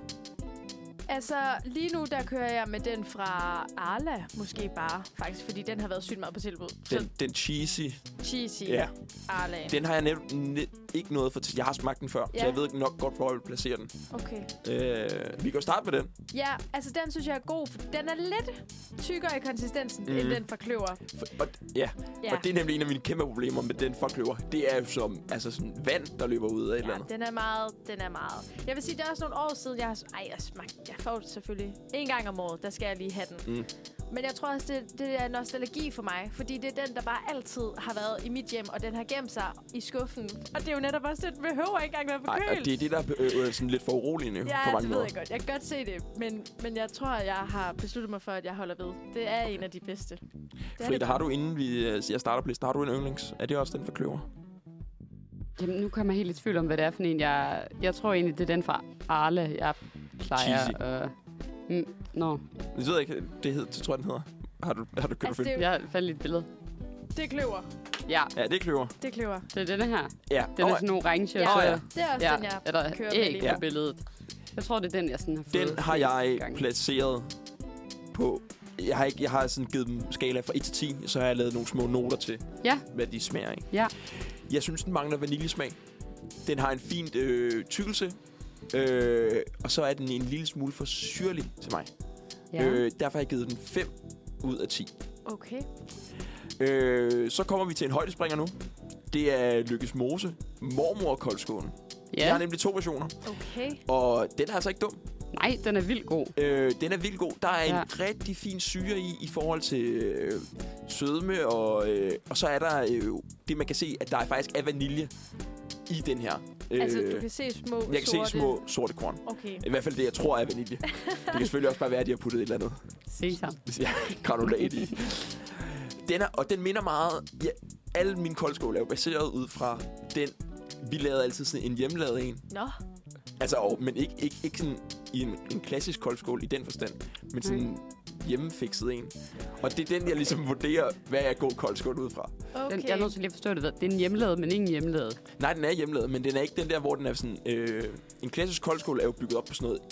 [SPEAKER 3] Altså, lige nu, der kører jeg med den fra Arla, måske bare, faktisk, fordi den har været sygt meget på tilbud.
[SPEAKER 1] Den,
[SPEAKER 3] Så
[SPEAKER 1] den cheesy.
[SPEAKER 3] cheesy
[SPEAKER 1] Ja.
[SPEAKER 3] Arla.
[SPEAKER 1] Den har jeg netop ne- ikke noget for. T- jeg har smagt den før, ja.
[SPEAKER 3] Ja.
[SPEAKER 1] så jeg ved nok godt, hvor jeg vil placere den.
[SPEAKER 3] Okay.
[SPEAKER 1] Øh, vi kan jo starte med den.
[SPEAKER 3] Ja, altså, den synes jeg er god, for den er lidt tykkere i konsistensen, mm. end
[SPEAKER 1] Mhm.
[SPEAKER 3] den fra kløver.
[SPEAKER 1] For, og, ja.
[SPEAKER 3] Ja.
[SPEAKER 1] ja, og det er nemlig en af mine kæmpe problemer med den for kløver. Det er jo som altså sådan vand, der løber ud af et eller andet.
[SPEAKER 3] Ja, den er meget, den er meget. Jeg vil sige, det er også nogle år siden, jeg har... Ej, jeg smagte... Jeg får det selvfølgelig en gang om året, der skal jeg lige have den.
[SPEAKER 1] Mm.
[SPEAKER 3] Men jeg tror også, det, det er nostalgi for mig, fordi det er den, der bare altid har været i mit hjem, og den har gemt sig i skuffen. Og det er jo netop også, den behøver ikke engang være på
[SPEAKER 1] Ej,
[SPEAKER 3] køl.
[SPEAKER 1] og det er det, der er øh, øh, sådan lidt for uroligende på
[SPEAKER 3] Ja,
[SPEAKER 1] mange
[SPEAKER 3] det ved
[SPEAKER 1] måder.
[SPEAKER 3] jeg godt. Jeg kan godt se det, men, men jeg tror, jeg har besluttet mig for, at jeg holder ved. Det er en af de bedste. Det er
[SPEAKER 1] Frida,
[SPEAKER 3] det
[SPEAKER 1] har du inden vi, øh, jeg starter på listen, har du en yndlings? Er det også den for kløver?
[SPEAKER 2] Jamen, nu kommer jeg helt i tvivl om, hvad det er for en, jeg... Jeg tror egentlig, det er den fra Arle, jeg plejer.
[SPEAKER 1] Cheesy.
[SPEAKER 2] Øh, mm, Nå,
[SPEAKER 1] Jeg ved ikke, det, hed, det tror jeg, den hedder. Har du, har du købt altså,
[SPEAKER 3] Altså, det, er, jo-
[SPEAKER 2] jeg fandt lige et billede.
[SPEAKER 3] det er kløver.
[SPEAKER 2] Ja,
[SPEAKER 1] Ja, det er kløver.
[SPEAKER 3] Det er kløver.
[SPEAKER 2] det er denne her.
[SPEAKER 1] Ja.
[SPEAKER 2] Den
[SPEAKER 1] Og
[SPEAKER 2] er sådan orange.
[SPEAKER 3] Ja.
[SPEAKER 2] og
[SPEAKER 1] Åh,
[SPEAKER 2] så,
[SPEAKER 1] ja.
[SPEAKER 3] Det er også
[SPEAKER 2] ja,
[SPEAKER 3] den, jeg
[SPEAKER 2] er der
[SPEAKER 3] kører med lige
[SPEAKER 2] æg
[SPEAKER 3] nu.
[SPEAKER 2] på billedet. Jeg tror, det er den, jeg sådan har fået.
[SPEAKER 1] den har
[SPEAKER 2] flest
[SPEAKER 1] jeg
[SPEAKER 2] gange.
[SPEAKER 1] placeret på... Jeg har, ikke, jeg har sådan givet dem skala fra 1 til 10, så har jeg lavet nogle små noter til,
[SPEAKER 2] Ja.
[SPEAKER 1] hvad de smager af.
[SPEAKER 2] Ja.
[SPEAKER 1] Jeg synes, den mangler vaniljesmag. Den har en fin øh, tykkelse, øh, og så er den en lille smule for syrlig til mig.
[SPEAKER 2] Ja.
[SPEAKER 1] Øh, derfor har jeg givet den 5 ud af 10.
[SPEAKER 3] Okay.
[SPEAKER 1] Øh, så kommer vi til en højdespringer nu. Det er Lykkes Mose, mormor og koldskålen. Ja. Jeg
[SPEAKER 2] ja.
[SPEAKER 1] har nemlig to versioner,
[SPEAKER 3] Okay.
[SPEAKER 1] og den er altså ikke dum.
[SPEAKER 2] Nej, den er vildt god.
[SPEAKER 1] Øh, den er vildt god. Der er
[SPEAKER 2] Ja.
[SPEAKER 1] en rigtig fin syre i, i forhold til øh, sødme, og, øh, og så er der øh, det, man kan se, at der er faktisk er vanilje i den her. Øh,
[SPEAKER 3] Altså, du kan se små
[SPEAKER 1] jeg kan
[SPEAKER 3] sorte.
[SPEAKER 1] se små sorte korn.
[SPEAKER 3] Okay.
[SPEAKER 1] I hvert fald det, jeg tror er vanilje. det kan selvfølgelig også bare være, at de har puttet et eller andet
[SPEAKER 2] Sesam.
[SPEAKER 1] ja, granulat i. Den er, og den minder meget... Ja, alle mine koldskål er jo baseret ud fra den... Vi lavede altid sådan en hjemmelavet en.
[SPEAKER 3] Nå.
[SPEAKER 1] Altså, og, men ikke, ikke, ikke sådan i en, en klassisk koldskål i den forstand, men sådan en hjemmefikset en. Og det er den, jeg ligesom vurderer, hvad er god koldskål ud fra.
[SPEAKER 3] Okay.
[SPEAKER 2] Den, jeg er nødt til lige at forstå det. Det er en hjemmelavet, men ikke en hjemmelavet.
[SPEAKER 1] Nej, den er hjemmelavet, men den er ikke den der, hvor den er sådan... Øh, en klassisk koldskål er jo bygget op på sådan noget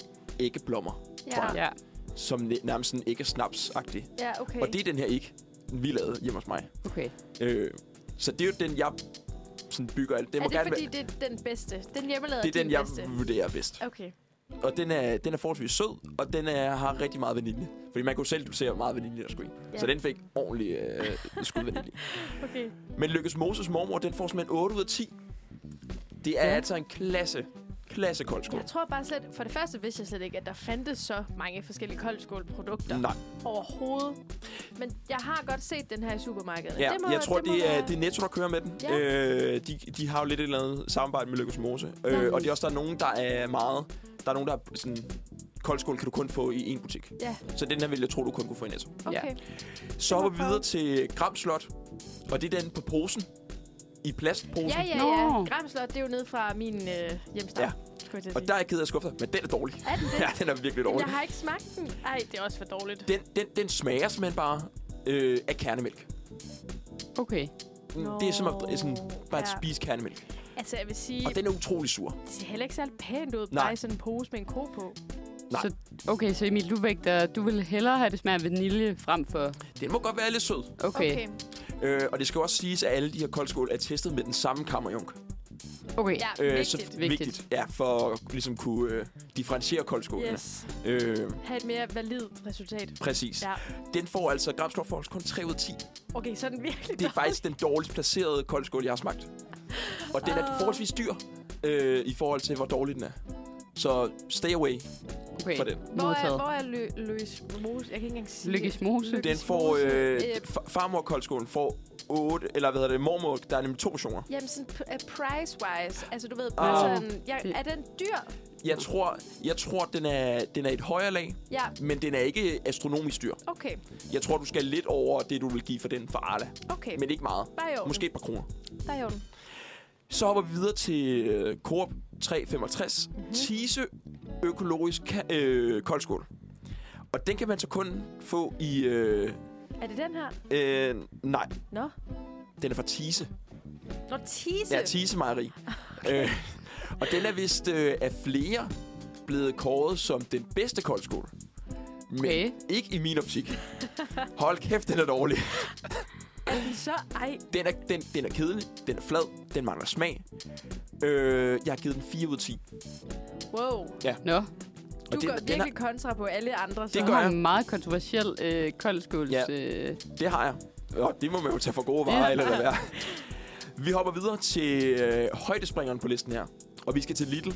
[SPEAKER 1] æggeblommer,
[SPEAKER 3] ja.
[SPEAKER 1] tror jeg.
[SPEAKER 2] Ja.
[SPEAKER 1] som næ- nærmest sådan ikke er snaps-agtig.
[SPEAKER 3] ja, okay.
[SPEAKER 1] Og det er den her ikke, vi lavede hjemme hos mig.
[SPEAKER 2] Okay.
[SPEAKER 1] Øh, så det er jo den, jeg sådan bygger alt. Det
[SPEAKER 3] er
[SPEAKER 1] må
[SPEAKER 3] det
[SPEAKER 1] gerne
[SPEAKER 3] fordi,
[SPEAKER 1] være,
[SPEAKER 3] det er den bedste? Den hjemmelavede
[SPEAKER 1] det er den,
[SPEAKER 3] din
[SPEAKER 1] jeg
[SPEAKER 3] bedste?
[SPEAKER 1] vurderer bedst.
[SPEAKER 3] Okay.
[SPEAKER 1] Og den er, den er forholdsvis sød, og den er, har rigtig meget vanilje. Fordi man kunne selv se, hvor meget vanilje der skulle i.
[SPEAKER 3] Ja.
[SPEAKER 1] Så den fik ordentlig øh, skud vanilje.
[SPEAKER 3] Okay.
[SPEAKER 1] Men Lykkes Moses mormor, den får simpelthen 8 ud af 10. Det er
[SPEAKER 2] Ja.
[SPEAKER 1] ja. altså en klasse, klasse koldskål.
[SPEAKER 3] Jeg tror bare slet... For det første vidste jeg slet ikke, at der fandtes så mange forskellige koldskålprodukter
[SPEAKER 1] Nej,
[SPEAKER 3] overhovedet. Men jeg har godt set den her i supermarkedet.
[SPEAKER 1] ja,
[SPEAKER 3] det må,
[SPEAKER 1] jeg tror, det,
[SPEAKER 3] må
[SPEAKER 1] er,
[SPEAKER 3] være-
[SPEAKER 1] det er Netto, der kører med den.
[SPEAKER 3] Ja.
[SPEAKER 1] Øh, de, de har jo lidt et eller andet samarbejde med Lykkes Mose. Øh, og det er også, der er nogen, der er meget... Der er nogen, der er sådan... Koldskål kan du kun få i én butik.
[SPEAKER 3] Ja,
[SPEAKER 1] Så den her vil jeg tro, du kun kunne få i Netto.
[SPEAKER 3] okay.
[SPEAKER 1] Så hopper vi
[SPEAKER 3] Hvorfor?
[SPEAKER 1] videre til Gram Slot. Og det er den på posen. I plastposen.
[SPEAKER 3] Ja, ja,
[SPEAKER 2] Nå.
[SPEAKER 3] ja. Gramslot, det er jo nede fra min øh, hjemstavn.
[SPEAKER 1] Ja.
[SPEAKER 3] Skulle jeg til at
[SPEAKER 1] Og
[SPEAKER 3] sige.
[SPEAKER 1] der er jeg ked af at skuffe dig, men den er dårlig.
[SPEAKER 3] Er den det?
[SPEAKER 1] Ja, den er virkelig
[SPEAKER 3] Jamen,
[SPEAKER 1] dårlig.
[SPEAKER 3] jeg har ikke smagt den. Ej, det er også for dårligt.
[SPEAKER 1] Den, den, den smager simpelthen bare øh, af kernemælk.
[SPEAKER 2] Okay.
[SPEAKER 1] Det er som at, sådan, bare at
[SPEAKER 3] Ja.
[SPEAKER 1] spise kernemælk.
[SPEAKER 3] Altså, jeg vil sige,
[SPEAKER 1] Og den er utrolig sur.
[SPEAKER 3] det ser heller ikke særlig pænt ud,
[SPEAKER 1] Nej.
[SPEAKER 3] bare i sådan en pose med en ko på.
[SPEAKER 1] Nej.
[SPEAKER 2] Så, okay, så Emil, du vægter, du vil hellere have det smager af vanilje frem for...
[SPEAKER 1] Den må godt være lidt sød.
[SPEAKER 2] Okay, okay.
[SPEAKER 1] Øh, og det skal jo også siges, at alle de her koldskål er testet med den samme kammerjunk.
[SPEAKER 2] okay.
[SPEAKER 3] Ja,
[SPEAKER 2] Ja.
[SPEAKER 1] Øh,
[SPEAKER 3] Ah, vigtigt.
[SPEAKER 1] Så
[SPEAKER 2] Vigtigt.
[SPEAKER 1] vigtigt. Ja, for at ligesom kunne øh, differentiere koldskålene.
[SPEAKER 3] Yes.
[SPEAKER 1] Øh,
[SPEAKER 3] Have et mere validt resultat.
[SPEAKER 1] præcis.
[SPEAKER 3] Ja.
[SPEAKER 1] Den får altså, Gramstorff får altså kun 3 ud af 10.
[SPEAKER 3] Okay, så er den virkelig
[SPEAKER 1] Det er faktisk den dårligst placerede koldskål, jeg har smagt. Og den er
[SPEAKER 3] Åh.
[SPEAKER 1] forholdsvis dyr, øh, i forhold til, hvor dårlig den er. Så stay away
[SPEAKER 2] okay.
[SPEAKER 1] for den.
[SPEAKER 3] Hvor er,
[SPEAKER 2] Modtaget.
[SPEAKER 3] hvor er lø, løs mose? Jeg kan ikke engang sige
[SPEAKER 2] Lykkes Mose.
[SPEAKER 3] Lykkes
[SPEAKER 1] Den får,
[SPEAKER 3] Mose.
[SPEAKER 1] øh,
[SPEAKER 3] ligesom Øh,
[SPEAKER 1] fa- farmor-koldskålen får 8, eller hvad hedder det, mormor, der er nemlig to versioner.
[SPEAKER 3] Jamen, sådan p- uh, price-wise. Altså, du ved, bare
[SPEAKER 1] Ah.
[SPEAKER 3] sådan... Jeg,
[SPEAKER 2] Det-
[SPEAKER 3] er den dyr?
[SPEAKER 1] Jeg tror, jeg tror den, er, den er et højere lag,
[SPEAKER 3] Ja,
[SPEAKER 1] men den er ikke astronomisk dyr.
[SPEAKER 3] okay.
[SPEAKER 1] Jeg tror, du skal lidt over det, du vil give for den for Arla.
[SPEAKER 3] Okay,
[SPEAKER 1] Men ikke meget.
[SPEAKER 3] bare i orden.
[SPEAKER 1] Måske et par kroner.
[SPEAKER 3] Bare i orden.
[SPEAKER 1] Så hopper vi videre til øh, Coop 365. Mm-hmm. Tise økologisk ka- øh, koldskål. Og den kan man så kun få i... Øh,
[SPEAKER 3] Er det den her?
[SPEAKER 1] øh, nej,
[SPEAKER 3] Nå.
[SPEAKER 1] den er fra Tise.
[SPEAKER 3] Nå, tise.
[SPEAKER 1] Ja, Tise Mejeri. Okay. Øh, og den er vist øh, af flere blevet kåret som den bedste koldskål. Men
[SPEAKER 2] Okay.
[SPEAKER 1] ikke i min optik. Hold kæft, den er dårlig.
[SPEAKER 3] Er den så... Ej,
[SPEAKER 1] Den er, den, den er kedelig, den er flad, den mangler smag. Øh, jeg har givet den 4 ud af 10.
[SPEAKER 3] wow.
[SPEAKER 2] Nå,
[SPEAKER 3] Du
[SPEAKER 1] det-
[SPEAKER 3] går
[SPEAKER 1] den
[SPEAKER 3] virkelig kontra på alle andre, så.
[SPEAKER 2] det
[SPEAKER 1] Det
[SPEAKER 2] gør
[SPEAKER 1] gør
[SPEAKER 2] har
[SPEAKER 1] jeg.
[SPEAKER 2] en meget kontroversiel øh, koldskåls...
[SPEAKER 1] Ja.
[SPEAKER 2] Ja. Øh,
[SPEAKER 1] Det har jeg. Og det må man jo tage for gode varer,
[SPEAKER 2] Ja.
[SPEAKER 1] eller hvad det er. Vi hopper videre til øh, højdespringeren på listen her. Og vi skal til Lidl.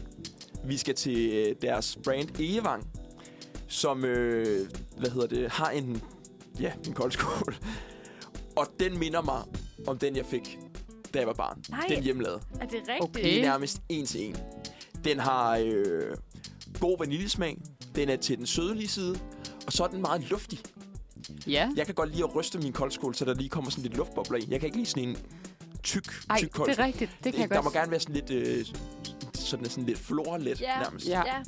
[SPEAKER 1] Vi skal til øh, deres brand Egevang, som øh, hvad hedder det, har en, ja, en koldskål. Og den minder mig om den, jeg fik, da jeg var barn.
[SPEAKER 3] Nej.
[SPEAKER 1] Den hjemmelavede.
[SPEAKER 3] Er det rigtigt?
[SPEAKER 2] Okay.
[SPEAKER 1] Det er nærmest en til en. Den har øh, god vaniljesmag. Den er til den sødelige side. Og så er den meget luftig.
[SPEAKER 2] ja.
[SPEAKER 1] Jeg kan godt lide at ryste min koldskål, så der lige kommer sådan lidt luftbobler i. Jeg kan ikke lide sådan en tyk,
[SPEAKER 2] Ej,
[SPEAKER 1] tyk
[SPEAKER 2] det
[SPEAKER 1] koldskål.
[SPEAKER 2] er rigtigt. Det kan jeg
[SPEAKER 1] der
[SPEAKER 2] godt...
[SPEAKER 1] må gerne være sådan lidt... Øh, sådan, sådan lidt florlet
[SPEAKER 3] Ja.
[SPEAKER 1] nærmest.
[SPEAKER 2] Ja.
[SPEAKER 3] Ja.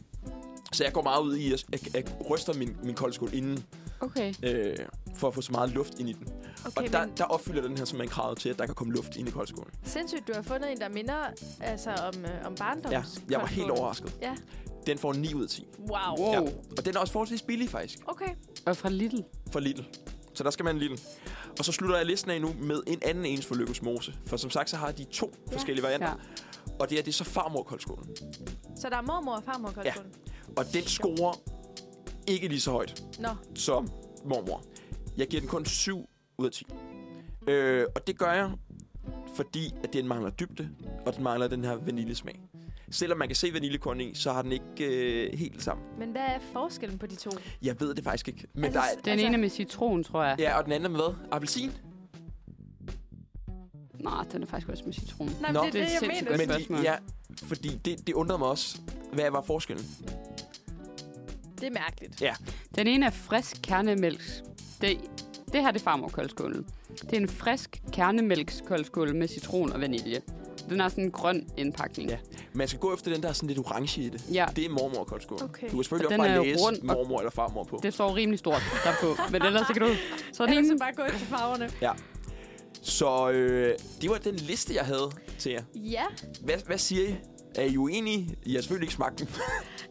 [SPEAKER 1] Så jeg går meget ud i, at jeg, jeg ryster min, min koldskål inden,
[SPEAKER 2] Okay.
[SPEAKER 1] øh, for at få så meget luft ind i den.
[SPEAKER 3] Okay,
[SPEAKER 1] og der,
[SPEAKER 3] men
[SPEAKER 1] der opfylder den her simpelthen kravet til, at der kan komme luft ind i koldskålen.
[SPEAKER 3] sindssygt, du har fundet en, der minder altså, om, øh, om barndoms.
[SPEAKER 1] Ja, jeg var helt overrasket.
[SPEAKER 3] Ja.
[SPEAKER 1] Den får 9 ud af 10.
[SPEAKER 3] Wow.
[SPEAKER 2] Wow.
[SPEAKER 1] Ja. Og den er også forholdsvis billig faktisk,
[SPEAKER 3] Okay.
[SPEAKER 2] Og fra Lidl.
[SPEAKER 1] for Lidl. Så der skal man Lidl. Og så slutter jeg listen af nu med en anden ens for Lykkes Mose. For som sagt, så har de to ja. forskellige varianter.
[SPEAKER 2] Ja.
[SPEAKER 1] Og det er det er så farmor-koldskålen.
[SPEAKER 3] Så der er mormor og farmor ja.
[SPEAKER 1] Og den scorer ikke lige så højt
[SPEAKER 3] Nå,
[SPEAKER 1] som mormor. Jeg giver den kun 7 ud af 10. Øh, og det gør jeg, fordi at den mangler dybde, og den mangler den her vaniljesmag. Selvom man kan se vaniljekorn i, så har den ikke øh, helt sammen.
[SPEAKER 3] men hvad er forskellen på de to?
[SPEAKER 1] Jeg ved det faktisk ikke. Men der
[SPEAKER 3] Altså,
[SPEAKER 1] er,
[SPEAKER 2] Den
[SPEAKER 3] Altså-
[SPEAKER 2] altså... ene er med citron, tror jeg.
[SPEAKER 1] ja, og den anden er med hvad? Appelsin?
[SPEAKER 2] Nej, den er faktisk også med citron.
[SPEAKER 1] Nå.
[SPEAKER 3] Nej, men det er
[SPEAKER 2] Det
[SPEAKER 3] det,
[SPEAKER 2] er
[SPEAKER 3] jeg
[SPEAKER 2] sindssygt
[SPEAKER 3] mener.
[SPEAKER 1] Men
[SPEAKER 2] godt.
[SPEAKER 1] de,
[SPEAKER 2] spørgsmål.
[SPEAKER 1] ja, fordi det, det undrede mig også. Hvad var forskellen?
[SPEAKER 3] Det er mærkeligt.
[SPEAKER 2] Den ene er frisk kernemælk. Det, det her det er farmorkoldskålen. Det er en frisk kernemælkskoldskål med citron og vanilje. Den har sådan en grøn indpakning.
[SPEAKER 1] Ja. Man skal gå efter den, der er sådan lidt orange i det.
[SPEAKER 2] ja
[SPEAKER 1] Det er mormor og koldskål.
[SPEAKER 3] Okay.
[SPEAKER 1] Du kan selvfølgelig
[SPEAKER 2] Og
[SPEAKER 1] også bare
[SPEAKER 2] den er jo
[SPEAKER 1] læse
[SPEAKER 2] rund og-
[SPEAKER 1] mormor eller farmor på.
[SPEAKER 2] det står rimelig stort derpå. Men ellers så kan du... Så er den
[SPEAKER 3] Ellers
[SPEAKER 2] ene...
[SPEAKER 3] så bare gå efter farverne.
[SPEAKER 1] Så øh, det var den liste, jeg havde til jer.
[SPEAKER 3] Ja.
[SPEAKER 1] Hvad, hvad siger I? Er I uenige? I har selvfølgelig ikke smagt den.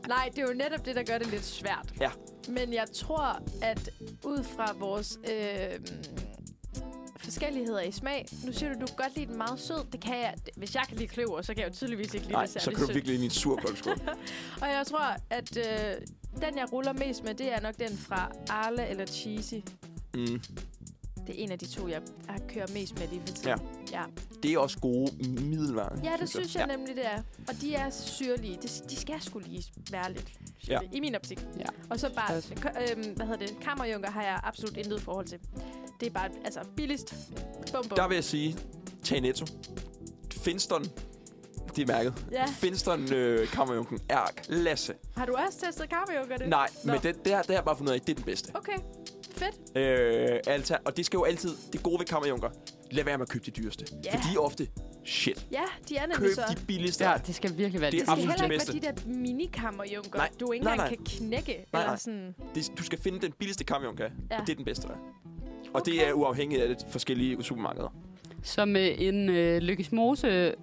[SPEAKER 3] Nej, det er jo netop det, der gør det lidt svært.
[SPEAKER 1] Ja.
[SPEAKER 3] Men jeg tror, at ud fra vores øh, forskelligheder i smag... Nu siger du, du kan godt lide den meget sød. Det kan jeg. Hvis jeg kan lide kløver, så kan jeg jo tydeligvis ikke lide
[SPEAKER 1] Nej,
[SPEAKER 3] det
[SPEAKER 1] så
[SPEAKER 3] særlig
[SPEAKER 1] kan du
[SPEAKER 3] sødt.
[SPEAKER 1] virkelig lide min sur koldskål.
[SPEAKER 3] Og jeg tror, at øh, den, jeg ruller mest med, det er nok den fra Arle eller Cheesy.
[SPEAKER 1] Mm.
[SPEAKER 3] Det er en af de to, jeg jeg kører mest med lige for tiden.
[SPEAKER 1] Ja.
[SPEAKER 3] ja.
[SPEAKER 1] Det er også gode middelvarer.
[SPEAKER 3] Ja, det synes jeg nemlig, det er. Og de er syrlige. De, de skal skulle lige være lidt syrlige, ja. i min optik.
[SPEAKER 2] Ja.
[SPEAKER 3] Og så bare,
[SPEAKER 2] Også.
[SPEAKER 3] k- øhm, hvad hedder det, kammerjunker har jeg absolut intet forhold til. Det er bare, altså, billigst. Bum, bum.
[SPEAKER 1] Der vil jeg sige, tag Netto. Finston, det er mærket.
[SPEAKER 3] Ja.
[SPEAKER 1] Finston øh, kammerjunken er klasse.
[SPEAKER 3] Har du også testet kammerjunker? Det?
[SPEAKER 1] Nej,
[SPEAKER 3] Nå.
[SPEAKER 1] men det, det, har, det har jeg bare fundet ud af, det er den bedste.
[SPEAKER 3] Okay, fedt.
[SPEAKER 1] Øh, alta, og det skal jo altid, det gode ved kammerjunker, lad være med at købe de dyreste.
[SPEAKER 3] Ja.
[SPEAKER 1] For de er ofte shit.
[SPEAKER 3] Ja, de er nemlig
[SPEAKER 1] Køb
[SPEAKER 3] så.
[SPEAKER 1] de billigste.
[SPEAKER 2] Ja, det skal virkelig være
[SPEAKER 1] Det
[SPEAKER 2] det.
[SPEAKER 1] er
[SPEAKER 3] Det skal
[SPEAKER 1] absolut
[SPEAKER 3] heller
[SPEAKER 1] de
[SPEAKER 3] ikke
[SPEAKER 1] bedste.
[SPEAKER 3] være de der mini-kammerjunker,
[SPEAKER 1] Nej,
[SPEAKER 3] du ikke
[SPEAKER 1] nej,
[SPEAKER 3] engang
[SPEAKER 1] nej.
[SPEAKER 3] kan knække.
[SPEAKER 1] Nej,
[SPEAKER 3] eller
[SPEAKER 1] nej.
[SPEAKER 3] sådan.
[SPEAKER 1] Det, du skal finde den billigste kamp, kan. Ja.
[SPEAKER 3] Ja.
[SPEAKER 1] Og det er den bedste, der er. Og
[SPEAKER 3] Okay.
[SPEAKER 1] det er uafhængigt af det forskellige supermarkeder.
[SPEAKER 2] Som øh, en øh, Lykkes Mose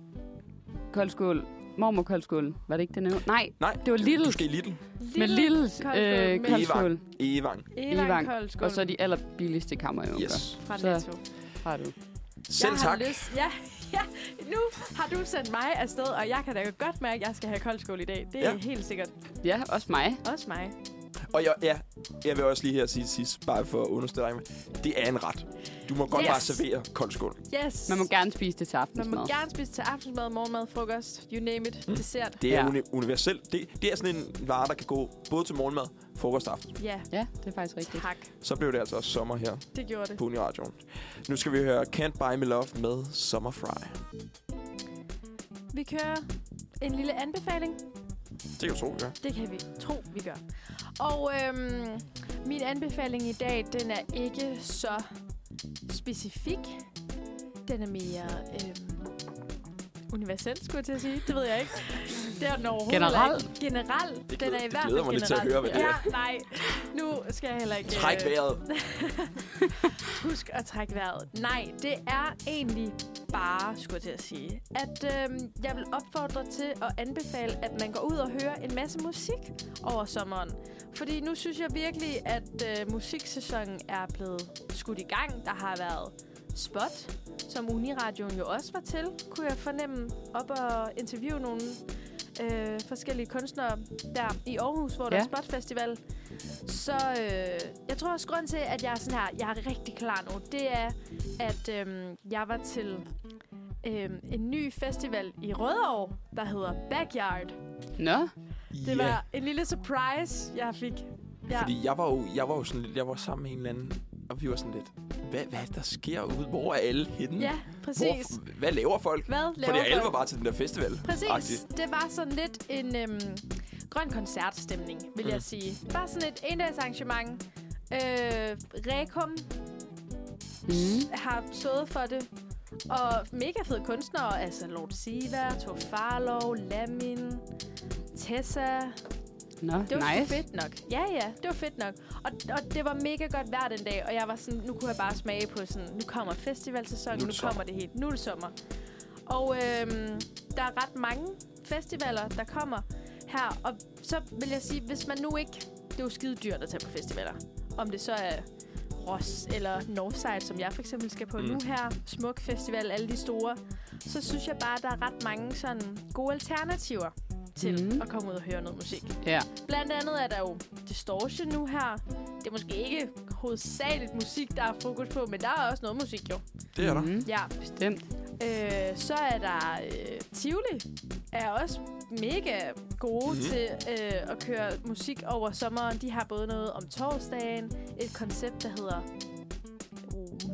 [SPEAKER 2] koldskål, mormor koldskål, var det ikke det nævnte? Nej,
[SPEAKER 1] Nej,
[SPEAKER 2] det var Lidl.
[SPEAKER 1] du skal i Lidl.
[SPEAKER 2] Med Lidls øh,
[SPEAKER 3] med
[SPEAKER 2] koldskål.
[SPEAKER 1] I Evang.
[SPEAKER 3] Elan
[SPEAKER 2] Evang.
[SPEAKER 3] Koldskål.
[SPEAKER 2] Og så de allerbilligste kammer, jeg
[SPEAKER 1] Yes.
[SPEAKER 3] fra
[SPEAKER 2] så-
[SPEAKER 3] Netto.
[SPEAKER 2] har du.
[SPEAKER 1] Selv
[SPEAKER 3] jeg
[SPEAKER 1] tak.
[SPEAKER 3] Har lyst, ja, ja, nu har du sendt mig afsted, og jeg kan da godt mærke, at jeg skal have koldskål i dag. Det er
[SPEAKER 1] Ja.
[SPEAKER 3] ja. helt sikkert
[SPEAKER 2] Ja, også mig.
[SPEAKER 3] også mig.
[SPEAKER 1] Og jeg, ja, jeg vil også lige her sige til sidst, bare for at understrege mig. Det er en ret. Du må godt
[SPEAKER 3] Yes.
[SPEAKER 1] bare servere koldskål.
[SPEAKER 3] Yes.
[SPEAKER 2] Man må gerne spise det til
[SPEAKER 3] Man
[SPEAKER 2] aftensmad.
[SPEAKER 3] må gerne spise til aftensmad, morgenmad, frokost, you name it, mm. dessert.
[SPEAKER 1] Det er
[SPEAKER 2] Ja.
[SPEAKER 1] ja. uni- universelt. Det, det er sådan en vare, der kan gå både til morgenmad, frokost og aften.
[SPEAKER 3] Ja,
[SPEAKER 2] Ja, det er faktisk rigtigt.
[SPEAKER 3] tak.
[SPEAKER 1] Så blev det altså også sommer her
[SPEAKER 3] Det gjorde det.
[SPEAKER 1] på Uniradioen. Nu skal vi høre Can't Buy Me Love med Summer Fry.
[SPEAKER 3] Vi kører en lille anbefaling.
[SPEAKER 1] Det kan du tro, vi gør.
[SPEAKER 3] Det kan vi tro, vi gør. Og øhm, min anbefaling i dag, den er ikke så specifik. Den er mere øhm, universel, skulle jeg til at sige. Det ved jeg ikke. Det er den overhovedet
[SPEAKER 2] Generel?
[SPEAKER 3] Ikke. Generel.
[SPEAKER 1] Det
[SPEAKER 3] den
[SPEAKER 1] glæder-
[SPEAKER 3] er i
[SPEAKER 1] det
[SPEAKER 3] hvert
[SPEAKER 1] glæder
[SPEAKER 3] fald
[SPEAKER 1] mig lidt til at
[SPEAKER 3] generel.
[SPEAKER 1] høre, hvad det
[SPEAKER 3] ja,
[SPEAKER 1] er.
[SPEAKER 3] nej. Nu skal jeg heller ikke... øh,
[SPEAKER 1] Træk vejret.
[SPEAKER 3] Husk at trække vejret. Nej, det er egentlig bare, skulle jeg til at sige, at øhm, jeg vil opfordre til at anbefale, at man går ud og hører en masse musik over sommeren. Fordi nu synes jeg virkelig, at øh, musiksæsonen er blevet skudt i gang. Der har været spot, som Uniradioen jo også var til, kunne jeg fornemme, op og interviewe nogle øh, forskellige kunstnere der i Aarhus, hvor ja. der
[SPEAKER 2] Ja.
[SPEAKER 3] er spotfestival. Så øh, jeg tror også, grund til, at jeg er sådan her, jeg er rigtig klar nu, det er, at øh, jeg var til øh, en ny festival i Rødovre, der hedder Backyard.
[SPEAKER 2] Nå,
[SPEAKER 3] Det yeah. var en lille surprise, jeg fik. Ja.
[SPEAKER 1] Fordi jeg var jo, jeg var jo sådan lidt, jeg var sammen med en eller anden, og vi var sådan lidt, hvad, hvad er det, der sker ude? Hvor er alle henne?
[SPEAKER 3] ja, præcis.
[SPEAKER 1] Hvor, hvad laver folk?
[SPEAKER 3] Hvad laver
[SPEAKER 1] Fordi alle
[SPEAKER 3] folk?
[SPEAKER 1] var bare til den der festival.
[SPEAKER 3] Præcis.
[SPEAKER 1] Agtigt.
[SPEAKER 3] Det var sådan lidt en øhm, grøn koncertstemning, vil mm. jeg sige. Bare sådan et endags arrangement. Øh, Rekum mm. har stået for det. Og mega fede kunstnere, altså Lord Siva, Thor Farlov, Lamin, Tessa.
[SPEAKER 2] nå,
[SPEAKER 3] Det var sgu
[SPEAKER 2] nice.
[SPEAKER 3] fedt nok. Ja, ja, det var fedt nok. Og, og det var mega godt hver den dag, og jeg var sådan, nu kunne jeg bare smage på sådan, nu kommer festivalsæsonen,
[SPEAKER 1] Nu er
[SPEAKER 3] nu, nu
[SPEAKER 1] det sommer.
[SPEAKER 3] kommer det helt, nu er det sommer. Og øhm, der er ret mange festivaler, der kommer her, og så vil jeg sige, hvis man nu ikke, det er jo skide dyrt at tage på festivaler, om det så er Ross eller Northside, som jeg for eksempel skal på mm. nu her, Smuk Festival, alle de store, så synes jeg bare, der er ret mange sådan gode alternativer til
[SPEAKER 2] Mhm.
[SPEAKER 3] mm. at komme ud og høre noget musik.
[SPEAKER 2] Ja,
[SPEAKER 3] Blandt andet er der jo distortion nu her. Det er måske ikke hovedsageligt musik, der er fokus på, men der er også noget musik jo.
[SPEAKER 1] Det er der.
[SPEAKER 2] Mhm.
[SPEAKER 3] Ja.
[SPEAKER 2] bestemt.
[SPEAKER 3] Øh, så er der øh, Tivoli. Er også mega gode
[SPEAKER 1] Mhm.
[SPEAKER 3] mm-hmm. til øh, at køre musik over sommeren. De har både noget om torsdagen, et koncept, der hedder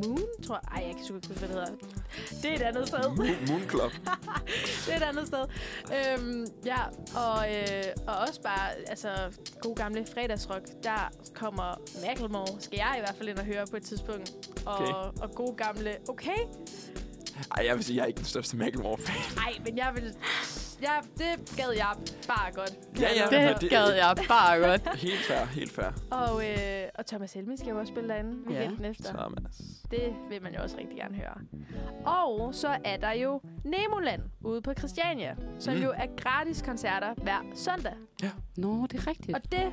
[SPEAKER 3] Moon, tror jeg. Ej, jeg kan sgu ikke huske, hvad det hedder. Det er et andet sted.
[SPEAKER 1] Moon, Moon Club.
[SPEAKER 3] Det er et andet sted. Øhm, ja, og, øh, og også bare, altså, god gamle fredagsrock. Der kommer Macklemore, skal jeg i hvert fald ind og høre på et tidspunkt. Og,
[SPEAKER 1] Okay.
[SPEAKER 3] og god gamle, okay?
[SPEAKER 1] Ej, jeg vil sige, jeg er ikke den største Macklemore-fan.
[SPEAKER 3] Nej, men jeg vil... Ja, det gad jeg bare godt.
[SPEAKER 1] Ja, ja.
[SPEAKER 2] Det
[SPEAKER 1] men det-
[SPEAKER 2] gad jeg bare godt.
[SPEAKER 1] Helt fair, helt fair.
[SPEAKER 3] Og, øh, og Thomas Helmi skal jo også spille derinde
[SPEAKER 2] Ja.
[SPEAKER 3] weekenden efter.
[SPEAKER 1] Thomas.
[SPEAKER 3] Det vil man jo også rigtig gerne høre. Og så er der jo Nemoland ude på Christiania, som
[SPEAKER 1] Mm.
[SPEAKER 3] mm. jo er gratis koncerter hver søndag.
[SPEAKER 2] Nå, det er rigtigt.
[SPEAKER 3] Og det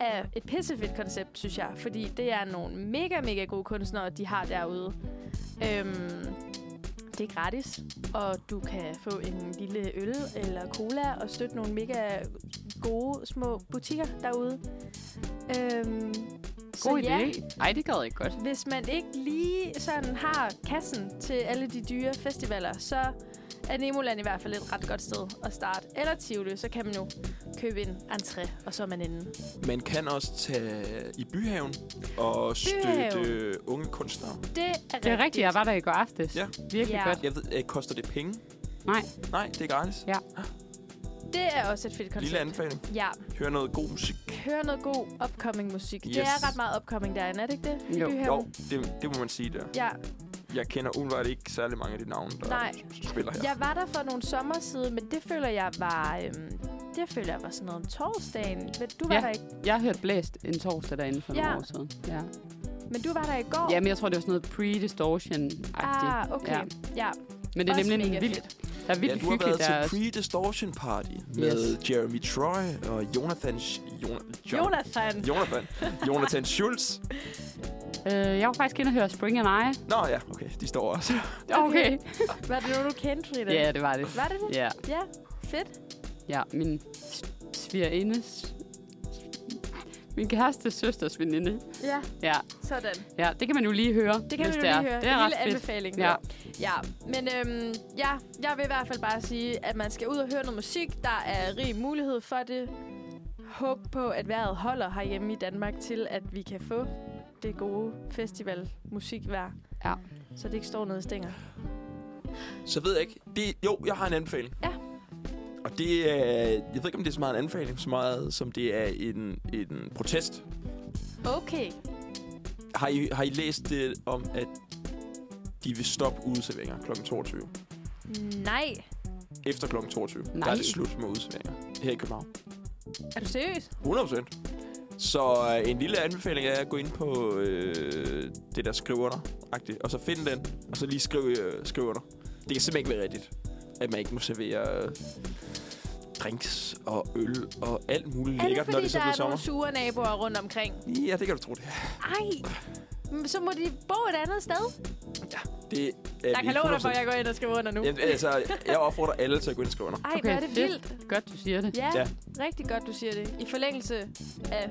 [SPEAKER 3] er et pissefedt koncept, synes jeg, fordi det er nogle mega, mega gode kunstnere, de har derude. Øhm, det er gratis, og du kan få en lille øl eller cola og støtte nogle mega gode små butikker derude. Øhm, så
[SPEAKER 2] God
[SPEAKER 3] ja,
[SPEAKER 2] idé. Ej, det gad jeg godt.
[SPEAKER 3] hvis man ikke lige sådan har kassen til alle de dyre festivaler, så er Nemoland i hvert fald et ret godt sted at starte. Eller Tivoli, så kan man jo købe en entré, og så er man inde.
[SPEAKER 1] Man kan også tage i byhaven og støtte
[SPEAKER 3] Byhaven.
[SPEAKER 1] unge kunstnere.
[SPEAKER 3] Det er rigtigt.
[SPEAKER 2] Det er rigtigt, jeg var der i går aftes.
[SPEAKER 1] Ja.
[SPEAKER 2] Virkelig
[SPEAKER 3] Ja.
[SPEAKER 2] godt.
[SPEAKER 1] Jeg ved, øh, koster det penge?
[SPEAKER 2] Nej,
[SPEAKER 1] Nej, det er gratis.
[SPEAKER 2] Ja.
[SPEAKER 3] Det er også et fedt koncept.
[SPEAKER 1] Lille anbefaling.
[SPEAKER 3] Ja,
[SPEAKER 1] Hør noget god musik.
[SPEAKER 3] hør noget god upcoming musik.
[SPEAKER 1] Yes.
[SPEAKER 3] Yes. Det er ret meget upcoming derinde, er det ikke det? I
[SPEAKER 2] Jo.
[SPEAKER 3] Byhaven?
[SPEAKER 1] Jo, det, det må man sige der.
[SPEAKER 3] Ja,
[SPEAKER 1] Jeg kender umiddelbart ikke særlig mange af de navne, der
[SPEAKER 3] Nej.
[SPEAKER 1] spiller her.
[SPEAKER 3] jeg var der for nogle sommer siden, men det føler jeg var... Øhm, det føler jeg var sådan noget om torsdagen. Men du var
[SPEAKER 2] Ja.
[SPEAKER 3] der ikke.
[SPEAKER 2] jeg hørte blæst en torsdag derinde for
[SPEAKER 3] Ja.
[SPEAKER 2] nogle år siden. Ja.
[SPEAKER 3] Men du var der i går.
[SPEAKER 2] Jamen, jeg tror, det var sådan noget pre-distortion-agtigt.
[SPEAKER 3] Ah, okay. Ja.
[SPEAKER 2] Ja.
[SPEAKER 3] ja.
[SPEAKER 2] Men det er
[SPEAKER 3] Også
[SPEAKER 2] nemlig
[SPEAKER 3] mega
[SPEAKER 2] en vild, der er vildt
[SPEAKER 1] ja, du har
[SPEAKER 2] hyggeligt
[SPEAKER 1] været
[SPEAKER 2] der.
[SPEAKER 1] til
[SPEAKER 2] også.
[SPEAKER 1] pre-distortion party med Jeremy Troy og Jonathan... Sch- Jona- Jon-
[SPEAKER 3] Jonathan.
[SPEAKER 1] Jonathan. Jonathan Schultz.
[SPEAKER 2] Øh, jeg var faktisk inde og høre Spring and I.
[SPEAKER 1] Nå ja, okay, de står også.
[SPEAKER 3] Okay.
[SPEAKER 2] Okay.
[SPEAKER 3] Var det nogen, du kendte, Rita?
[SPEAKER 2] Ja, det var det.
[SPEAKER 3] Var det det?
[SPEAKER 2] Ja,
[SPEAKER 3] Ja. Fedt.
[SPEAKER 2] ja min s- svigerindes... Min kærestes søsters veninde.
[SPEAKER 3] Ja,
[SPEAKER 2] Ja,
[SPEAKER 3] sådan.
[SPEAKER 2] ja, det kan man jo lige høre,
[SPEAKER 3] Det kan
[SPEAKER 2] hvis
[SPEAKER 3] du
[SPEAKER 2] det
[SPEAKER 3] lige
[SPEAKER 2] er.
[SPEAKER 3] høre.
[SPEAKER 2] Det er
[SPEAKER 3] en
[SPEAKER 2] ret
[SPEAKER 3] lille
[SPEAKER 2] fedt.
[SPEAKER 3] anbefaling.
[SPEAKER 2] Ja.
[SPEAKER 3] ja. Men øhm, ja, jeg vil i hvert fald bare sige, at man skal ud og høre noget musik. Der er rig mulighed for det. Håb på, at vejret holder herhjemme i Danmark til, at vi kan få det gode festivalmusikvejr.
[SPEAKER 2] Ja.
[SPEAKER 3] Så det ikke står noget i stænger.
[SPEAKER 1] Så ved jeg ikke. Det, jo, jeg har en anbefaling.
[SPEAKER 3] Ja.
[SPEAKER 1] Og det er... Jeg ved ikke, om det er så meget en anbefaling, så meget som det er en, en protest.
[SPEAKER 3] Okay.
[SPEAKER 1] Har I, har I læst det om, at de vil stoppe udeserveringer kl. 22?
[SPEAKER 3] Nej.
[SPEAKER 1] Efter kl. 22. Der
[SPEAKER 2] Nej.
[SPEAKER 1] er det slut med udeserveringer her i København.
[SPEAKER 3] Er du seriøs?
[SPEAKER 1] 100 Så øh, en lille anbefaling er at gå ind på øh, det der skriv under -agtigt, og så find den, og så lige skriv, øh, skriv under. Det kan simpelthen ikke være rigtigt, at man ikke må servere øh, drinks og øl og alt muligt
[SPEAKER 3] Er det,
[SPEAKER 1] lækkert,
[SPEAKER 3] fordi
[SPEAKER 1] når det så
[SPEAKER 3] der
[SPEAKER 1] bliver
[SPEAKER 3] er
[SPEAKER 1] sommer.
[SPEAKER 3] nogle sure naboer rundt omkring?
[SPEAKER 1] Ja, det kan du tro, det er.
[SPEAKER 3] Ej. Men Så må de bo et andet sted.
[SPEAKER 1] Det er
[SPEAKER 3] Jeg
[SPEAKER 1] vi
[SPEAKER 3] kan love dig for,
[SPEAKER 1] 100%
[SPEAKER 3] at jeg går ind og skriver under nu.
[SPEAKER 1] Jamen, altså, jeg opfordrer alle til at gå ind og skrive under.
[SPEAKER 3] Ej, hvor er det
[SPEAKER 2] fedt.
[SPEAKER 3] vildt.
[SPEAKER 2] Godt, du siger det.
[SPEAKER 3] Ja,
[SPEAKER 1] Ja.
[SPEAKER 3] ja, rigtig godt, du siger det. I forlængelse af,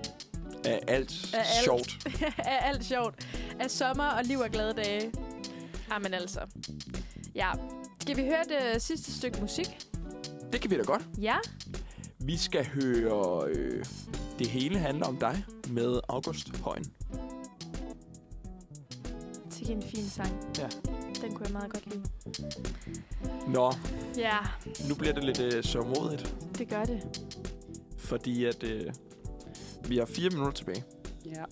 [SPEAKER 1] Af alt,
[SPEAKER 3] Af alt.
[SPEAKER 1] sjovt.
[SPEAKER 3] af alt sjovt. Af sommer og liv og glade dage. Jamen altså. Ja. Skal vi høre det sidste stykke musik?
[SPEAKER 1] Det kan vi da godt.
[SPEAKER 3] Ja.
[SPEAKER 1] Vi skal høre øh, Det hele handler om dig med August Højen.
[SPEAKER 3] Det er en fin sang.
[SPEAKER 1] Ja.
[SPEAKER 3] Den kunne jeg meget godt lide.
[SPEAKER 1] Nå,
[SPEAKER 3] Ja,
[SPEAKER 1] nu bliver det lidt øh, sørmodigt.
[SPEAKER 3] det gør det.
[SPEAKER 1] fordi at øh, vi har fire minutter tilbage,
[SPEAKER 2] Ja.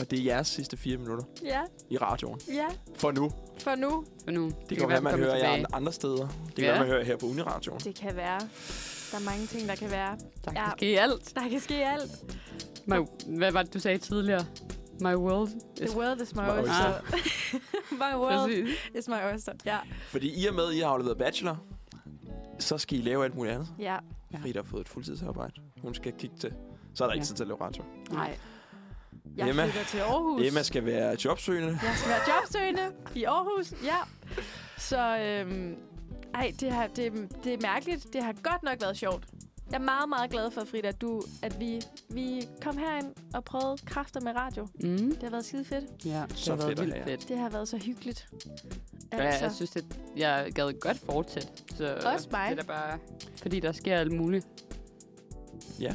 [SPEAKER 1] og det er jeres sidste fire minutter
[SPEAKER 3] Ja,
[SPEAKER 1] i radioen.
[SPEAKER 3] ja.
[SPEAKER 1] For nu.
[SPEAKER 3] For nu,
[SPEAKER 2] For nu.
[SPEAKER 1] Det, kan være,
[SPEAKER 2] den
[SPEAKER 1] man
[SPEAKER 2] kommer
[SPEAKER 1] hører jer
[SPEAKER 2] tilbage.
[SPEAKER 1] an- andre steder. Det kan
[SPEAKER 2] Ja.
[SPEAKER 1] være, man hører her på Uniradioen.
[SPEAKER 3] det kan være. Der er mange ting, der kan være.
[SPEAKER 2] Der
[SPEAKER 3] Ja.
[SPEAKER 2] kan ske alt.
[SPEAKER 3] Der kan ske alt.
[SPEAKER 2] My, hvad var det, du sagde tidligere? My world.
[SPEAKER 3] The world is my
[SPEAKER 1] My
[SPEAKER 3] oyster. my world
[SPEAKER 2] Præcis.
[SPEAKER 3] is my oyster. Ja.
[SPEAKER 1] Fordi i og med, at I har afleveret bachelor, så skal I lave alt muligt andet.
[SPEAKER 3] Ja.
[SPEAKER 1] Ja. Frida har fået et fuldtidsarbejde. Hun skal kigge til. Så er der ikke
[SPEAKER 2] Ja.
[SPEAKER 1] tid til at lave radio.
[SPEAKER 2] Nej.
[SPEAKER 3] Jeg
[SPEAKER 1] Emma.
[SPEAKER 3] flytter til Aarhus.
[SPEAKER 1] Emma skal være jobsøgende.
[SPEAKER 3] Jeg skal være jobsøgende i Aarhus. Ja. Så øhm, ej, det, har, det, det er mærkeligt. Det har godt nok været sjovt. Jeg er meget, meget glad for, Frida, at du, at vi, vi kom herind og prøvede kræfter med radio.
[SPEAKER 2] Mm.
[SPEAKER 3] Det har været skide fedt.
[SPEAKER 2] Ja, det
[SPEAKER 1] Så
[SPEAKER 2] har været
[SPEAKER 1] fedt at
[SPEAKER 2] vildt
[SPEAKER 1] have.
[SPEAKER 2] fedt.
[SPEAKER 3] Det har været så hyggeligt. Altså,
[SPEAKER 2] Ja, jeg synes, at jeg gad godt fortsætte. Så
[SPEAKER 3] Også mig.
[SPEAKER 2] Det er da bare, fordi der sker alt muligt.
[SPEAKER 1] Ja.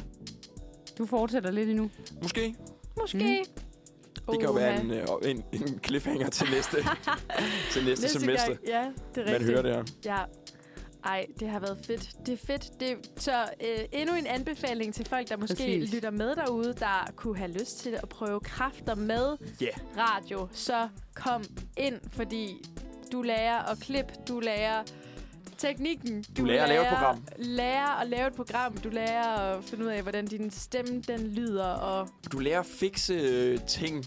[SPEAKER 2] Du fortsætter lidt endnu.
[SPEAKER 1] Måske.
[SPEAKER 3] måske.
[SPEAKER 1] Hmm? Det kan jo være
[SPEAKER 3] Oha.
[SPEAKER 1] en, øh, en, en cliffhanger til næste, til næste,
[SPEAKER 3] Næste
[SPEAKER 1] semester,
[SPEAKER 3] gang. Ja, det er rigtigt.
[SPEAKER 1] man hører det her.
[SPEAKER 3] Ja. Ej, det har været fedt. Det er fedt. Det, så øh, endnu en anbefaling til folk, der måske Præcis.
[SPEAKER 2] Præcis.
[SPEAKER 3] lytter med derude, der kunne have lyst til at prøve kræfter med
[SPEAKER 1] Ja.
[SPEAKER 3] radio. Så kom ind, fordi du lærer at klippe, du lærer teknikken. Du,
[SPEAKER 1] lærer at lave et program.
[SPEAKER 3] lærer at lave et program. Du lærer at finde ud af, hvordan din stemme den lyder. Og
[SPEAKER 1] Du lærer at fikse øh, ting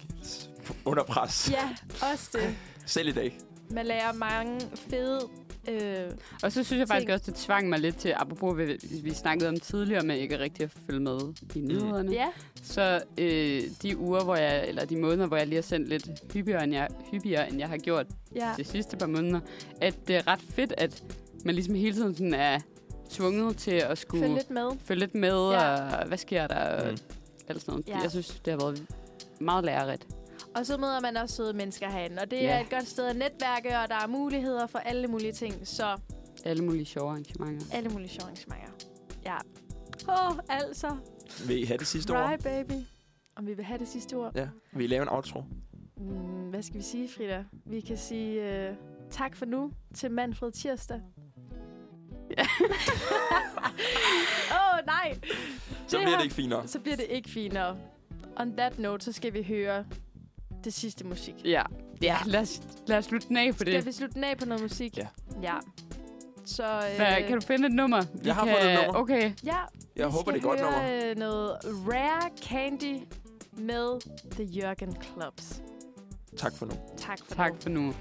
[SPEAKER 1] under pres.
[SPEAKER 3] ja, også det.
[SPEAKER 1] Selv i dag.
[SPEAKER 3] Man lærer mange fede... Øh,
[SPEAKER 2] Og så synes jeg faktisk
[SPEAKER 3] Ting.
[SPEAKER 2] også, det tvang mig lidt til, apropos hvad vi, vi snakkede om tidligere, med ikke rigtig at følge med i nyhederne.
[SPEAKER 3] ja,
[SPEAKER 2] Så øh, de uger, hvor jeg, eller de måneder, hvor jeg lige har sendt lidt hyppigere, end jeg, hyppigere, end jeg har gjort
[SPEAKER 3] ja.
[SPEAKER 2] de sidste par måneder, at det er ret fedt, at man ligesom hele tiden sådan er tvunget til at skulle
[SPEAKER 3] Følg lidt med.
[SPEAKER 2] følge lidt med,
[SPEAKER 3] Ja.
[SPEAKER 2] ja. og hvad sker der, og
[SPEAKER 1] Mm.
[SPEAKER 2] alt sådan noget.
[SPEAKER 3] Ja.
[SPEAKER 2] Ja. Jeg synes, det har været meget lærerigt.
[SPEAKER 3] Og så møder man også søde mennesker herinde. Og det
[SPEAKER 2] Ja.
[SPEAKER 3] er et godt sted at netværke, og der er muligheder for alle mulige ting. Så
[SPEAKER 2] Alle mulige sjove arrangementer.
[SPEAKER 3] alle mulige sjove arrangementer. Ja. Åh, oh, altså.
[SPEAKER 1] Vil I have det sidste
[SPEAKER 3] Cry,
[SPEAKER 1] ord?
[SPEAKER 3] baby. Om vi vil have det sidste ord.
[SPEAKER 1] Ja. Vil I lave en outro?
[SPEAKER 3] Mm, hvad skal vi sige, Frida? Vi kan sige uh, tak for nu til Manfred Tirsdag.
[SPEAKER 2] Ja.
[SPEAKER 3] Åh, oh, nej.
[SPEAKER 1] Så
[SPEAKER 3] Det
[SPEAKER 1] bliver
[SPEAKER 3] her-
[SPEAKER 1] det ikke finere.
[SPEAKER 3] Så bliver det ikke finere. On that note, så skal vi høre det sidste musik.
[SPEAKER 2] Ja, ja. Lad, os, lad os slutte den af på
[SPEAKER 3] Skal
[SPEAKER 2] det.
[SPEAKER 3] vi slutte den af på noget musik?
[SPEAKER 1] Ja.
[SPEAKER 3] ja. Så, øh,
[SPEAKER 2] Hvad, kan du finde et nummer? Vi
[SPEAKER 1] Jeg har
[SPEAKER 2] kan...
[SPEAKER 1] fundet et nummer.
[SPEAKER 2] Okay,
[SPEAKER 3] Ja,
[SPEAKER 1] Jeg
[SPEAKER 3] vi
[SPEAKER 1] håber,
[SPEAKER 3] skal
[SPEAKER 1] det er et godt
[SPEAKER 3] høre,
[SPEAKER 1] nummer.
[SPEAKER 3] øh, noget Rare Candy med The Jørgen Clubs.
[SPEAKER 5] Tak for nu.
[SPEAKER 1] Tak for
[SPEAKER 3] Tak
[SPEAKER 1] nu.
[SPEAKER 3] for nu.